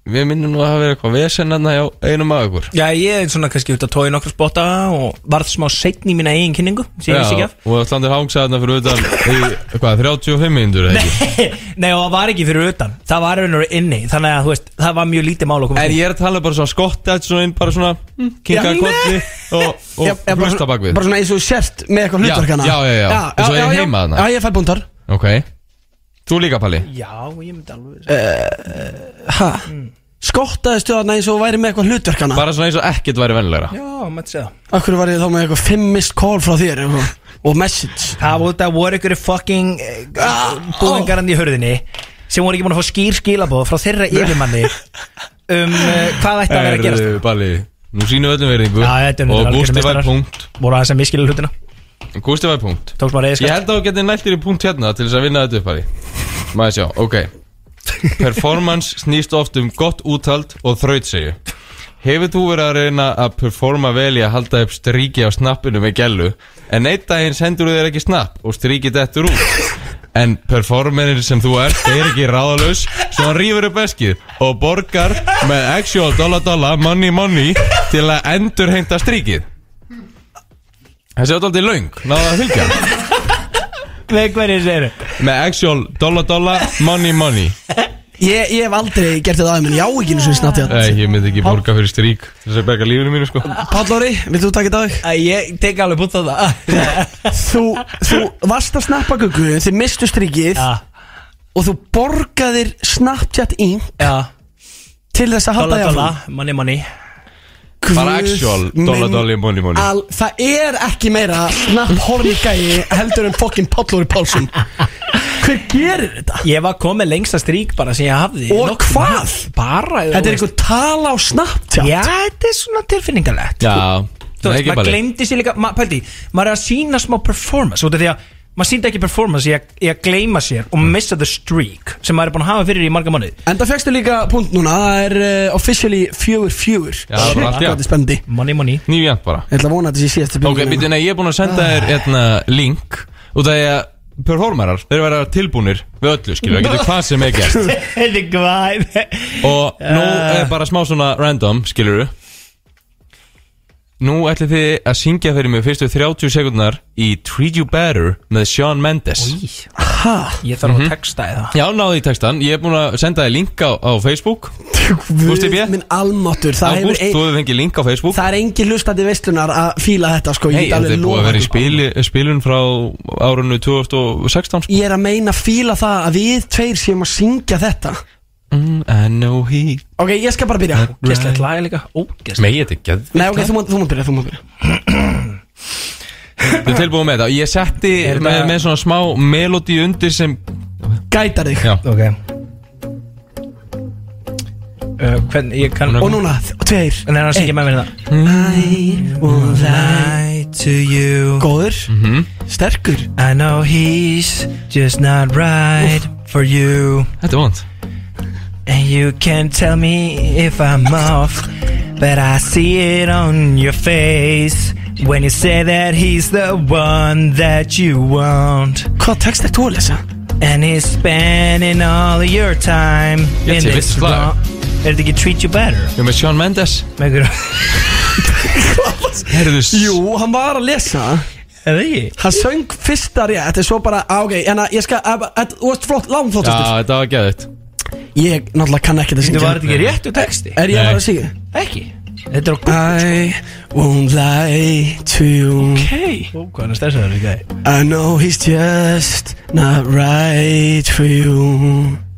[SPEAKER 6] við minnum nú að hafa verið eitthvað vesen hann hjá einum af ykkur
[SPEAKER 2] Já, ég er svona kannski út að tói nokkra spotta og varð smá seitn í mína eigin kynningu sem ég vissi ekki af
[SPEAKER 6] og Allandir hangsaðna fyrir utan í, hvað, 35 minnur eða ekki?
[SPEAKER 2] Nei, og það var ekki fyrir utan Það var raunur inni Þannig að, þú veist, það var mjög lítið mál að koma
[SPEAKER 6] En
[SPEAKER 2] fyrir.
[SPEAKER 6] ég er að tala bara svona skottið svona inn, bara svona
[SPEAKER 2] Já,
[SPEAKER 6] kinkaði kolli og, og
[SPEAKER 4] Já, já, bara
[SPEAKER 6] hlusta
[SPEAKER 4] svona-
[SPEAKER 6] bak við
[SPEAKER 4] Bara svona eins og þú sért með eitthvað
[SPEAKER 6] Já,
[SPEAKER 4] hlutverkana
[SPEAKER 6] já, já, já. Eins og er heima þarna.
[SPEAKER 4] Já, ég fæ búndar
[SPEAKER 6] Ok, þú líka Palli
[SPEAKER 2] Já, ég myndi alveg
[SPEAKER 4] Hæ?
[SPEAKER 2] Mm.
[SPEAKER 4] Skottaðist þú þarna eins og þú væri með eitthvað hlutverkana
[SPEAKER 6] Bara svona eins og ekkert væri vennilegra
[SPEAKER 2] Já, maður segja
[SPEAKER 4] Akkur var ég þá með eitthvað fimm missed call frá þér og, og message
[SPEAKER 2] Það voru þetta voru ykkur fucking
[SPEAKER 6] Ah!
[SPEAKER 2] uh, búðingarann í hörðinni sem voru ekki búin að fá skýr skilabóð frá þeirra yfirmanni um uh, hvað ætti að vera að gerast
[SPEAKER 6] Erðu, Palli, nú sínum við öllum verðingu
[SPEAKER 2] Já, þetta er
[SPEAKER 6] Og
[SPEAKER 2] algjörðu
[SPEAKER 6] Gústi var
[SPEAKER 2] meistarar.
[SPEAKER 6] punkt
[SPEAKER 2] voru aðeins að miskila hlutina
[SPEAKER 6] Gústi var punkt
[SPEAKER 2] tókst maður
[SPEAKER 6] Ég
[SPEAKER 2] reyðskast
[SPEAKER 6] held að þú getið nælt þér í punkt hérna til þess að vinna þetta upp Palli Maður sjá, ok Performance snýst oft um gott úthald og þrautsegju Hefur þú verið að reyna að performa vel í að halda upp stríki á snappinu með gellu En einn daginn sendur þú þér ekki snapp og stríkið dettur út En performerin sem þú ert er ekki ráðalaus Svo hann rýfur upp eskið og borgar með actual dollar dollar money money Til að endur heimta stríkið Þessi átt aldrei löng, náðu að fylgja
[SPEAKER 2] (laughs) með hverju segir
[SPEAKER 6] Með actual dollar dollar money money
[SPEAKER 4] Ég, ég hef aldrei gert þetta aðeins, menn ég á ekki eins og snatti þetta
[SPEAKER 6] Nei, Eh, ég myndi ekki borga fyrir strík til Þess að berga lífinu mínu sko
[SPEAKER 4] Páll Óri, vilt þú taka þetta á þig?
[SPEAKER 2] ég tek alveg bútt á það
[SPEAKER 4] (laughs) þú, þú varst að snappa guggu, þið mistu strikið
[SPEAKER 2] Já.
[SPEAKER 4] Og þú borgaðir Snapchat í
[SPEAKER 2] Já,
[SPEAKER 4] til þess að halda
[SPEAKER 2] dolla
[SPEAKER 4] því
[SPEAKER 2] dolla,
[SPEAKER 4] áfram
[SPEAKER 2] money money
[SPEAKER 4] Guð
[SPEAKER 6] Bara actual dollar
[SPEAKER 4] minn
[SPEAKER 6] dollar money money
[SPEAKER 4] Al, það er ekki meira snapp horni gæi heldur en fokkin Pállóri Pálsson Hver gerir þetta?
[SPEAKER 2] Ég var komið lengsta strík bara sem ég hafði
[SPEAKER 4] Og
[SPEAKER 2] Nokkuð-
[SPEAKER 4] hvað?
[SPEAKER 2] Bara
[SPEAKER 4] Þetta er einhver tala á Snapchat
[SPEAKER 2] Já, þetta er svona tilfinningalegt
[SPEAKER 6] Já, það er
[SPEAKER 2] Þú veist,
[SPEAKER 6] ekki
[SPEAKER 2] maður
[SPEAKER 6] bara
[SPEAKER 2] glemdi sér líka ma, Pældi, maður er að sína smá performance út af því að maður sýndi ekki performance í að, í að gleyma sér
[SPEAKER 6] Mm.
[SPEAKER 2] og missa the streak sem maður er búin að hafa fyrir í marga mánuði
[SPEAKER 4] Enda fegstu líka punkt núna, það er uh, officially fjögur fjögur
[SPEAKER 6] Já, það er bara allt í
[SPEAKER 4] hvað
[SPEAKER 6] allt.
[SPEAKER 4] þetta er spendi
[SPEAKER 2] Money, money
[SPEAKER 6] Nýfjönd bara
[SPEAKER 4] Ég ætla að vona að þetta sé síðast
[SPEAKER 6] Ok, býtu, nei, ég er búinn að senda þér hérna link Út af því að performerar, þeir verða tilbúnir Við öllu, skilur, það getur hvað sem er gert
[SPEAKER 2] Þetta er hvað
[SPEAKER 6] Og nú
[SPEAKER 4] Eh.
[SPEAKER 6] er bara smá svona random, skilur Nú ætlið þið að syngja fyrir mig fyrstu 30 sekundnar í Treat You Better með Shawn Mendes
[SPEAKER 4] Hæ?
[SPEAKER 2] Ég þarf
[SPEAKER 6] Mhm.
[SPEAKER 2] að texta í það
[SPEAKER 6] Já, náðu í textan, ég er búinn að senda þér link á, á Facebook Gústi B?
[SPEAKER 4] Minn almáttur, það
[SPEAKER 6] Ágúst,
[SPEAKER 4] hefur ein,
[SPEAKER 6] þú hefur fengið link á Facebook
[SPEAKER 4] Það er engin hlustandi veistlunar að fíla þetta sko
[SPEAKER 6] Nei,
[SPEAKER 4] Ég, get
[SPEAKER 6] þetta
[SPEAKER 4] alveg
[SPEAKER 6] er búið
[SPEAKER 4] lofað
[SPEAKER 6] að vera í
[SPEAKER 4] ykkur.
[SPEAKER 6] spili, spilun frá árunnu 2016 sko.
[SPEAKER 4] ég er að meina fíla það að við tveir séum að syngja þetta
[SPEAKER 6] mm, I know he
[SPEAKER 4] Ok, ég skal bara byrja
[SPEAKER 2] Gæstlegt laga líka Ógæstlegt
[SPEAKER 6] Nei, þetta er geð
[SPEAKER 4] Nei, ok, þú mátt þú mátt byrja, þú mátt byrja
[SPEAKER 6] Þú er tilbúið með þetta Ég setti
[SPEAKER 2] Er
[SPEAKER 6] með,
[SPEAKER 2] þetta-
[SPEAKER 6] með svona smá melodi undir sem
[SPEAKER 4] Gætar þig
[SPEAKER 6] Já,
[SPEAKER 2] Ok uh, Hvernig, ég kann
[SPEAKER 4] Og núna, þ- tveir
[SPEAKER 2] En það er að syngja með mér það
[SPEAKER 4] I will lie
[SPEAKER 2] Lie to you
[SPEAKER 4] Góður
[SPEAKER 6] Mhm.
[SPEAKER 4] Sterkur
[SPEAKER 2] I know he's just not right for you
[SPEAKER 6] þetta er vond
[SPEAKER 2] And you can tell me if I'm off, but I see it on your face when you say that he's the one that you want.
[SPEAKER 4] Hvað text er þú að lesa?
[SPEAKER 2] And he's spending all your time
[SPEAKER 6] Ég
[SPEAKER 2] in
[SPEAKER 6] sé
[SPEAKER 2] this
[SPEAKER 6] viss lag.
[SPEAKER 2] wrong. Er þetta ekki treat you better?
[SPEAKER 6] Ég er með Shawn Mendes
[SPEAKER 2] Með ykkur,
[SPEAKER 6] Herðu, s-
[SPEAKER 4] Jú, hann var að lesa
[SPEAKER 2] er það ekki?
[SPEAKER 4] Hann söng fyrsta rétt Þetta er svo bara, á, ok, en að ég skal að- að- Þú varst flott,
[SPEAKER 6] Já,
[SPEAKER 4] langflottastur
[SPEAKER 6] þetta var geðið
[SPEAKER 4] Ég náttúrulega kann ekki þetta
[SPEAKER 2] Þetta var
[SPEAKER 4] syngja
[SPEAKER 2] þetta ekki réttu texti?
[SPEAKER 4] Er ég að
[SPEAKER 6] Nei.
[SPEAKER 4] fara að syngja?
[SPEAKER 2] Ekki. Þetta er okkur.
[SPEAKER 4] I won't lie to you
[SPEAKER 2] Hey. Ó, hvað er stærsa það er ekki?
[SPEAKER 4] I know he's just not right for you (laughs)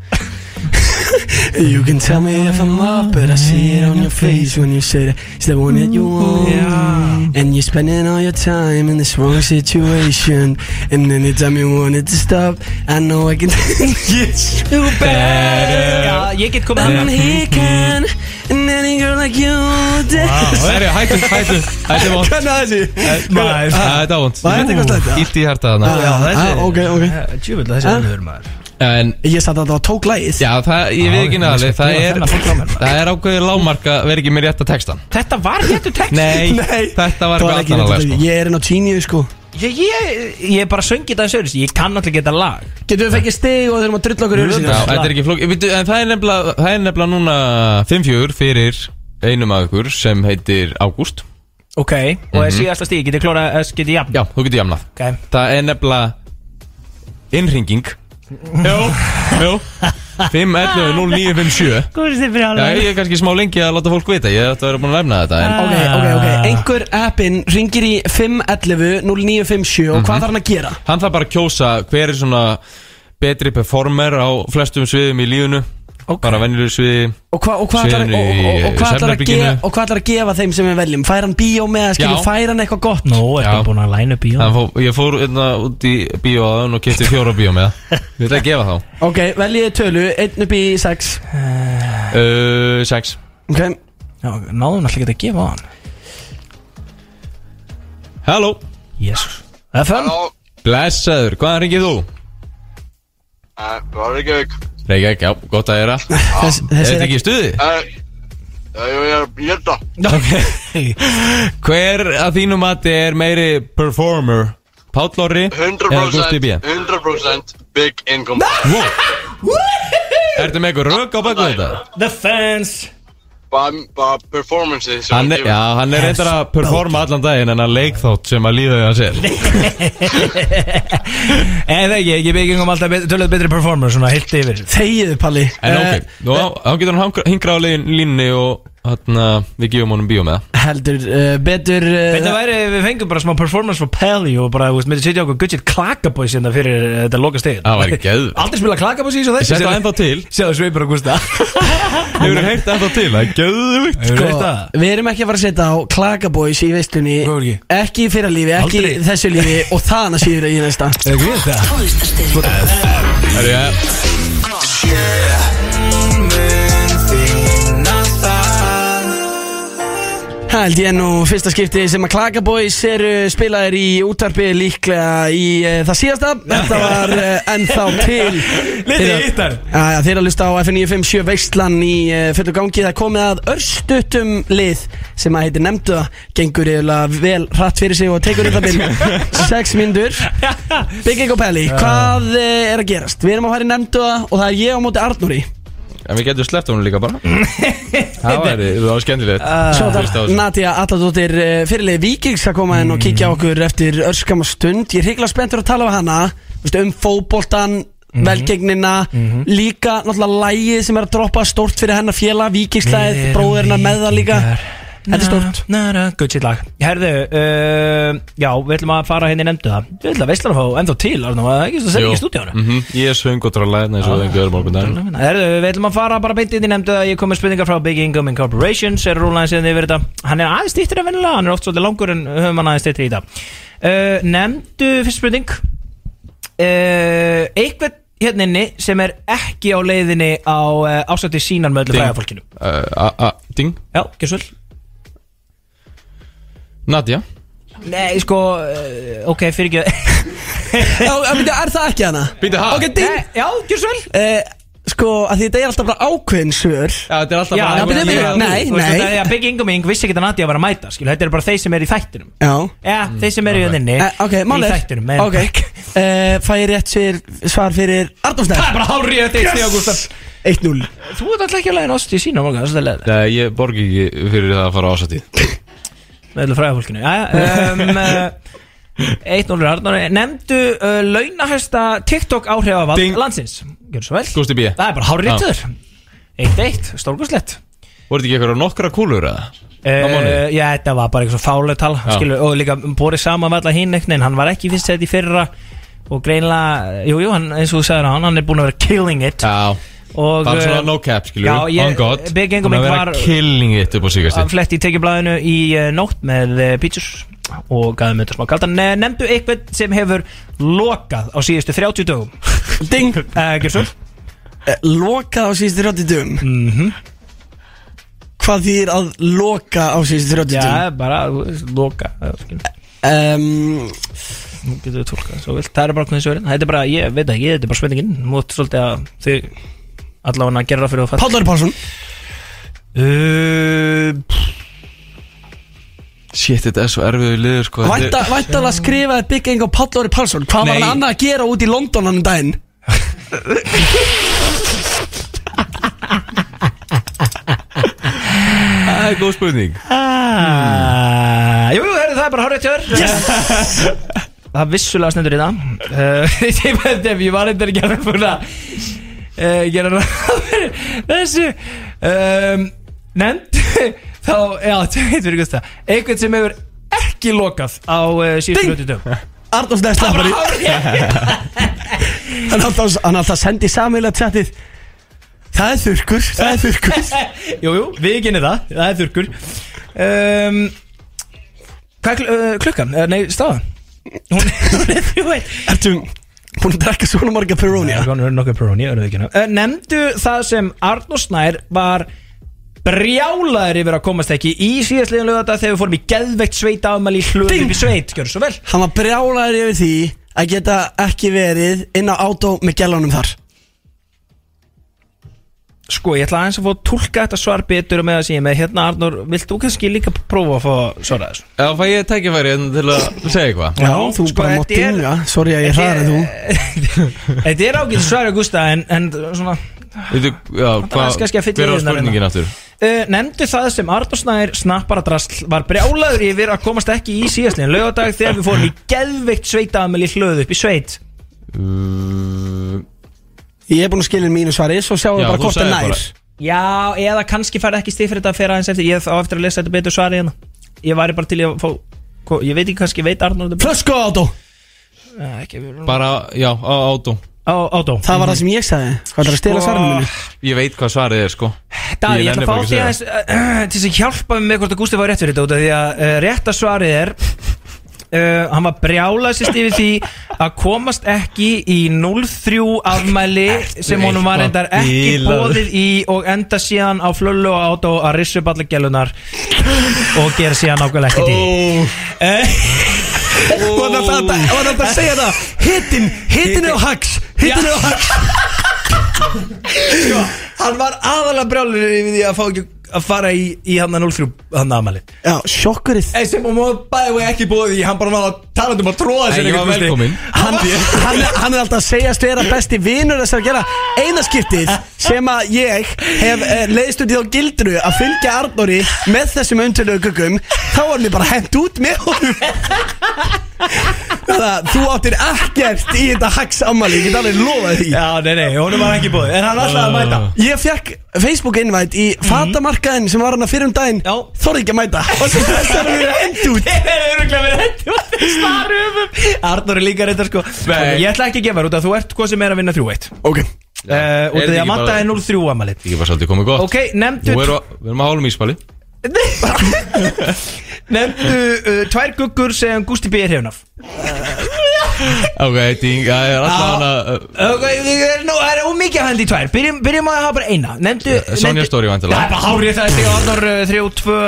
[SPEAKER 4] You can tell me if I'm up But I see it on your face When you say that it's the one that you want And you're spending all your time In this wrong situation And anytime you want it to stop I know I can (laughs) Yes you better
[SPEAKER 2] Já, ég get komið
[SPEAKER 4] I'm
[SPEAKER 2] það.
[SPEAKER 4] he can And any girl like you did
[SPEAKER 6] Herðu, hættu, hættu Þetta er vond
[SPEAKER 4] (laughs) Hvernig að þessi?
[SPEAKER 6] Þetta er vond
[SPEAKER 4] Var þetta eitthvað slæmt, já?
[SPEAKER 2] Ah,
[SPEAKER 6] Ítti í hjarta þarna
[SPEAKER 4] Já, ok, Ah. ok
[SPEAKER 2] Djúvill að þessi
[SPEAKER 4] Ha?
[SPEAKER 2] önnur maður.
[SPEAKER 6] En
[SPEAKER 4] Ég satt að það var tók lægið
[SPEAKER 6] Já, það, ég veit ekki náðalega, það er, það er ákveðið lágmark að vera ekki með rétt að textan
[SPEAKER 2] Þetta var réttu text
[SPEAKER 6] Nei, þetta var
[SPEAKER 4] Það var
[SPEAKER 6] eitthvað
[SPEAKER 4] ekki
[SPEAKER 6] annarlega
[SPEAKER 4] rétt
[SPEAKER 6] sko.
[SPEAKER 4] að- Ég er inn á tíniðu sko
[SPEAKER 2] Ég, ég, ég bara söngi þetta eins og öðru Ég kann náttúrulega geta lag
[SPEAKER 4] Getum við fengið stig og þurfum að drulla okkur
[SPEAKER 6] Já, þetta er ekki flókið, Veitu, en það er nefnilega, það er nefnilega núna 5-4 fyrir einum af ykkur sem heitir Ágúst
[SPEAKER 2] Ok, og það er
[SPEAKER 6] Mhm.
[SPEAKER 2] síðasta stíð, getið klóra, getið jafn
[SPEAKER 6] Já, þú getur jafnað
[SPEAKER 2] Ok.
[SPEAKER 6] Það er nefnilega innringing Jó, jó 5-11-0-9-5-7
[SPEAKER 2] Hvað er þetta
[SPEAKER 6] Já, ég er kannski smá lengi að láta fólk vita, ég ætti að vera búin að læfna þetta en...
[SPEAKER 4] Ok, ok, ok Eh,
[SPEAKER 2] Ah.
[SPEAKER 4] Einhver appin ringir í 511 0957 og
[SPEAKER 2] Mhm.
[SPEAKER 4] hvað þarf hann að gera?
[SPEAKER 6] Hann þarf bara að kjósa hver er svona betri performer á flestum sviðum í lífunu Bara venjuleg sviði
[SPEAKER 4] Og hvað og hvað ætlar
[SPEAKER 6] Síðan
[SPEAKER 4] og- og-
[SPEAKER 6] í
[SPEAKER 4] og- og hvað ætlar að
[SPEAKER 6] svefnherberginu.
[SPEAKER 4] gefa- og hvað ætlar að gefa þeim sem við veljum? Fær hann bíó með að skilja,
[SPEAKER 6] Já.
[SPEAKER 4] fær hann eitthvað gott?
[SPEAKER 2] Nú, er það búin að læna bíó
[SPEAKER 6] Hann fó- Ég fór einna út í bíó aðan og kefti fjóra bíó með það Við ætla að gefa þá
[SPEAKER 4] Ok, veljiði tölu, einn upp í 6
[SPEAKER 2] Eh.
[SPEAKER 6] uh, Sex
[SPEAKER 4] Ok
[SPEAKER 2] Já, náðum alltaf geta að gefa á hann
[SPEAKER 6] Halló
[SPEAKER 2] Jesus FM
[SPEAKER 6] Blessaður, hvaðan ringið þú?
[SPEAKER 17] Það Eh, var Reykjavík
[SPEAKER 6] Reykjavík, já, gott að gera
[SPEAKER 4] Þess,
[SPEAKER 6] Er þetta ekki í stuði?
[SPEAKER 17] Nei, ég er að bjölda
[SPEAKER 6] (laughs) Hver að þínu mati er meiri performer? Páll Orri eða Gusti B?
[SPEAKER 17] 100% 100% big income
[SPEAKER 6] Wow. Ertu með eitthvað rök á baku þetta?
[SPEAKER 2] The fans
[SPEAKER 17] Bara, bara performance
[SPEAKER 6] Hann er, já, hann er reyndar að performa allan daginn en að leikþátt sem að líða við hans er
[SPEAKER 2] (laughs) En það ekki, ég byggingum alltaf bet- tölvöld betri performer Svona heilt yfir
[SPEAKER 4] Þegiðu Palli Eh,
[SPEAKER 6] En ok, nú, þá getur hann hingra á legin, línni og hann, uh, við gefum honum bíó með það
[SPEAKER 4] Heldur uh, betur uh,
[SPEAKER 2] Þetta væri, við fengum bara smá performance for Pelli og bara, þú veist, myndið sitja okkur gudget klakabói sinna fyrir eh, þetta loka stegin
[SPEAKER 6] Það væri geðveikt.
[SPEAKER 2] Aldrei spila klakabói síðan
[SPEAKER 6] Ég seti það ennþá til
[SPEAKER 2] Sjáðu sveipur og gústa
[SPEAKER 6] Hefur þú heyrt ennþá til, það er gæðvikt
[SPEAKER 4] Sko, við erum ekki að fara að setja á klakaboys í veislunni ekki? í fyrra lífi, ekki
[SPEAKER 6] Aldrei.
[SPEAKER 4] í þessu lífi og þaðan að síður í næsta Eh,
[SPEAKER 2] Er ekki við það?
[SPEAKER 6] Herru, ég
[SPEAKER 4] Held ég nú fyrsta skipti sem að klakaboys eru spilaðir í útarpi líklega í uh, það síðasta Þetta var uh, ennþá
[SPEAKER 6] (laughs)
[SPEAKER 4] til
[SPEAKER 2] Litið hittar
[SPEAKER 4] Jæja, Þeir að lusta á FN957 Veistlan í uh, fullu gangi Það er komið að örstutum lið sem að heitir nefndu gengur eiginlega vel hratt fyrir sig og tekur þetta bil 6 mínútur Biggie og Pelli, hvað uh, er að gerast? Við erum að fara í nefndu og það er ég á móti Arnúri
[SPEAKER 6] En við getum sleppt honum líka bara Það væri, það var skemmtilegt
[SPEAKER 4] Svo
[SPEAKER 6] Fyrst á
[SPEAKER 4] þetta
[SPEAKER 6] þessu.
[SPEAKER 4] Ah.
[SPEAKER 6] Mm.
[SPEAKER 4] Nadia Atladóttir uh, fyrirlið Víkings að koma inn og kíkja á okkur eftir örskama stund Ég er hrygglega spenntur að tala við hana þú veist, um fótboltan,
[SPEAKER 6] Mhm.
[SPEAKER 4] velgengnina líka náttúrulega lægið sem er að droppa stórt fyrir hennar fjela Víkingslæð, bróðurna með það líka Þetta er stórt
[SPEAKER 2] Gudget lag Herðu, uh, já, við ætlum að fara henni nefndu það Við ætlum að veistlan að fá ennþá til, Arnum, það er ekki svo sem ekki í stúdíónu
[SPEAKER 6] Mhm, Ég er svöng og trálega eins og þengu öðrum okkur dag
[SPEAKER 2] Herðu, við ætlum að fara bara beint inn í nefndu að ég kom með spurningar frá Big Income Incorporation sem er rúlæðin síðan yfir þetta Hann er aðeins stýttir en vennilega, hann er oft svolítið langur en höfum hann aðeins stýttir í þetta uh, Nefndu fyrst spurning uh, Eitthvað hérna inni sem er ekki á leiðinni á uh, ásætti sínan með öllu
[SPEAKER 6] Ding.
[SPEAKER 2] fræðafólkinu
[SPEAKER 6] Uh, a- a- Ding
[SPEAKER 2] Já, gjörsvöld
[SPEAKER 6] Nadja
[SPEAKER 2] Nei, sko,
[SPEAKER 4] eh,
[SPEAKER 2] uh, ok, fyrir (laughs) ekki
[SPEAKER 4] Já, en bíddu, Er það ekki hana?
[SPEAKER 6] Býtu, ha?
[SPEAKER 4] Ok, ding
[SPEAKER 2] Eh, Já, gjörsvöld
[SPEAKER 4] uh, Sko, að því þetta er alltaf bara ákveðin
[SPEAKER 6] Já,
[SPEAKER 4] svör
[SPEAKER 6] þetta er alltaf
[SPEAKER 2] Já,
[SPEAKER 4] bara-
[SPEAKER 2] byrju, byrju,
[SPEAKER 4] Nei, nei.
[SPEAKER 2] Þú veist, þetta er- Big Income Inc. vissi ekki að Nadia var að mæta skilu, Þetta eru bara þeir sem eru í þættinum
[SPEAKER 4] Já
[SPEAKER 2] Já, þeir sem eru í þenni
[SPEAKER 4] Eh, Ok, málið
[SPEAKER 2] Í
[SPEAKER 4] er-
[SPEAKER 2] þættinum með-
[SPEAKER 4] Ok, uh, fæ ég rétt svar, svar fyrir Arnúrsnæð
[SPEAKER 2] Það er bara hárið þetta eitt stíð, Gustaf
[SPEAKER 4] 1-0
[SPEAKER 2] Þú ert alltaf ekki að læna ást í sína morgun, það er leðið
[SPEAKER 6] Nei, ég borgi ekki fyrir það að fara ásatið
[SPEAKER 2] Með öllu fræðafólkinu Jæja,
[SPEAKER 4] (laughs)
[SPEAKER 2] um, eh, 1-0 Arnar Nemndu uh, launahæsta TikTok áhrifavald
[SPEAKER 6] Ding.
[SPEAKER 2] landsins Gjörðu svo vel
[SPEAKER 6] Gústi B Ah.
[SPEAKER 2] Það er bara hárið réttur 1-1, stórgúslegt
[SPEAKER 6] Voru þetta ekki eitthvað nokkra kúlur eða? Á mánuði?
[SPEAKER 2] Uh, já, þetta var bara eitthvað fálega tal
[SPEAKER 6] Já.
[SPEAKER 2] skilur, og líka borið saman með alla hinn en hann var ekki fyrst sett í fyrra og greinlega, jújú, jú, hann, eins og þú sagðir hann hann er búin að vera killing it
[SPEAKER 6] Já,
[SPEAKER 2] og,
[SPEAKER 6] bara svona
[SPEAKER 2] eh,
[SPEAKER 6] no cap skilur
[SPEAKER 2] já, ég-
[SPEAKER 6] On God
[SPEAKER 2] Big Gang og
[SPEAKER 6] Hún
[SPEAKER 2] mig
[SPEAKER 6] að vera
[SPEAKER 2] var-
[SPEAKER 6] killing it upp á
[SPEAKER 2] hann
[SPEAKER 6] síkast
[SPEAKER 2] fletti í tekjublaðinu í uh, nótt með uh, pítsur og gaði með þetta smá kaldan uh, nefndu eitthvað sem hefur lokað á síðustu 30 dögum
[SPEAKER 4] Ding
[SPEAKER 2] uh, Gjörsson
[SPEAKER 4] Lokað á síðustu 30 dögum mm
[SPEAKER 2] Mhm.
[SPEAKER 4] -hmm. Hvað þýðir að loka á síðustu 30
[SPEAKER 2] Já,
[SPEAKER 4] dögum?
[SPEAKER 2] bara þú veist, loka uh, skilur.
[SPEAKER 4] Um,
[SPEAKER 2] Nú getur við tólkað svo vilt Það er bara hvernig þessu verið Þetta er bara, ég veit það ekki, þetta er bara spurningin Nú ættu svolítið að þið allavega að gera það fyrir að fatta
[SPEAKER 4] Páll Ari Pálsson
[SPEAKER 2] uh,
[SPEAKER 6] Eh, Shit, þetta er svo erfiðu liður sko
[SPEAKER 4] Vænta, væntalega skrifaði Big Eng og Páll Óri Pálsson Hvað var
[SPEAKER 6] Nei.
[SPEAKER 4] hann annað að gera út í London hann um daginn?
[SPEAKER 6] Það er góð spurning
[SPEAKER 2] Ah, Jú, heyrðu, það er bara hárið tjör yes. (laughs) Það vissulega stendur í það uh, (laughs) Ég veit ef ég var eitthvað að gera fyrir að uh, gera ráð fyrir þessu um, Nefnd (laughs) þá, já, (laughs) þetta veit fyrir Gústa einhvern sem hefur ekki lokað á uh, síðustu hlutu dögum
[SPEAKER 4] Arnolds Neist Lampari
[SPEAKER 2] (laughs)
[SPEAKER 4] Hann alltaf, hann alltaf sendi sameilega tjattið Það er þurrkur, það er þurrkur
[SPEAKER 2] (laughs) Jú, jú, við genið það, það er þurrkur um, Hvað er kl uh, klukkan? Eh, Nei, staðan Hún, (laughs) hún er þrjú eitt
[SPEAKER 4] Ertu búin að drekka svona marga Peroni?
[SPEAKER 2] Já, hún er nokkuð Peroni, öruðu ekki uh, Nemndu það sem Arnó Snær var brjálaður yfir að komast ekki í síðastliðin lögata þegar við fórum í geðveikt sveita afmæli í hlöðum upp í sveit, gjörðu svo vel
[SPEAKER 4] Hann var brjálæður yfir því að geta ekki verið inn á átó með gælunum þar
[SPEAKER 2] Sko, ég ætla aðeins að fá að tólka þetta svar betur og með að síðan með hérna Arnór, vilt þú kannski líka prófa að fá að svara þessu?
[SPEAKER 6] Já, fæ ég tækifæri hérna til að segja eitthvað
[SPEAKER 4] Já, þú
[SPEAKER 2] sko,
[SPEAKER 4] bara mátt
[SPEAKER 2] þetta er-
[SPEAKER 4] dinga Sorry að ég
[SPEAKER 2] Þetta
[SPEAKER 4] hraðar
[SPEAKER 2] er-
[SPEAKER 4] en þú
[SPEAKER 2] (laughs) Þetta er ágætt svar Augusta, en, en svona
[SPEAKER 6] Veitu, já,
[SPEAKER 2] aðeins
[SPEAKER 6] hvað,
[SPEAKER 2] kannski að fylla
[SPEAKER 6] hver
[SPEAKER 2] í
[SPEAKER 6] var
[SPEAKER 2] hérna
[SPEAKER 6] spurningin aftur?
[SPEAKER 2] Uh, nefndu það sem Arnór Snær snapparadrasl var brjálaður yfir að komast ekki í síðastliðin lögadag þegar við fórum í geðveikt sveitaðamil í hlöðu upp í sveit
[SPEAKER 4] Ég er búin að skilja mínu svari, svo sjáum við
[SPEAKER 2] Uh. Já,
[SPEAKER 4] bara
[SPEAKER 2] þú
[SPEAKER 4] hvort það
[SPEAKER 2] sagðir
[SPEAKER 4] nær
[SPEAKER 2] bara. Já, eða kannski færði ekki stig fyrir þetta að fyrir aðeins eftir Ég á eftir að lesa þetta betur svarið hérna Ég væri bara til í að fá ko- Ég veit ekki kannski, veit Arnór þetta
[SPEAKER 4] Flösku átó
[SPEAKER 2] Nei, Uh, ekki við-
[SPEAKER 6] Bara, já, á átó
[SPEAKER 2] Á átó
[SPEAKER 4] Það var það sem ég sagði Hvað er að stela
[SPEAKER 2] Sko,
[SPEAKER 4] svarinu mínu?
[SPEAKER 6] Ég veit hvað svarið er sko
[SPEAKER 2] Daði, ég ætla
[SPEAKER 6] nenni bara
[SPEAKER 2] að fá
[SPEAKER 6] ekki
[SPEAKER 2] því
[SPEAKER 6] segja.
[SPEAKER 2] aðeins uh, uh, til þess að hjálpa mig með hvort að Gústi var rétt fyrir þetta út af því að uh, rétta svarið er uh, hann var brjálæsist yfir því að komast ekki í 03 afmæli sem honum var endar ekki
[SPEAKER 12] bilaður?
[SPEAKER 2] bóðið í og enda síðan á flölu og át og að rissu upp allir gælunar og gera síðan nákvæmlega ekkert í Eh,
[SPEAKER 4] Og hann átti að- og hann átti að segja það Hittin, hittin er á hax Hittin er á hax
[SPEAKER 2] Sko, hann var aðalega brjálur yfir því að fá ekki að fara í, í hann 03 hann afmæli
[SPEAKER 4] Já, sjokkurinn
[SPEAKER 2] Eða sem hún bæði og ekki bóði í, hann bara var talandi um að tróða sér
[SPEAKER 6] Nei, ég var
[SPEAKER 2] einhvern veginn.
[SPEAKER 6] velkomin.
[SPEAKER 4] hann, hann, er- hann er alltaf að segjast vera besti vinur þessar að gera eina skiptið sem að ég hef eh, leiðst út í þá gildru að fylgja Arnóri með þessum undirlegu guggum þá var mér bara hent út með honum þannig að þú áttir ekkert í þetta hax ammali ég get alveg lofað því
[SPEAKER 2] Já, nei, nei, honum var ekki bóðið En hann ætlaði að (laughs) mæta
[SPEAKER 4] Ég fekk Facebook innvætt í
[SPEAKER 2] Mhm.
[SPEAKER 4] fatamarkaðin sem var hann að fyrir um daginn Já. Þorði ekki að
[SPEAKER 2] (laughs)
[SPEAKER 4] mæta Og svo þessar eru hendt út
[SPEAKER 2] Það er öruglega verið hendur og þeir staru um um Arnur er líka reyndar sko
[SPEAKER 6] Nei.
[SPEAKER 2] Ég ætla ekki að gefa þér út af þú ert hvað sem er að vinna 3-1
[SPEAKER 4] Ok
[SPEAKER 2] Uh, út af
[SPEAKER 6] Er
[SPEAKER 2] því
[SPEAKER 6] þetta
[SPEAKER 2] að
[SPEAKER 6] ekki
[SPEAKER 2] matta
[SPEAKER 6] bara-
[SPEAKER 2] er 0-3 amali
[SPEAKER 6] Ég var svolítið komið gott
[SPEAKER 2] Ok, nefndu
[SPEAKER 6] Nú erum við- við erum að hálum íspali
[SPEAKER 2] Nefndu uh, tvær guggur sem Gusti B. er hefn af
[SPEAKER 6] Ok, ding, já, ég er alltaf eh, hana
[SPEAKER 2] Ok, ég er nú- það er ómikið að hendi í tvær Byrjum, byrjum að hafa bara eina Nefndu
[SPEAKER 6] Sonja
[SPEAKER 2] nefndu-
[SPEAKER 6] Story vantilega
[SPEAKER 2] Það er bara hárið það er stig á Arnur 3-2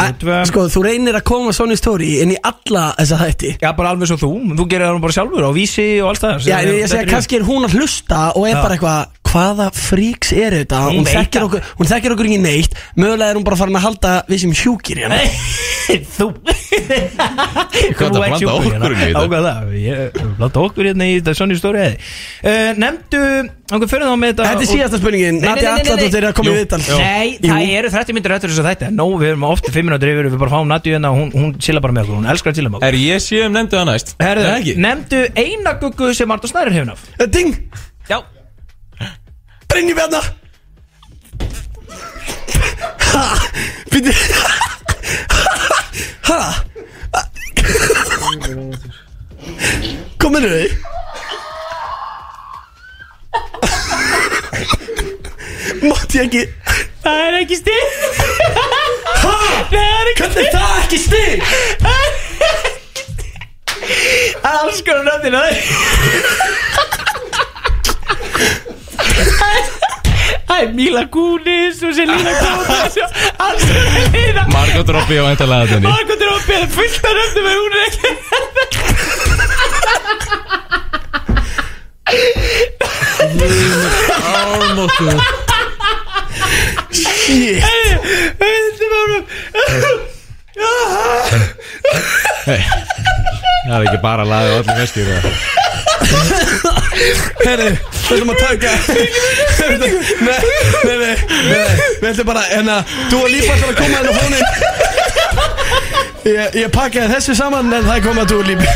[SPEAKER 2] 3-2
[SPEAKER 4] Sko, þú reynir að koma Sony Story inn í alla þessa þætti
[SPEAKER 2] Já, bara alveg svo þú, þú gerir það nú bara sjálfur á vísi og allt það
[SPEAKER 4] Já, en ég segja, kannski er hún að hlusta og er
[SPEAKER 2] Já.
[SPEAKER 4] bara eitthvað, hvaða fríks er þetta?
[SPEAKER 2] Hún
[SPEAKER 4] Hún,
[SPEAKER 2] veit
[SPEAKER 4] þekkir
[SPEAKER 2] það.
[SPEAKER 4] okkur, hún þekkir okkur ekki neitt, mögulega er hún bara farin að halda við sem hjúkir hérna.
[SPEAKER 2] Þú
[SPEAKER 6] Hvað er
[SPEAKER 2] Þú ert
[SPEAKER 6] að blanda okkur í
[SPEAKER 2] sjúkur hérna.
[SPEAKER 6] þetta?
[SPEAKER 2] Ákvað það, ég blanda okkur hérna í þetta Sonny Story eði uh, Nemndu, okkur fyrir þá með þetta
[SPEAKER 4] Þetta er síðasta spurningin, Nadja Atladóttir er að koma í viðtal.
[SPEAKER 2] Nei,
[SPEAKER 4] Jú.
[SPEAKER 2] það eru 30 myndir öttur þess að þetta Nó, við erum ofta 5 minútur yfir, við bara fáum Nadju hérna Hún, hún chilla bara með okkur, hún elskar að chilla með okkur
[SPEAKER 6] Er ég síðan nefndu það næst? Nei,
[SPEAKER 2] Herðu,
[SPEAKER 6] ekki
[SPEAKER 2] nemndu eina guggu sem Artur Snærir hefur náf
[SPEAKER 4] Eh, Ding!
[SPEAKER 2] Já.
[SPEAKER 4] Brynjum hérna! Ha! Býttu... Ha! Kominu þið? Mátti ég ekki...
[SPEAKER 2] Það er ekki stig
[SPEAKER 4] Ha!
[SPEAKER 2] Það er ekki
[SPEAKER 4] Hvernig er það ekki stig?
[SPEAKER 2] Alls konar nöfnir að Það er Mila Kunis og sér Lina Kótas og alls konar Lina
[SPEAKER 6] Margot Robbie á endalega þenni
[SPEAKER 2] Margot Robbie er fullt af nöfnum en hún er ekki
[SPEAKER 4] nokkuð Shit
[SPEAKER 6] Það er ekki bara að laga allir veskir
[SPEAKER 4] Herri, við ætlum að taka Nei, nei, nei, nei Við ætlum bara, hérna Þú og Lípa ætlum að koma hérna á fónin
[SPEAKER 2] (laughs)
[SPEAKER 4] ég, ég pakkaði þessu saman En það kom að þú og Lípa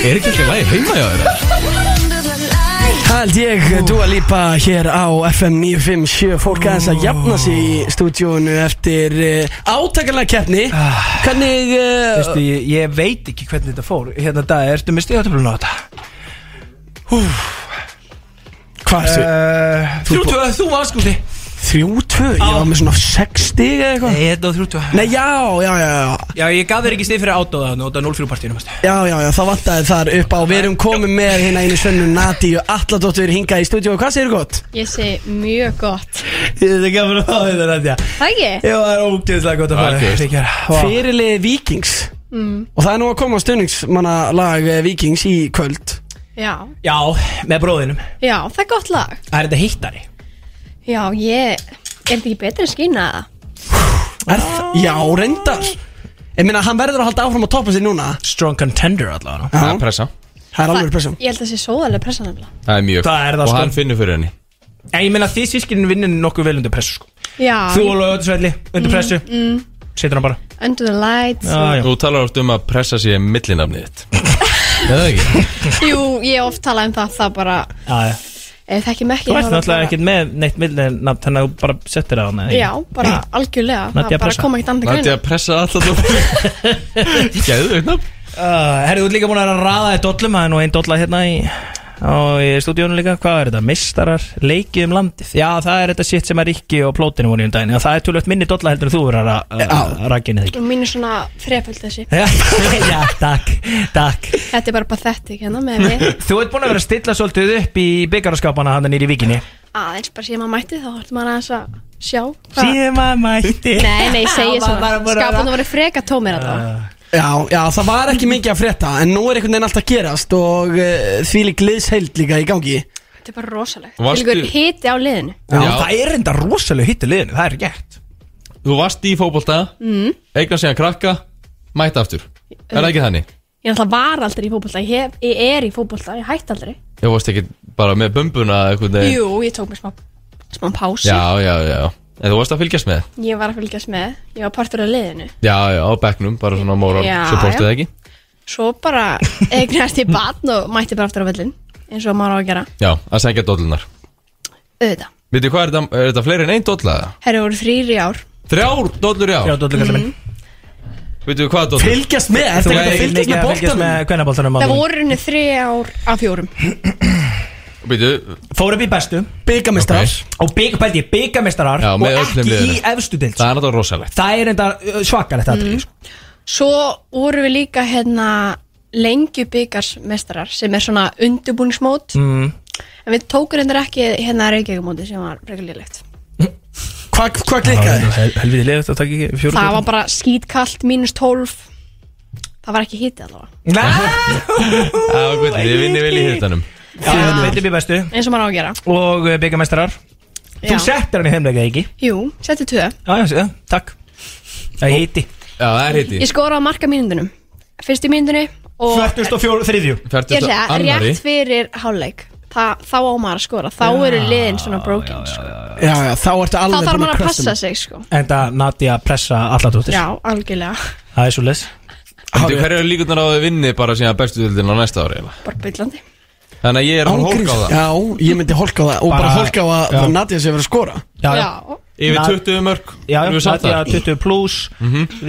[SPEAKER 6] Er ekki alltaf lægi heima hjá þér?
[SPEAKER 4] Hald ég, Dua Lipa hér á FM 957 Fólk aðeins að jafna sig í stúdíónu eftir uh, átakalega keppni
[SPEAKER 2] Ah.
[SPEAKER 4] Hvernig uh,
[SPEAKER 2] Veistu, ég, ég veit ekki hvernig þetta fór Hérna dag, ertu með stíðatöflun á þetta? Húf
[SPEAKER 4] Hvað ertu?
[SPEAKER 2] Uh,
[SPEAKER 4] Þú
[SPEAKER 2] þrjú tvö, þú varst skúti
[SPEAKER 4] 3-2, ég var með svona 6 stig eða eitthvað
[SPEAKER 2] Ah. Nei, þetta var 3-2
[SPEAKER 4] Nei, já, já, já, já
[SPEAKER 2] Já, ég gaf þér ekki stið fyrir átóða þannig og þetta 0-3 partíinu, mástu
[SPEAKER 4] Já, já, já, það vantaði þar upp á Við erum komið með hérna einu sönnu Natíu Alladóttur hingað í stúdíó Hvað segir gott?
[SPEAKER 5] Ég segi mjög gott
[SPEAKER 2] Þetta er gaman að hafa þetta, Nadja
[SPEAKER 5] Það ekki?
[SPEAKER 2] Já, það er ógeðslega gott að fara
[SPEAKER 4] Algjört.
[SPEAKER 2] Ríkjar. Vá.
[SPEAKER 4] Fyrirlið Vikings
[SPEAKER 5] Mm,
[SPEAKER 4] Og það er nú að koma stöðningsmannalag eh, Vikings í kvöld
[SPEAKER 5] já,
[SPEAKER 2] Já, með bróðinum
[SPEAKER 5] já, það er gott lag
[SPEAKER 2] Það er þetta hittari
[SPEAKER 5] Já, ég, er þetta ekki betur en skýna það?
[SPEAKER 4] Er það? Já, reyndar Ég meina, hann verður að halda áfram að toppa sig núna
[SPEAKER 2] Strong contender allavega
[SPEAKER 6] Það er pressa
[SPEAKER 4] Það er alveg pressa
[SPEAKER 5] Ég held að það sé sóðalega pressa nefnilega
[SPEAKER 6] Það er mjög
[SPEAKER 2] Það er það,
[SPEAKER 6] Og
[SPEAKER 2] sko.
[SPEAKER 6] hann finnur fyrir henni
[SPEAKER 2] En ég meina þið sískinin vinnir nokkuð vel undir pressu sko.
[SPEAKER 5] Já
[SPEAKER 2] Þú og Lóðu Svelli undir pressu
[SPEAKER 5] mm,
[SPEAKER 2] Setur hann bara
[SPEAKER 5] Under the lights
[SPEAKER 6] Þú talar oft um að pressa sér millinafnið þitt Eða ekki?
[SPEAKER 5] Jú, ég hef oft talað um það, það bara
[SPEAKER 2] Já, já
[SPEAKER 5] Ef það ekki mekki
[SPEAKER 2] Þú ert náttúrulega ekkert með neitt millinafn Þannig að þú bara settir það á hana
[SPEAKER 5] Já, bara algjörlega Það bara kom ekkert andri greina
[SPEAKER 6] pressa alltaf
[SPEAKER 2] (laughs)
[SPEAKER 6] Gæðu þau
[SPEAKER 2] Uh, Herri, þú ert líka búin að vera að raða í dollum Það er nú einn dolla hérna í, á, í stúdíónu líka Hvað er þetta? Mistarar leikið um landið Já, það er þetta sitt sem er Rikki og plótinu voru í um daginn Já, Það er tölvöld minni dolla heldur en þú verður að- að rakkinni þig
[SPEAKER 5] Og mín er svona þreföld þessi
[SPEAKER 2] Já, (laughs) já, takk, takk
[SPEAKER 5] Þetta er bara pathetic hérna
[SPEAKER 2] (laughs)
[SPEAKER 5] með mig
[SPEAKER 2] Þú ert búin að vera að stilla svolítið upp í byggaraskapana hann nýri í vikinni
[SPEAKER 5] Aðeins bara síðan maður mætti þá hortum maður aðeins að sjá hvað-
[SPEAKER 2] Síðan maður mætti
[SPEAKER 5] Nei, nei, ég segi
[SPEAKER 4] Já, maður
[SPEAKER 5] svona
[SPEAKER 4] bara búin að
[SPEAKER 5] Skapunum voru freka tómir alltaf
[SPEAKER 4] Já, já, það var ekki mikið að frétta En nú er einhvern veginn allt að gerast Og uh, því lík liðsheild líka í gangi
[SPEAKER 5] Þetta er bara rosalegt
[SPEAKER 6] Varstu-
[SPEAKER 5] Tilgur hiti á liðinu
[SPEAKER 6] Já, það
[SPEAKER 2] er enda rosalega hitt í liðinu, það er gert
[SPEAKER 6] Þú varst í fótbolta
[SPEAKER 5] mm.
[SPEAKER 6] eignar síðan krakka, mæta aftur Er það ekki þannig?
[SPEAKER 5] Ég náttúrulega var aldrei í fótbolta ég, hef, ég er í fótbolta, ég hætti aldrei
[SPEAKER 6] Ég varst ekki bara með bumbuna eða einhvern veginn?
[SPEAKER 5] Jú, ég tók mér smá, smá pási
[SPEAKER 6] Já, já, já En þú varst að fylgjast með?
[SPEAKER 5] Ég var að fylgjast með, ég var partur af liðinu
[SPEAKER 6] Já, já, á bekknum, bara svona moral
[SPEAKER 5] Já,
[SPEAKER 6] supportið
[SPEAKER 5] já.
[SPEAKER 6] ekki
[SPEAKER 5] Svo bara eignast ég batn og mætti bara aftur á völlin eins og maður á að gera
[SPEAKER 6] Já, að segja dollunar
[SPEAKER 5] auðvitað
[SPEAKER 6] Vitið hvað, er þetta, er þetta fleiri en einn dolla? eða?
[SPEAKER 5] Herra voru þrýri ár
[SPEAKER 6] Þrjár dollur í ár?
[SPEAKER 2] Þrjár dollur, kallar minn.
[SPEAKER 6] Vitið þið hvað dollur?
[SPEAKER 4] Fylgjast með,
[SPEAKER 2] Þú er mikið að fylgjast með kvennaboltanum
[SPEAKER 5] Það voru henni þrý ár af fjórum
[SPEAKER 6] Vitið,
[SPEAKER 2] Fóru upp í bestu
[SPEAKER 4] Byggamistrar
[SPEAKER 2] Og bygg, pældi, ég, byggamistrar
[SPEAKER 6] Já,
[SPEAKER 2] Og
[SPEAKER 6] með
[SPEAKER 2] ekki
[SPEAKER 6] öllum liðinu.
[SPEAKER 2] í efstu dild
[SPEAKER 6] það er náttúrulega rosalegt
[SPEAKER 2] Það er enda uh, svakalegt aðrið mm.
[SPEAKER 5] Svo voru við líka hérna lengju byggarsmestarar sem er svona undurbúningsmót
[SPEAKER 2] mm.
[SPEAKER 5] en við tókum hendur ekki hérna reykjagumóti sem var frekar lélegt
[SPEAKER 4] Hvað hva klikkaði?
[SPEAKER 2] Hel, Helviti liðið þetta takk ekki fjóru
[SPEAKER 5] Það var (laughs) bara skítkallt, mínus 12 Það var ekki hítið allavega
[SPEAKER 6] Já, vitið, þið vinnið vel í hittanum
[SPEAKER 2] Þið veitum í bestu
[SPEAKER 5] eins og maður á að gera
[SPEAKER 2] Og uh, byggamistrar
[SPEAKER 5] Já.
[SPEAKER 2] Þú settir hann í þeimleika ekki
[SPEAKER 5] Jú, setti tvö
[SPEAKER 2] Já, já, já, takk Það er hitti
[SPEAKER 6] Já, það er
[SPEAKER 5] Ég skoraði á marka mínundunum Fyrst í mínundinu og
[SPEAKER 2] 44 þriðju
[SPEAKER 5] Ég ætla að segja, rétt fyrir hálfleik Þa, Þá á maður að skora, þá eru liðin svona broken sko.
[SPEAKER 4] Já, já, þá ertu
[SPEAKER 5] Þá
[SPEAKER 4] alveg
[SPEAKER 5] þarf
[SPEAKER 4] búin
[SPEAKER 5] maður að
[SPEAKER 4] crush
[SPEAKER 5] passa
[SPEAKER 4] them.
[SPEAKER 5] sig sko.
[SPEAKER 2] Enda Nadia pressa alladóttir
[SPEAKER 5] Já, algjörlega,
[SPEAKER 2] Það er svo les
[SPEAKER 6] Vitið hverju eru líkurnar á að þið vinni bara síðan bestu dildin á næsta ári eiginlega?
[SPEAKER 5] bara byllandi
[SPEAKER 6] Þannig að ég er hann hólk á
[SPEAKER 4] Ángríns-
[SPEAKER 6] það
[SPEAKER 4] Já, ég myndi hólka á það Og bara
[SPEAKER 6] Bara-
[SPEAKER 4] hólka á að
[SPEAKER 6] já.
[SPEAKER 4] Nadia sé verið að skora
[SPEAKER 2] Já, já.
[SPEAKER 6] Yfir
[SPEAKER 2] Na-
[SPEAKER 6] 20 mörg
[SPEAKER 2] Já, já,
[SPEAKER 6] Erum við Mhm. sátt
[SPEAKER 2] Nadia
[SPEAKER 6] þar?
[SPEAKER 2] 20 plus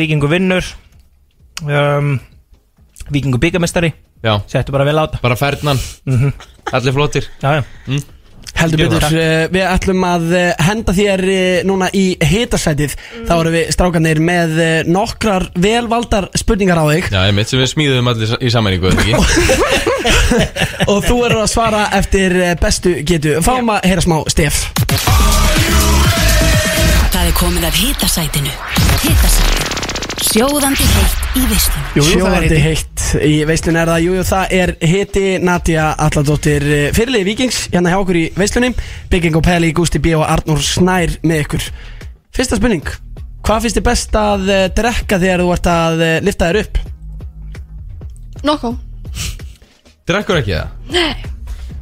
[SPEAKER 2] Víkingu vinnur um, Víkingu byggamistari
[SPEAKER 6] Já
[SPEAKER 2] Settu bara vel á þetta Mhm.
[SPEAKER 6] Bara ferðnan Allir flottir
[SPEAKER 2] Já, já
[SPEAKER 6] mm.
[SPEAKER 4] Heldur
[SPEAKER 6] Gerðu
[SPEAKER 4] betur,
[SPEAKER 6] það.
[SPEAKER 4] eh, við ætlum að eh, henda þér eh, núna í hitasætið Þá erum við strákanir með eh, nokkrar velvaldar spurningar á þig
[SPEAKER 6] Já, einmitt sem við smíðum allir í sammenningu eða ekki?
[SPEAKER 4] Og þú eru að svara eftir eh, bestu getu Fáum að heyra smá stef
[SPEAKER 13] Það er komið af hitasætinu Hitasætinu Sjóðandi heitt í veislunni
[SPEAKER 4] Jú, Sjóðandi heitt í veislun er það Jú, jú, það er hiti Nadia Alladóttir fyrirlið Víkings hérna hjá okkur í veislunni Bygging og Peli, Gústi B og Arnur Snær með ykkur Fyrsta spurning Hvað finnst þið best að eh, drekka þegar þú ert að eh, lifta þér upp?
[SPEAKER 5] Nokko
[SPEAKER 6] Drekkur ekki það?
[SPEAKER 5] Nei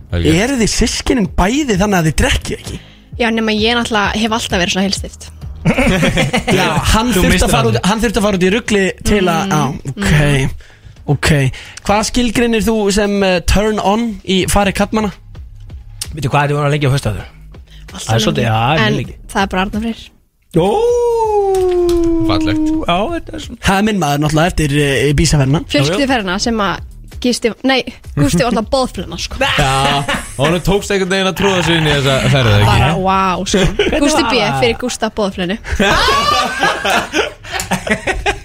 [SPEAKER 6] Helgi.
[SPEAKER 4] Eru þið sískinin bæði þannig að þið drekkið ekki?
[SPEAKER 5] Já, nema ég náttúrulega hef alltaf verið svona heilstift
[SPEAKER 4] Já, hann
[SPEAKER 2] Þú
[SPEAKER 4] þurfti
[SPEAKER 2] misstir
[SPEAKER 4] að fara
[SPEAKER 2] hann.
[SPEAKER 4] út, hann þurfti að fara út í ruggli til að, á, ok, ok Hvað skilgrinir þú sem eh, turn on í fari kattmanna?
[SPEAKER 2] Veitu hvað er þið voru að lengja á höstaður? Það er svolítið, já, ég
[SPEAKER 5] En
[SPEAKER 2] lengi
[SPEAKER 5] það er bara Arnafrir
[SPEAKER 6] Fallegt
[SPEAKER 2] Já, þetta er svona
[SPEAKER 4] Það er minn maður náttúrulega eftir e, bísaferna
[SPEAKER 5] Fjölskylduferðina sem að Gisti, nei, Gusti var alltaf boðflöna sko
[SPEAKER 6] Já, og hann tókst einhvern veginn að tróða sig inn í þessa ferð eða
[SPEAKER 5] Bara,
[SPEAKER 6] ekki
[SPEAKER 5] wow,
[SPEAKER 2] (laughs)
[SPEAKER 5] sko Gusti
[SPEAKER 4] var
[SPEAKER 5] B
[SPEAKER 4] það?
[SPEAKER 5] fyrir Gusta boðflönu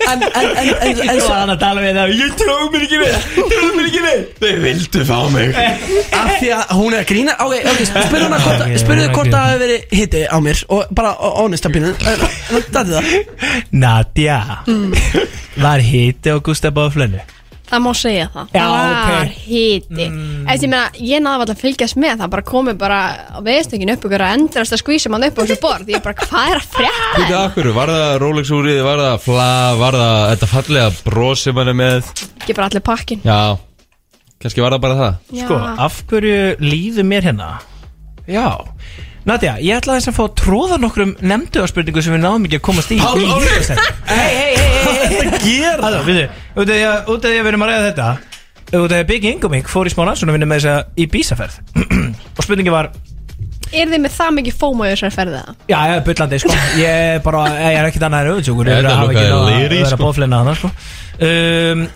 [SPEAKER 4] En, en, en, en, en
[SPEAKER 2] Svo
[SPEAKER 4] svo
[SPEAKER 2] hann að tala við það Ég tróð mér ekki við Tróð mér ekki við
[SPEAKER 6] Þau vildu fá mig
[SPEAKER 4] af því að hún er að grína Ok, ok, spurðu hana hvort,
[SPEAKER 2] Ok,
[SPEAKER 4] okay, spurðu
[SPEAKER 2] ok.
[SPEAKER 4] hvort að það hefur verið hitti á mér og bara honest að býna Þetta er það
[SPEAKER 2] Nadja (laughs) Var hiti á Gustaf Báflönu
[SPEAKER 5] Það má segja það
[SPEAKER 2] Já,
[SPEAKER 5] Það var
[SPEAKER 2] ok. Mm.
[SPEAKER 5] hiti Eftir ég meina, ég náði alltaf að fylgjast með Það bara komið bara á veðstöngin upp Ykkur að endrast að skvísa mann upp á þessu borð Ég bara, hvað er að frétta?
[SPEAKER 6] Hvitað akkur, var það Rolex úrið, var það fla, var það þetta fallega bros sem hann er með
[SPEAKER 5] Ekki bara allir pakkin
[SPEAKER 6] Já, kannski var það bara það
[SPEAKER 2] Sko, af hverju líður mér hérna? Já Nadja, ég ætla þess að fá að tróða nokkrum nefnduðarspurningu sem við náðum ekki að komast í
[SPEAKER 6] Pál,
[SPEAKER 2] í
[SPEAKER 6] Óli!
[SPEAKER 2] Hei, hei, hei, hei Hvað er að gera? Það, við þau, út af því að- út af því að við erum að ræða þetta Út af því að Biggie Ingoming fór í smá rannsónavinni með þessa í bísaferð (clears throat) Og spurningi var,
[SPEAKER 5] Er þið með það mikið fóma í þessari ferðið það?
[SPEAKER 2] já, ég er byllandi, sko Ég er bara, ég er ekkit annað en öfundsjúkur
[SPEAKER 6] Þetta
[SPEAKER 2] að hafa ekki
[SPEAKER 6] lúkaði
[SPEAKER 2] náð að
[SPEAKER 6] lyri,
[SPEAKER 2] vera
[SPEAKER 6] sko.
[SPEAKER 2] bóflina hana, sko um,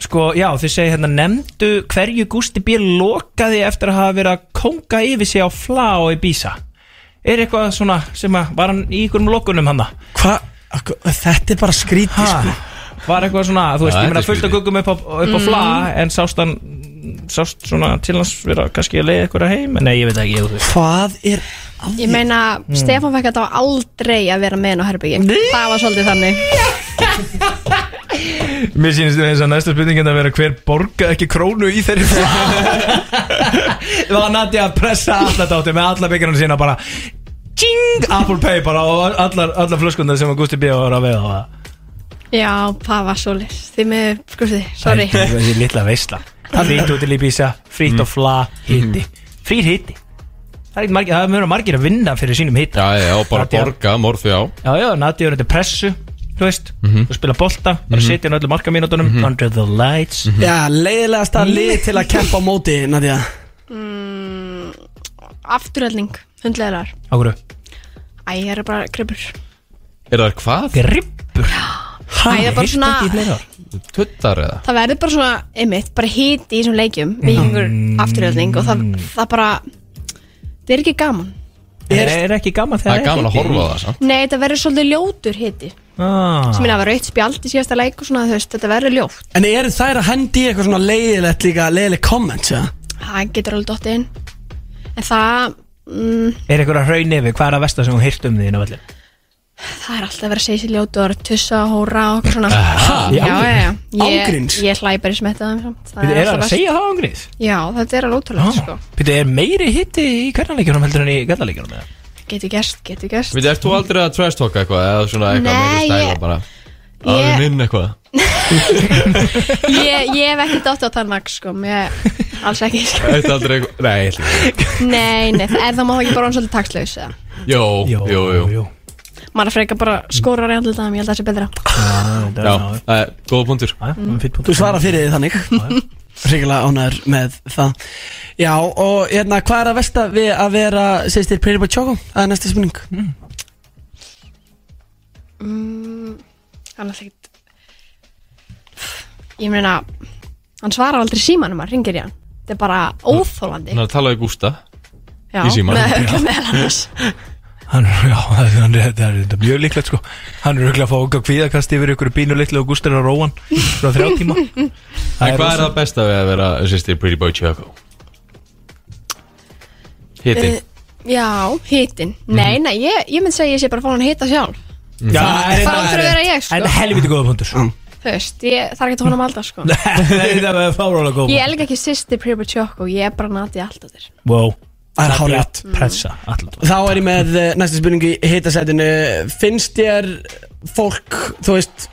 [SPEAKER 2] Sko, já, þið segi hérna Nefndu hverju Gústi B. lokaði eftir að hafa verið að konga yfir sig á flá í Bísa Er eitthvað svona sem að var hann í ykkurum lokunum hann
[SPEAKER 4] Hva? Akkur- Þetta er bara skríti sko
[SPEAKER 2] Var eitthvað svona, þú
[SPEAKER 6] Já,
[SPEAKER 2] veist, ég
[SPEAKER 6] þetta
[SPEAKER 2] meina
[SPEAKER 6] er
[SPEAKER 2] fullt að
[SPEAKER 6] skrítið.
[SPEAKER 2] guggum upp á, upp á flá En sást hann, sást svona til hans vera kannski að leiða ykkur að heim Nei, ég veit það ekki, ég veit
[SPEAKER 4] Hvað er að
[SPEAKER 5] Ég meina, Stefán fekk þetta á aldrei að vera með henn á herbyggi Það var svolítið þannig
[SPEAKER 2] Mér sýnist þess að næsta spurningin að vera hver borga ekki krónu í þeirri flá Það (laughs) var Nadja að pressa alla dátum með alla byggjarnar sína bara Tjing, Apple Pay bara og allar, allar flöskundar sem að Gusti B. var að veða á það
[SPEAKER 5] Já, það var svolítið Þið með, skusti, sorry
[SPEAKER 2] Það er þessi litla veisla Frýtt út til Íbísa, frýtt og flá, hitti Frýr hitti Það er ekki margir, það er margir að vinna fyrir sínum hitta
[SPEAKER 6] Já, já, og bara
[SPEAKER 2] Nadja.
[SPEAKER 6] borga, morfi á
[SPEAKER 2] Já, já, Nati er undir pressu Þú veist,
[SPEAKER 6] Mhm.
[SPEAKER 2] þú spila bolta, bara setja hann öllum markamínútonum Under the lights
[SPEAKER 6] Mhm.
[SPEAKER 4] Já, leiðilegasta
[SPEAKER 2] Mm.
[SPEAKER 4] lið til að kempa á móti, Nadia
[SPEAKER 5] Mm, Afturhaldning, hundlegar
[SPEAKER 2] Ákvörðu,
[SPEAKER 5] Æ, ég er bara krippur
[SPEAKER 6] Er það hvað?
[SPEAKER 2] grippur
[SPEAKER 5] Æ, það er bara svona
[SPEAKER 6] Tuttar eða?
[SPEAKER 5] það verður bara svona, einmitt, bara hiti í þessum leikjum vikingur mm. afturhjöldning og það, það bara það er ekki gaman
[SPEAKER 2] Er, (laughs) er ekki gaman þegar
[SPEAKER 6] Það er gaman að horfa á það samt
[SPEAKER 5] nei, þetta verður svolítið ljótur hiti
[SPEAKER 2] ah.
[SPEAKER 5] sem minna að vera aukt spjald í síðasta leik og svona þú veist, þetta verður ljótt
[SPEAKER 4] En eru þær að hendi í eitthvað svona leiðilegt líka, leiðileg comment, ja?
[SPEAKER 5] það getur alveg dottið inn en það, mm,
[SPEAKER 2] Er eitthvað að hraun yfir, hvað er að versta sem hún hýrt um því inn á völlin?
[SPEAKER 5] það er alltaf að vera að segja sér ljótu og vera að tussa og hóra og eitthvað svona
[SPEAKER 2] í
[SPEAKER 5] já, já, já, ég,
[SPEAKER 4] Ángríns?
[SPEAKER 5] ég hlæ bara í smetta það,
[SPEAKER 2] Er, er það
[SPEAKER 5] alltaf
[SPEAKER 2] að
[SPEAKER 5] verst.
[SPEAKER 2] segja það ángrið?
[SPEAKER 5] já, þetta er alveg ótrúlega sko.
[SPEAKER 2] Býtu, er meiri hitti í hverjanleikjunum heldur en í gallaleikjunum? eða?
[SPEAKER 5] getur gerst, getur gerst
[SPEAKER 6] Við ert þú aldrei að trash talka eitthvað eða svona eitthvað
[SPEAKER 5] Nei,
[SPEAKER 6] með stæla
[SPEAKER 5] ég-
[SPEAKER 6] bara Það er
[SPEAKER 5] ég-
[SPEAKER 6] minn eitthvað
[SPEAKER 5] ég, ég hef ekki dottið á þann vagn sko, mér, alls ekki
[SPEAKER 6] (laughs)
[SPEAKER 5] sko.
[SPEAKER 6] Eitt aldrei eitthvað Nei, ég ætla ekki
[SPEAKER 5] Nei, nei, það er það maður ekki bara hann svolítið takslaus eða?
[SPEAKER 6] Jó, jú, jú
[SPEAKER 5] Maður er frekar bara skórar í andlita ég held að það sé betra
[SPEAKER 6] Já, það er góða punktur
[SPEAKER 2] Ah,
[SPEAKER 4] Þú svara fyrir því þannig Ríkilega ánæður með það Já, og hérna, hvað er að versta við að vera, segist þér, Pretty Boy Choco? Það er næsta spurning
[SPEAKER 5] mm, Hann er ekkert Ég meina Hann svarar aldrei símanum að ringir í hann Þetta er bara óþólandi
[SPEAKER 6] Þannig að tala við Gústa
[SPEAKER 5] Já,
[SPEAKER 6] í símanum.
[SPEAKER 5] með, með
[SPEAKER 6] (laughs)
[SPEAKER 5] annars
[SPEAKER 2] Hann, já, (laughs) það hann er, það er, það er mjög líklegt sko Hann er auðvitað að fá okkar kvíðakast yfir ykkur bínu litlu og gústur að róan frá þrjá tíma (laughs)
[SPEAKER 6] En hvað er það besta við að vera sýstir Pretty Boy Choco? Hitti Mhm.
[SPEAKER 5] Eh, Já, hitin Nei, nei, ég, ég mynd segja að ég sé bara að fá hann að hita sjálf
[SPEAKER 2] Já, en-
[SPEAKER 5] Það áttur að vera ég, sko.
[SPEAKER 2] En helviti góða punktur
[SPEAKER 5] Þú veist, ég þarf ekki að honum aldar
[SPEAKER 6] (laughs)
[SPEAKER 5] sko
[SPEAKER 2] (laughs) Það var fárálega góð
[SPEAKER 5] Ég elga ekki sýsti Pribu Tjók og ég er bara nati allt að þér
[SPEAKER 2] Wow
[SPEAKER 4] Það er
[SPEAKER 2] hálfrétt Pressa allan
[SPEAKER 4] Þá er ég með eh, næstu spurningu í hitasætinu Finnst þér fólk, þú veist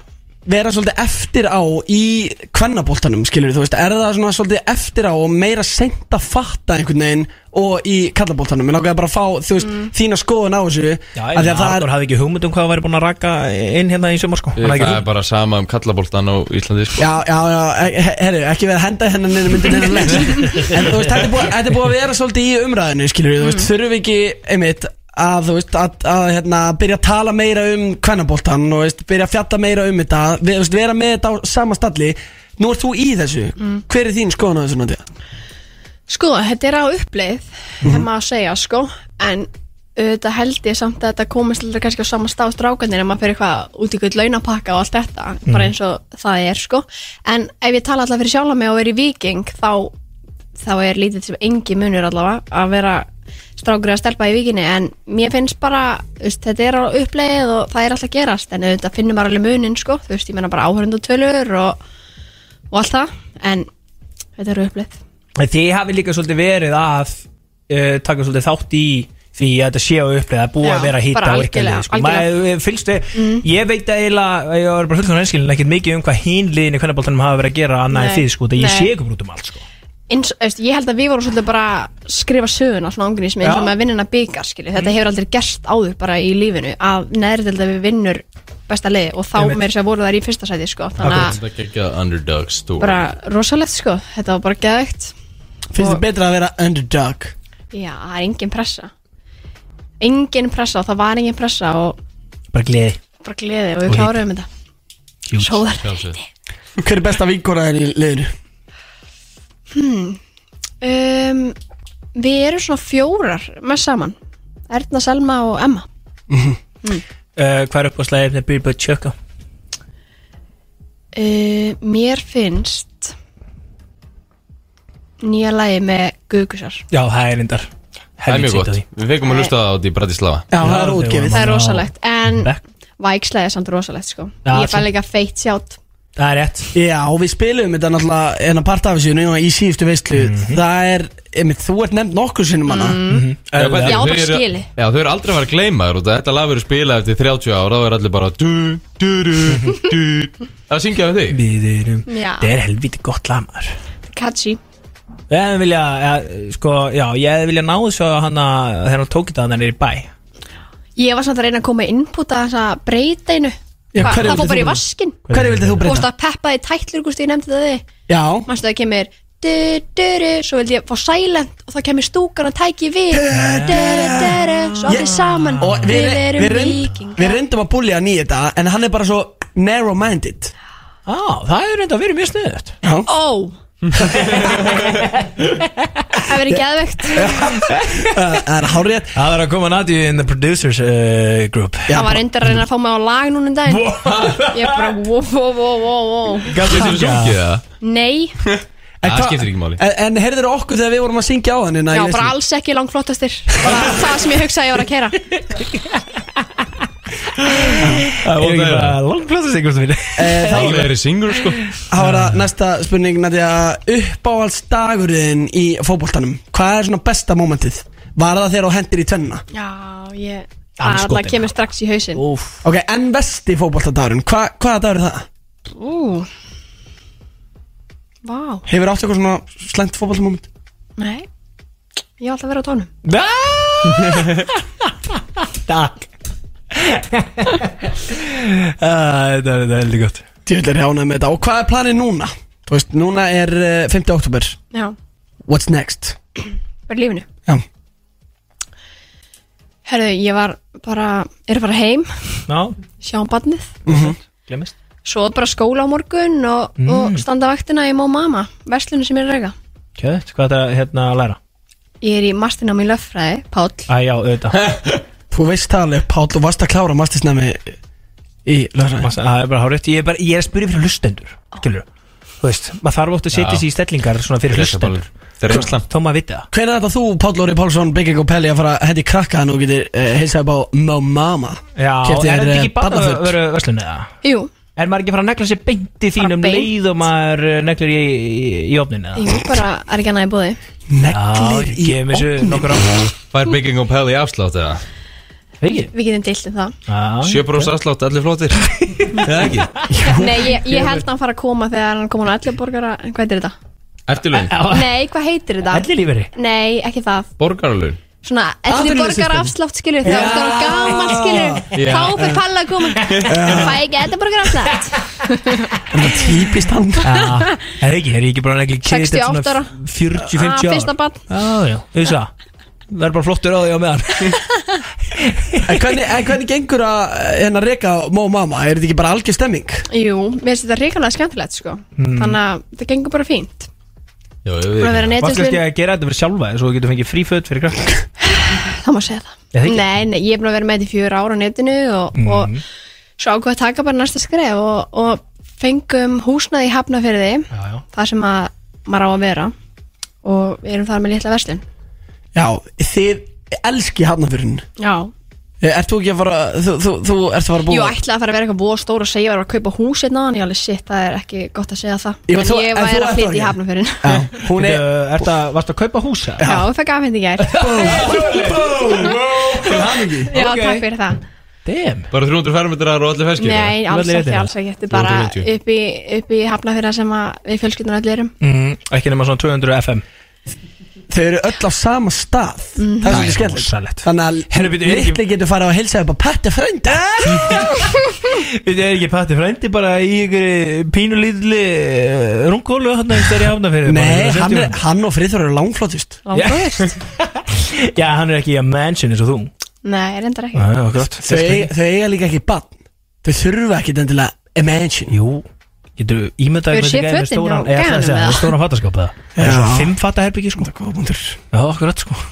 [SPEAKER 4] vera svolítið eftir á í kvennaboltanum, skilur þú veist er það svona svolítið eftir á og meira seint að fatta einhvern veginn og í kallaboltanum, ég langaði bara að fá, þú veist þína skoðun á þessu
[SPEAKER 9] Já, ég
[SPEAKER 4] af því
[SPEAKER 9] meina,
[SPEAKER 4] að það
[SPEAKER 9] Arnur hafði ekki hugmynd um hvað hann væri búin að rakka
[SPEAKER 2] e-
[SPEAKER 9] inn hérna í sumar sko Hann hafði ekki
[SPEAKER 6] Það er bara sama um kallaboltan á Íslandi sko.
[SPEAKER 4] Já, já, já, he- herru, ekki verið að henda hennan niður myndin hennar legs En þú veist, þetta er búið- þetta er búið að vera svolítið í umræðinu, skilur við, þú veist, þurfum við ekki, einmitt, að, þú veist, að, að, hérna, byrja að tala meira um kvennaboltan og, veist, byrja að fjatta meira um þetta, við, þú veist, vera með þetta á sama stalli Nú ert þú í þessu, hver er þín skoðan á þessu náttúrulega?
[SPEAKER 5] Sko, þetta er á uppleið ef maður að segja, sko en auðvitað held ég samt að þetta komist aldrei kannski á sama stað strákanir ef maður fyrir hvað út í gull launapakka og allt þetta
[SPEAKER 1] Mm.
[SPEAKER 5] bara eins og það er, sko en ef ég tala allavega fyrir sjálfa mig og er í viking þá, þá er lítið sem engi munur allavega að vera strákur að stelpa í vikinni en mér finnst bara, þú veist, þetta er á uppleið og það er alltaf að gerast en auðvitað finnum maður alveg munin, sko, þú veist, ég menna bara áhörundutölur og, og allt það en þetta er á uppleið
[SPEAKER 2] En Þið hafi líka svolítið verið að uh, taka svolítið þátt í því að þetta sé á uppleið að búa
[SPEAKER 5] Já,
[SPEAKER 2] að vera hitt
[SPEAKER 5] bara
[SPEAKER 2] á ykkar
[SPEAKER 5] algjörlega, Mm.
[SPEAKER 2] lið sko.
[SPEAKER 5] algjörlega.
[SPEAKER 2] Maður, fylgstu, Ég veit eiginlega, ég var bara fullkomlega einskilin ekkert mikið um hvað hín liðin í kvennaboltanum hafa verið að gera annað en
[SPEAKER 5] Nei.
[SPEAKER 2] þið sko, það ég
[SPEAKER 5] Nei.
[SPEAKER 2] sé ykkur út um allt sko.
[SPEAKER 5] eins, veist, ég held að við vorum svolítið bara að skrifa söguna svona ángrís með eins og
[SPEAKER 2] Já.
[SPEAKER 5] með að vinna byggar skilju, þetta hefur aldrei gerst áður bara í lífinu að neðri til að við vinnur besta liði og þá
[SPEAKER 6] Einmitt.
[SPEAKER 5] meir sér voru þær í fyrsta sæti sko, þannig að
[SPEAKER 6] Þetta er ekki að underdog story
[SPEAKER 5] bara rosalegt sko, þetta var bara geðveikt
[SPEAKER 4] Finnst þið betra að vera underdog?
[SPEAKER 5] já, það er engin pressa engin pressa og það var engin pressa og
[SPEAKER 2] Bara gleði
[SPEAKER 5] bara gleði og
[SPEAKER 4] Og
[SPEAKER 5] við kláruðum þetta Sjóðar
[SPEAKER 4] Hver er besta vinkoraðin í liðinu?
[SPEAKER 5] hmm. um, við erum svona fjórar með saman Erna, Selma og Emma
[SPEAKER 2] uh, Hvað er upp á slæðið með Bílbjörn Tjökka?
[SPEAKER 5] Uh, mér finnst nýja lagi með Gugusar
[SPEAKER 2] Já, það er reyndar
[SPEAKER 6] Það er mjög
[SPEAKER 2] Helvítis
[SPEAKER 6] gott,
[SPEAKER 2] eitt af
[SPEAKER 6] við fengum að lusta það átt í Bratislava
[SPEAKER 5] Það er rosalegt, en
[SPEAKER 6] Back.
[SPEAKER 5] vækslega er samt rosalegt sko
[SPEAKER 4] Já,
[SPEAKER 5] Ég fæ
[SPEAKER 4] sem-
[SPEAKER 5] líka feitt sjátt
[SPEAKER 2] Það er rétt
[SPEAKER 4] Já, og við spilum þetta náttúrulega en að parta af þessu núna í síðustu veistlu
[SPEAKER 2] Mhm.
[SPEAKER 4] Það er, einmitt, þú ert nefnd nokkur sinnum hana
[SPEAKER 6] Já,
[SPEAKER 4] Auðvitað.
[SPEAKER 6] bara-
[SPEAKER 4] Já,
[SPEAKER 6] þau
[SPEAKER 4] bara
[SPEAKER 6] eru-
[SPEAKER 4] skili.
[SPEAKER 6] Já, þau eru aldrei að fara að gleyma þér og þetta lag verður spilað eftir 30 ára þá er allir bara du, du, du, (laughs) du Það syngja við þig
[SPEAKER 2] Við erum
[SPEAKER 5] Já.
[SPEAKER 2] Það er helviti gott lamar
[SPEAKER 5] Katsi
[SPEAKER 2] Ég hefði vilja, ja, sko, já, ég hefði vilja ná þessu að hann að þegar hann tók þetta hann er í bæ
[SPEAKER 5] Ég var samt að reyna að koma input að þess að breyta einu
[SPEAKER 2] Já,
[SPEAKER 5] Hva, Það
[SPEAKER 2] hverju vildir
[SPEAKER 5] fór
[SPEAKER 2] þú
[SPEAKER 5] bara í
[SPEAKER 2] breyta?
[SPEAKER 5] vaskin
[SPEAKER 4] Hverju vildir þú breyta?
[SPEAKER 5] Þú veist að peppa í tætlur, gúst ég nefndi það þig
[SPEAKER 4] Já
[SPEAKER 5] Manstu það kemur du, du, du, Svo vildi ég fá silent og þá kemur stúkan og tæki við du, du, du, du, Svo allir saman
[SPEAKER 4] Og við,
[SPEAKER 5] Við
[SPEAKER 4] við,
[SPEAKER 5] erum
[SPEAKER 4] við, reynd,
[SPEAKER 5] viking
[SPEAKER 4] við reyndum að búlja hann í þetta En hann er bara svo narrow-minded
[SPEAKER 2] Á, það er reynda að vera mjög sniðut
[SPEAKER 4] (laughs)
[SPEAKER 5] Ó Það verður geðvegt
[SPEAKER 4] Það er hárið
[SPEAKER 2] Það er að koma Nati in the producers uh, group
[SPEAKER 5] Það var reyndar að reyna að fá mig á lag núna um daginn Ég er bara wow, wow, wow, wow, wow
[SPEAKER 6] Getur þú sungið það?
[SPEAKER 5] Nei,
[SPEAKER 6] Það skiptir ekki máli
[SPEAKER 4] En, en heyrður okkur þegar við vorum að syngja á hann
[SPEAKER 5] já, bara alls ekki langflottastir Bara það sem ég hugsaði að ég var að kera
[SPEAKER 2] Það er ekki bara langplata sigur sem við
[SPEAKER 4] Eh,
[SPEAKER 6] Það er singur sko
[SPEAKER 4] Það var það næsta spurning Nadja, Uppáhaldsdagurinn í fótboltanum Hvað er svona besta momentið? Var það þegar þú hendir í tvennina?
[SPEAKER 5] Já, ég Það
[SPEAKER 4] Alls skotin.
[SPEAKER 5] kemur strax í hausinn Ú,
[SPEAKER 4] Ok, en vesti fótboltadagurinn Hva, Hvaða dagur er það?
[SPEAKER 5] vá,
[SPEAKER 4] Hefur átt eitthvað svona slæmt fótboltamoment?
[SPEAKER 5] nei Ég ætla að vera á (laughs) tónum
[SPEAKER 2] (laughs) Takk Ah, Þetta er þetta er heldur gott
[SPEAKER 4] Djöfull er hjánað með þetta Og hvað er planið núna? Þú veist, núna er eh, 5. oktober
[SPEAKER 5] Já,
[SPEAKER 4] What's next?
[SPEAKER 5] bara í lífinu
[SPEAKER 4] Já.
[SPEAKER 5] Herðu, ég var bara, er bara heim
[SPEAKER 2] Já,
[SPEAKER 5] Sjá um barnið
[SPEAKER 2] Mhm. glemist
[SPEAKER 5] Svo bara skóla á morgun og,
[SPEAKER 2] Mm.
[SPEAKER 5] og standa vaktina í Mó Mama Verslunum sem ég er að rega
[SPEAKER 2] Kjöðt, hvað er þetta hérna að læra?
[SPEAKER 5] Ég er í mastinámi í löffræði, Páll
[SPEAKER 2] Æ, já, auðvitað
[SPEAKER 4] (laughs) Þú veist það alveg, Páll, þú varst að klára mastisnæmi í lögfræði
[SPEAKER 2] Það er bara hárétt, ég er, bara, ég er að spyrja fyrir hlustendur Skilur, þú veist, maður þarf oft að setja
[SPEAKER 4] Já.
[SPEAKER 2] sér í stellingar svona fyrir
[SPEAKER 4] Rétt að
[SPEAKER 2] hlustendur
[SPEAKER 6] Það er reynslan
[SPEAKER 2] Þó maður viti það
[SPEAKER 4] Hvernig er þetta þú, Páll Óri Pálsson, Bygging og Pelli að fara að hendi krakkan og getur uh, heilsa upp á Mo Mama
[SPEAKER 2] Já,
[SPEAKER 4] Keypti
[SPEAKER 2] er
[SPEAKER 4] þér,
[SPEAKER 2] þetta ekki
[SPEAKER 4] eh,
[SPEAKER 2] bara
[SPEAKER 4] barnaföt?
[SPEAKER 2] veru verslun eða?
[SPEAKER 5] Jú,
[SPEAKER 2] Er maður ekki að fara að negla sér beint í þínum
[SPEAKER 5] beint.
[SPEAKER 2] leið og maður eh, neglir í, í, í opnin eða?
[SPEAKER 5] jú, bara er ekki annað í bóði
[SPEAKER 2] Neglir í opnin?
[SPEAKER 6] Fær bygging og pæli afslátt eða?
[SPEAKER 2] Ekki?
[SPEAKER 5] Við getum deilt um það
[SPEAKER 6] 7% afslátt, allir (laughs) flottir Eða
[SPEAKER 5] (laughs)
[SPEAKER 6] ekki?
[SPEAKER 5] Nei, ég, ég held að hann fara að koma þegar hann koma á elluborgara Hvað heitir þetta?
[SPEAKER 6] Eftirlaun
[SPEAKER 5] Nei, hvað heitir þetta?
[SPEAKER 2] Ellilíferi
[SPEAKER 5] Nei, ekki það
[SPEAKER 6] Borgarlaun
[SPEAKER 5] Svona elluborgara afslátt skilur Þegar
[SPEAKER 6] Já.
[SPEAKER 5] þú er gammal skilur
[SPEAKER 6] Já.
[SPEAKER 5] Þá fyrir palla að koma Fæ ekki elluborgara afslátt
[SPEAKER 4] Típist hann
[SPEAKER 2] Já, er ekki, er ég ekki bara að negla í kid eftir
[SPEAKER 5] 68 ára.
[SPEAKER 2] svona 40-50
[SPEAKER 5] Ah,
[SPEAKER 2] ára
[SPEAKER 5] fyrsta barn.
[SPEAKER 2] Já, já, þú veist það Það er bara flottur á því á meðan
[SPEAKER 4] (laughs) En hvernig, en hvernig gengur að eh, hérna reka Mo Mama? Er þetta ekki bara algjör stemming?
[SPEAKER 5] Jú, mér finnst þetta ríkulega skemmtilegt sko
[SPEAKER 2] Mm.
[SPEAKER 5] Þannig að það gengur bara fínt
[SPEAKER 6] Já, ég
[SPEAKER 5] Búin að vera netjuslin.
[SPEAKER 2] Varstu ekki að gera þetta fyrir sjálfa þér Svo þú getur fengið frí föt fyrir krakk
[SPEAKER 5] Það má segja það
[SPEAKER 2] Er það ekki? Mhm.
[SPEAKER 5] Nei, nei, ég er búin að vera með þetta í fjögur ára á netinu og, Mm.
[SPEAKER 2] Mm.
[SPEAKER 5] og svo ákveð að taka bara næsta skref og, og fengum húsnaði í hafnafyrði það sem að maður á að vera og við erum þar með litla verslun
[SPEAKER 4] Já, þið elski hafnafyrin
[SPEAKER 5] Já,
[SPEAKER 4] Eh, Ert þú ekki að fara, þú, þú, þú ert að fara að
[SPEAKER 5] jú
[SPEAKER 4] búa
[SPEAKER 5] ætlaði að fara að vera eitthvað búa stór og segja að ég var að kaupa hús hérna en ég alveg shit, það er ekki gott að segja það
[SPEAKER 4] Jú,
[SPEAKER 5] en
[SPEAKER 4] þú-
[SPEAKER 5] ég
[SPEAKER 4] en þú
[SPEAKER 5] væri
[SPEAKER 4] ert
[SPEAKER 5] að flytja í
[SPEAKER 4] orðin.
[SPEAKER 5] hafnafyrðin
[SPEAKER 4] Hún
[SPEAKER 2] er Ertu að, varstu að kaupa húsa?
[SPEAKER 5] Já, við fæk afhengt í gær (laughs) Oh, Já, takk fyrir það
[SPEAKER 2] Damn
[SPEAKER 6] Bara 300 fermetrar og allir ferskir
[SPEAKER 5] Nei, alls ekki, alls ekki Þetta er bara
[SPEAKER 6] 450.
[SPEAKER 5] upp í, upp í hafnafyrða sem að við fjölskyldunar öll erum
[SPEAKER 2] mm, Ekki nema svona 200 FM
[SPEAKER 4] Þau eru öll á sama stað
[SPEAKER 5] Mhm.
[SPEAKER 4] Það er svolítið
[SPEAKER 2] er
[SPEAKER 4] skemmt Þannig
[SPEAKER 2] Herru,
[SPEAKER 4] að
[SPEAKER 2] bíddu, er ekki-
[SPEAKER 4] litli getur farið að heilsa upp á Patti frönda
[SPEAKER 2] Við erum ekki patti frændi bara í ykkur pínulítli rungkólu hann að þeirri hafna fyrir
[SPEAKER 4] Nei, hann, er, hann og Friður eru langflottist
[SPEAKER 2] Langflottust. (laughs) Já, hann er ekki í að mansion eins og þú
[SPEAKER 5] Nei, reyndar ekki
[SPEAKER 2] Já, gott.
[SPEAKER 4] Þau þau eiga líka ekki bann Þau þurfa ekki endilega imagine
[SPEAKER 2] Jú, getur ímyndað
[SPEAKER 5] Hefur
[SPEAKER 2] hvernig
[SPEAKER 5] séð
[SPEAKER 2] gæði með
[SPEAKER 5] fötin
[SPEAKER 2] stóran-
[SPEAKER 5] hjá
[SPEAKER 2] Ég ætlaði að
[SPEAKER 5] gæjanum
[SPEAKER 2] segja,
[SPEAKER 5] eða?
[SPEAKER 2] með stóran fattaskáp eða? Það er
[SPEAKER 4] Já.
[SPEAKER 2] svona fimm fattaherbyggi sko Já, okkur öll sko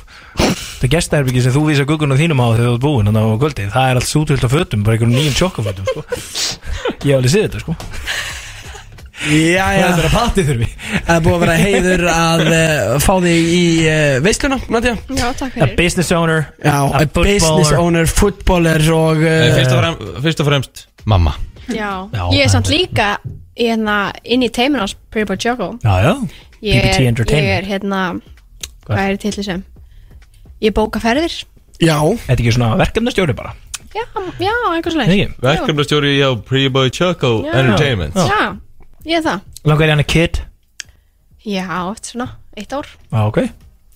[SPEAKER 2] Það gestaherbyggi sem þú vísa guggunum þínum á þegar þú ert búinn þannig á kvöldi Það er allt sútvöld á fötum, bara einhvern nýjum sjokkafötum sko Ég hef alveg séð þetta sko
[SPEAKER 4] Já, já
[SPEAKER 2] Það er að patti þurfi
[SPEAKER 4] Það er búið að vera heiður að uh, fá þig í uh, veisluna, Nadja
[SPEAKER 5] Já, takk
[SPEAKER 2] A business owner
[SPEAKER 4] Já,
[SPEAKER 2] a
[SPEAKER 4] a business
[SPEAKER 2] footballer.
[SPEAKER 4] owner, footballer og
[SPEAKER 6] Nei, fyrst og
[SPEAKER 4] uh,
[SPEAKER 6] fremst, fyrst og fremst mamma
[SPEAKER 5] Já,
[SPEAKER 6] Já,
[SPEAKER 5] ég er
[SPEAKER 6] það
[SPEAKER 5] samt
[SPEAKER 6] er-
[SPEAKER 5] líka hérna, inn í teiminu hans Pretty Boy Choco
[SPEAKER 2] Já, já,
[SPEAKER 5] ég
[SPEAKER 2] BBT
[SPEAKER 5] er, ég
[SPEAKER 2] Entertainment
[SPEAKER 5] er hérna hvað er til þessum ég bóka ferðir
[SPEAKER 4] Já
[SPEAKER 2] Þetta er ekki svona verkefnastjóri bara
[SPEAKER 5] já, já eitthvað svo
[SPEAKER 2] Nei,
[SPEAKER 6] Verkefnastjóri hjá Pretty Boy Choco
[SPEAKER 5] Já.
[SPEAKER 6] Entertainment
[SPEAKER 5] já, ég er það
[SPEAKER 2] Langar í hann að kid
[SPEAKER 5] já, eftir svona, eitt ár
[SPEAKER 2] Já, ok,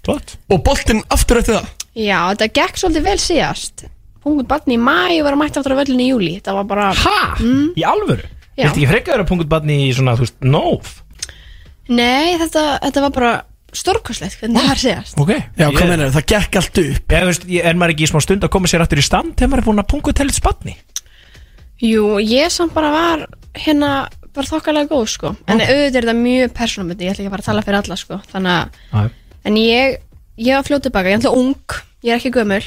[SPEAKER 2] klart
[SPEAKER 4] Og boltinn aftur eftir það
[SPEAKER 5] já, þetta gekk svolítið vel síðast punkt barn í mæ og var að mæta aftur á völlinu í júli það var bara
[SPEAKER 2] ha?
[SPEAKER 5] Mm,
[SPEAKER 2] Í alvöru?
[SPEAKER 5] Já.
[SPEAKER 2] Viltu ekki frekka vera punkt barni í svona, þú veist, nóf?
[SPEAKER 5] nei, þetta, þetta var bara stórkoslegt hvernig það var síðast
[SPEAKER 2] Ok
[SPEAKER 4] Já, hvað yeah. meinar, það gekk allt upp
[SPEAKER 2] Já, veist, ég- er maður ekki í smá stund að koma sér aftur í stand þegar maður er búin að pungu til eitt spanni
[SPEAKER 5] Jú, ég samt bara var hérna bara þokkalega góð sko en auðvitað er þetta mjög persónumöndi, ég ætla ekki að fara að tala fyrir alla sko þannig
[SPEAKER 2] að,
[SPEAKER 5] en ég ég var fljótið baka, ég er alltaf ung ég er ekki gömul,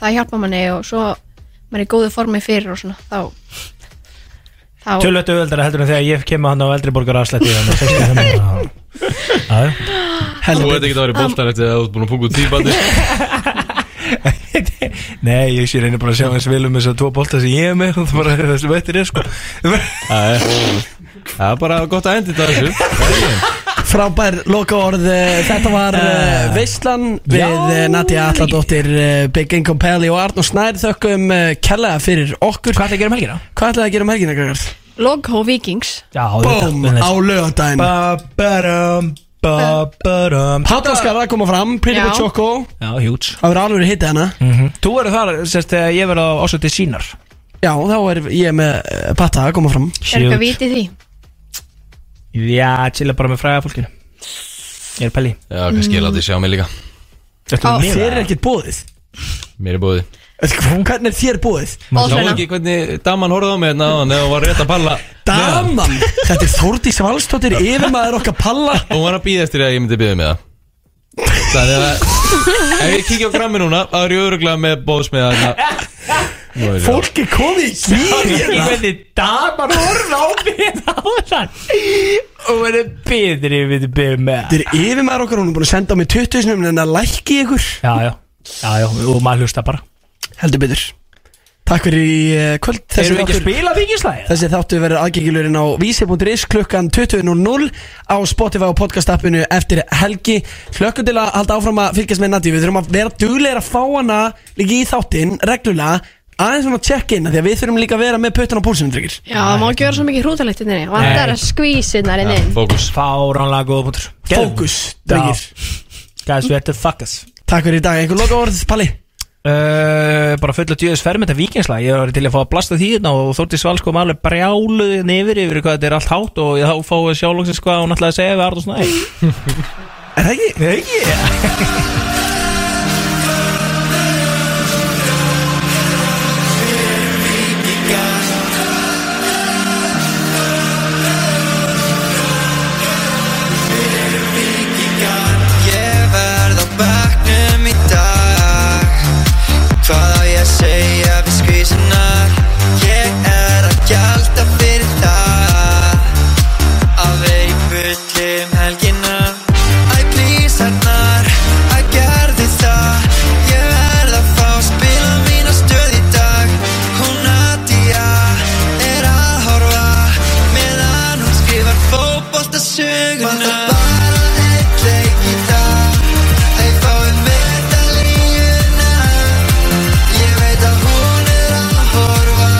[SPEAKER 5] það hjálpa manni og svo maður er í góðu formi fyrir og svona þá þá,
[SPEAKER 2] Tölvötu auðveldara heldur en þegar ég kem að hann á eldri borgar afslætti þannig að 65 ára. Já, já.
[SPEAKER 6] Þú veit ekki það verið bóltar eftir að þú ert búin að punga út tíbandi
[SPEAKER 2] (laughs) Nei, ég sé reynir bara að sjá eins vel um þess að tvo bolta sem ég er með (laughs) og það bara er það sem þetta er sko
[SPEAKER 6] Það er- það er bara gott að enda þetta (laughs) þessu
[SPEAKER 4] Frábær lokaorð, uh, þetta var
[SPEAKER 2] Eh.
[SPEAKER 4] uh, veislan við uh, Nadja Alladóttir, uh, Big Income Peli og Arnur Snær Þökkum uh, kella fyrir okkur
[SPEAKER 2] Hvað ætlaði að gera um helgina?
[SPEAKER 4] Hvað ætlaði að gera um helgina, Gregars?
[SPEAKER 5] Loghó Vikings
[SPEAKER 2] Já,
[SPEAKER 4] Bóm, á lögadaginn
[SPEAKER 2] Ba-ba-dum, ba-ba-dum
[SPEAKER 4] Háttaskar að koma fram, Pretty
[SPEAKER 5] Já.
[SPEAKER 4] Boy Choco
[SPEAKER 2] Já, hjúts
[SPEAKER 4] Það verður hérna. alveg hitt hana
[SPEAKER 2] Þú verður þar, sérst, þegar ég verður á ásöti sínar
[SPEAKER 4] Já, þá er ég með uh, Patta að koma fram
[SPEAKER 5] er eitthvað vitið því
[SPEAKER 2] Já, chilla bara með fræða fólkinu Ég er pæli
[SPEAKER 6] Já, kannski ég láti sjá mig líka
[SPEAKER 2] Ertu með
[SPEAKER 4] Þér er
[SPEAKER 2] það?
[SPEAKER 4] ekkert búið
[SPEAKER 6] Mér er búið
[SPEAKER 4] Hvernig er þér búið?
[SPEAKER 6] Sá ekki hvernig daman horfði á mig hérna áðan Þegar hún var rétt að palla
[SPEAKER 4] Daman, þetta er Þórdís
[SPEAKER 2] (laughs)
[SPEAKER 4] Valstóttir yfirmaður okkar palla
[SPEAKER 6] Hún var að býða eftir að ég myndi býða með það Þannig að Ef ég kíkja á grammi núna þá er ég öruglega með bóðsmiða hérna. Nú er ég-
[SPEAKER 4] Fólk er komið í
[SPEAKER 2] Ég
[SPEAKER 4] kýr
[SPEAKER 2] veit
[SPEAKER 4] hérna
[SPEAKER 2] þið damar horfa á mig áðan og hann er betur yfir betur með
[SPEAKER 4] Þetta er yfirmaður okkar, hún er búin að senda á mig 20 sinum en að lækki ykkur
[SPEAKER 2] Já, já, já, já, og maður hlusta bara
[SPEAKER 4] Heldur betur Takk fyrir í eh, kvöld
[SPEAKER 2] Erum við ekki að spila vikingslæðið?
[SPEAKER 4] Þessi þáttu verður aðgengilurinn á vísi.is klukkan 20.00 á Spotify og podcast appinu eftir helgi Hlökkum til að halda áfram að fylgjast með Nati Við þurfum að vera duglegir að fá hana líka í þáttinn reglulega aðeins svona að checka inn af því að við þurfum líka að vera með puttan á púlsinu drengir
[SPEAKER 5] Já, það má ekki vera svo mikið hrútalegt inn inni Vandar að hérna skvísinnar inn inn
[SPEAKER 6] Fókus
[SPEAKER 2] Fáránlega góða punktur
[SPEAKER 4] Fókus, drengir
[SPEAKER 2] Guys, we have to fuck us
[SPEAKER 4] Takk fyrir í dag, einhver loka orð, Palli
[SPEAKER 2] Uh, bara fulla djöðis fermenta vikingslag ég var til að fá að blasta því hérna og Þórti Svals kom alveg brjáluð nefyr yfir hvað þetta er allt hátt og ég þá fáið sjálflóksins hvað hún ætlaði að segja við Arður Snæ
[SPEAKER 4] Er það ekki?
[SPEAKER 2] Nei, ekki
[SPEAKER 12] Ég verð á bekknum í dag Hvað á ég að segja við skvísunar Ég er að gjalda fyrir það Að vera í bulli um helgina Æ, please, hennar Æ, gerði það Ég verð að fá að spila mína stöð í dag Hún Nadia er að horfa Meðan hún skrifar fótboltasöguna Var það bara einn leik í dag Æ, fáum medalíuna Ég veit að hún er að horfa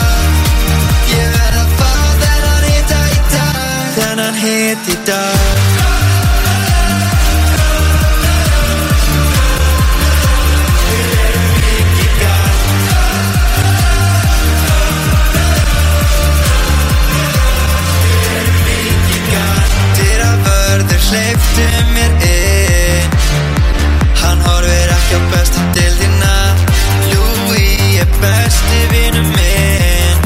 [SPEAKER 12] Ég verð að fá þennan hita í dag Þennan hit í dag Eftir að vörður hleyptu mér inn Hann horfir ekki á bestu dildina Louis er besti vinnu minn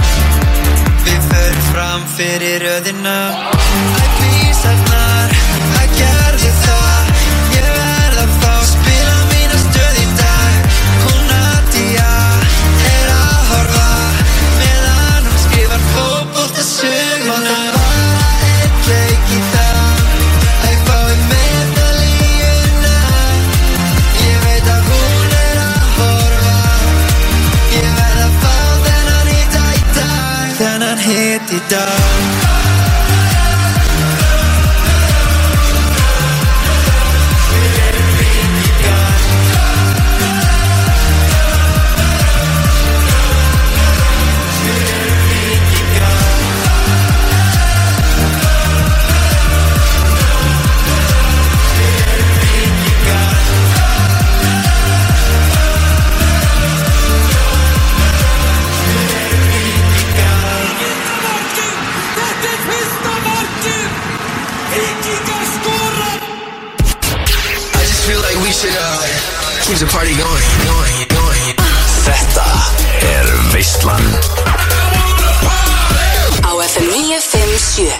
[SPEAKER 12] Við förum fram fyrir röðina Æ, písarnar, æ, gerðu það Ég verð að fá að spila mína stöð í dag Hún Nadia er að horfa Meðan hún skrifar fótboltasöguna Var það bara einn leik í dag Æ, fáið medalíuna Ég veit að hún er að horfa Ég verð að fá þennan hita í dag Þennan hit í dag I just feel like we should uh, keep the party going, going, going. Þetta er Veistland
[SPEAKER 13] Á FM 957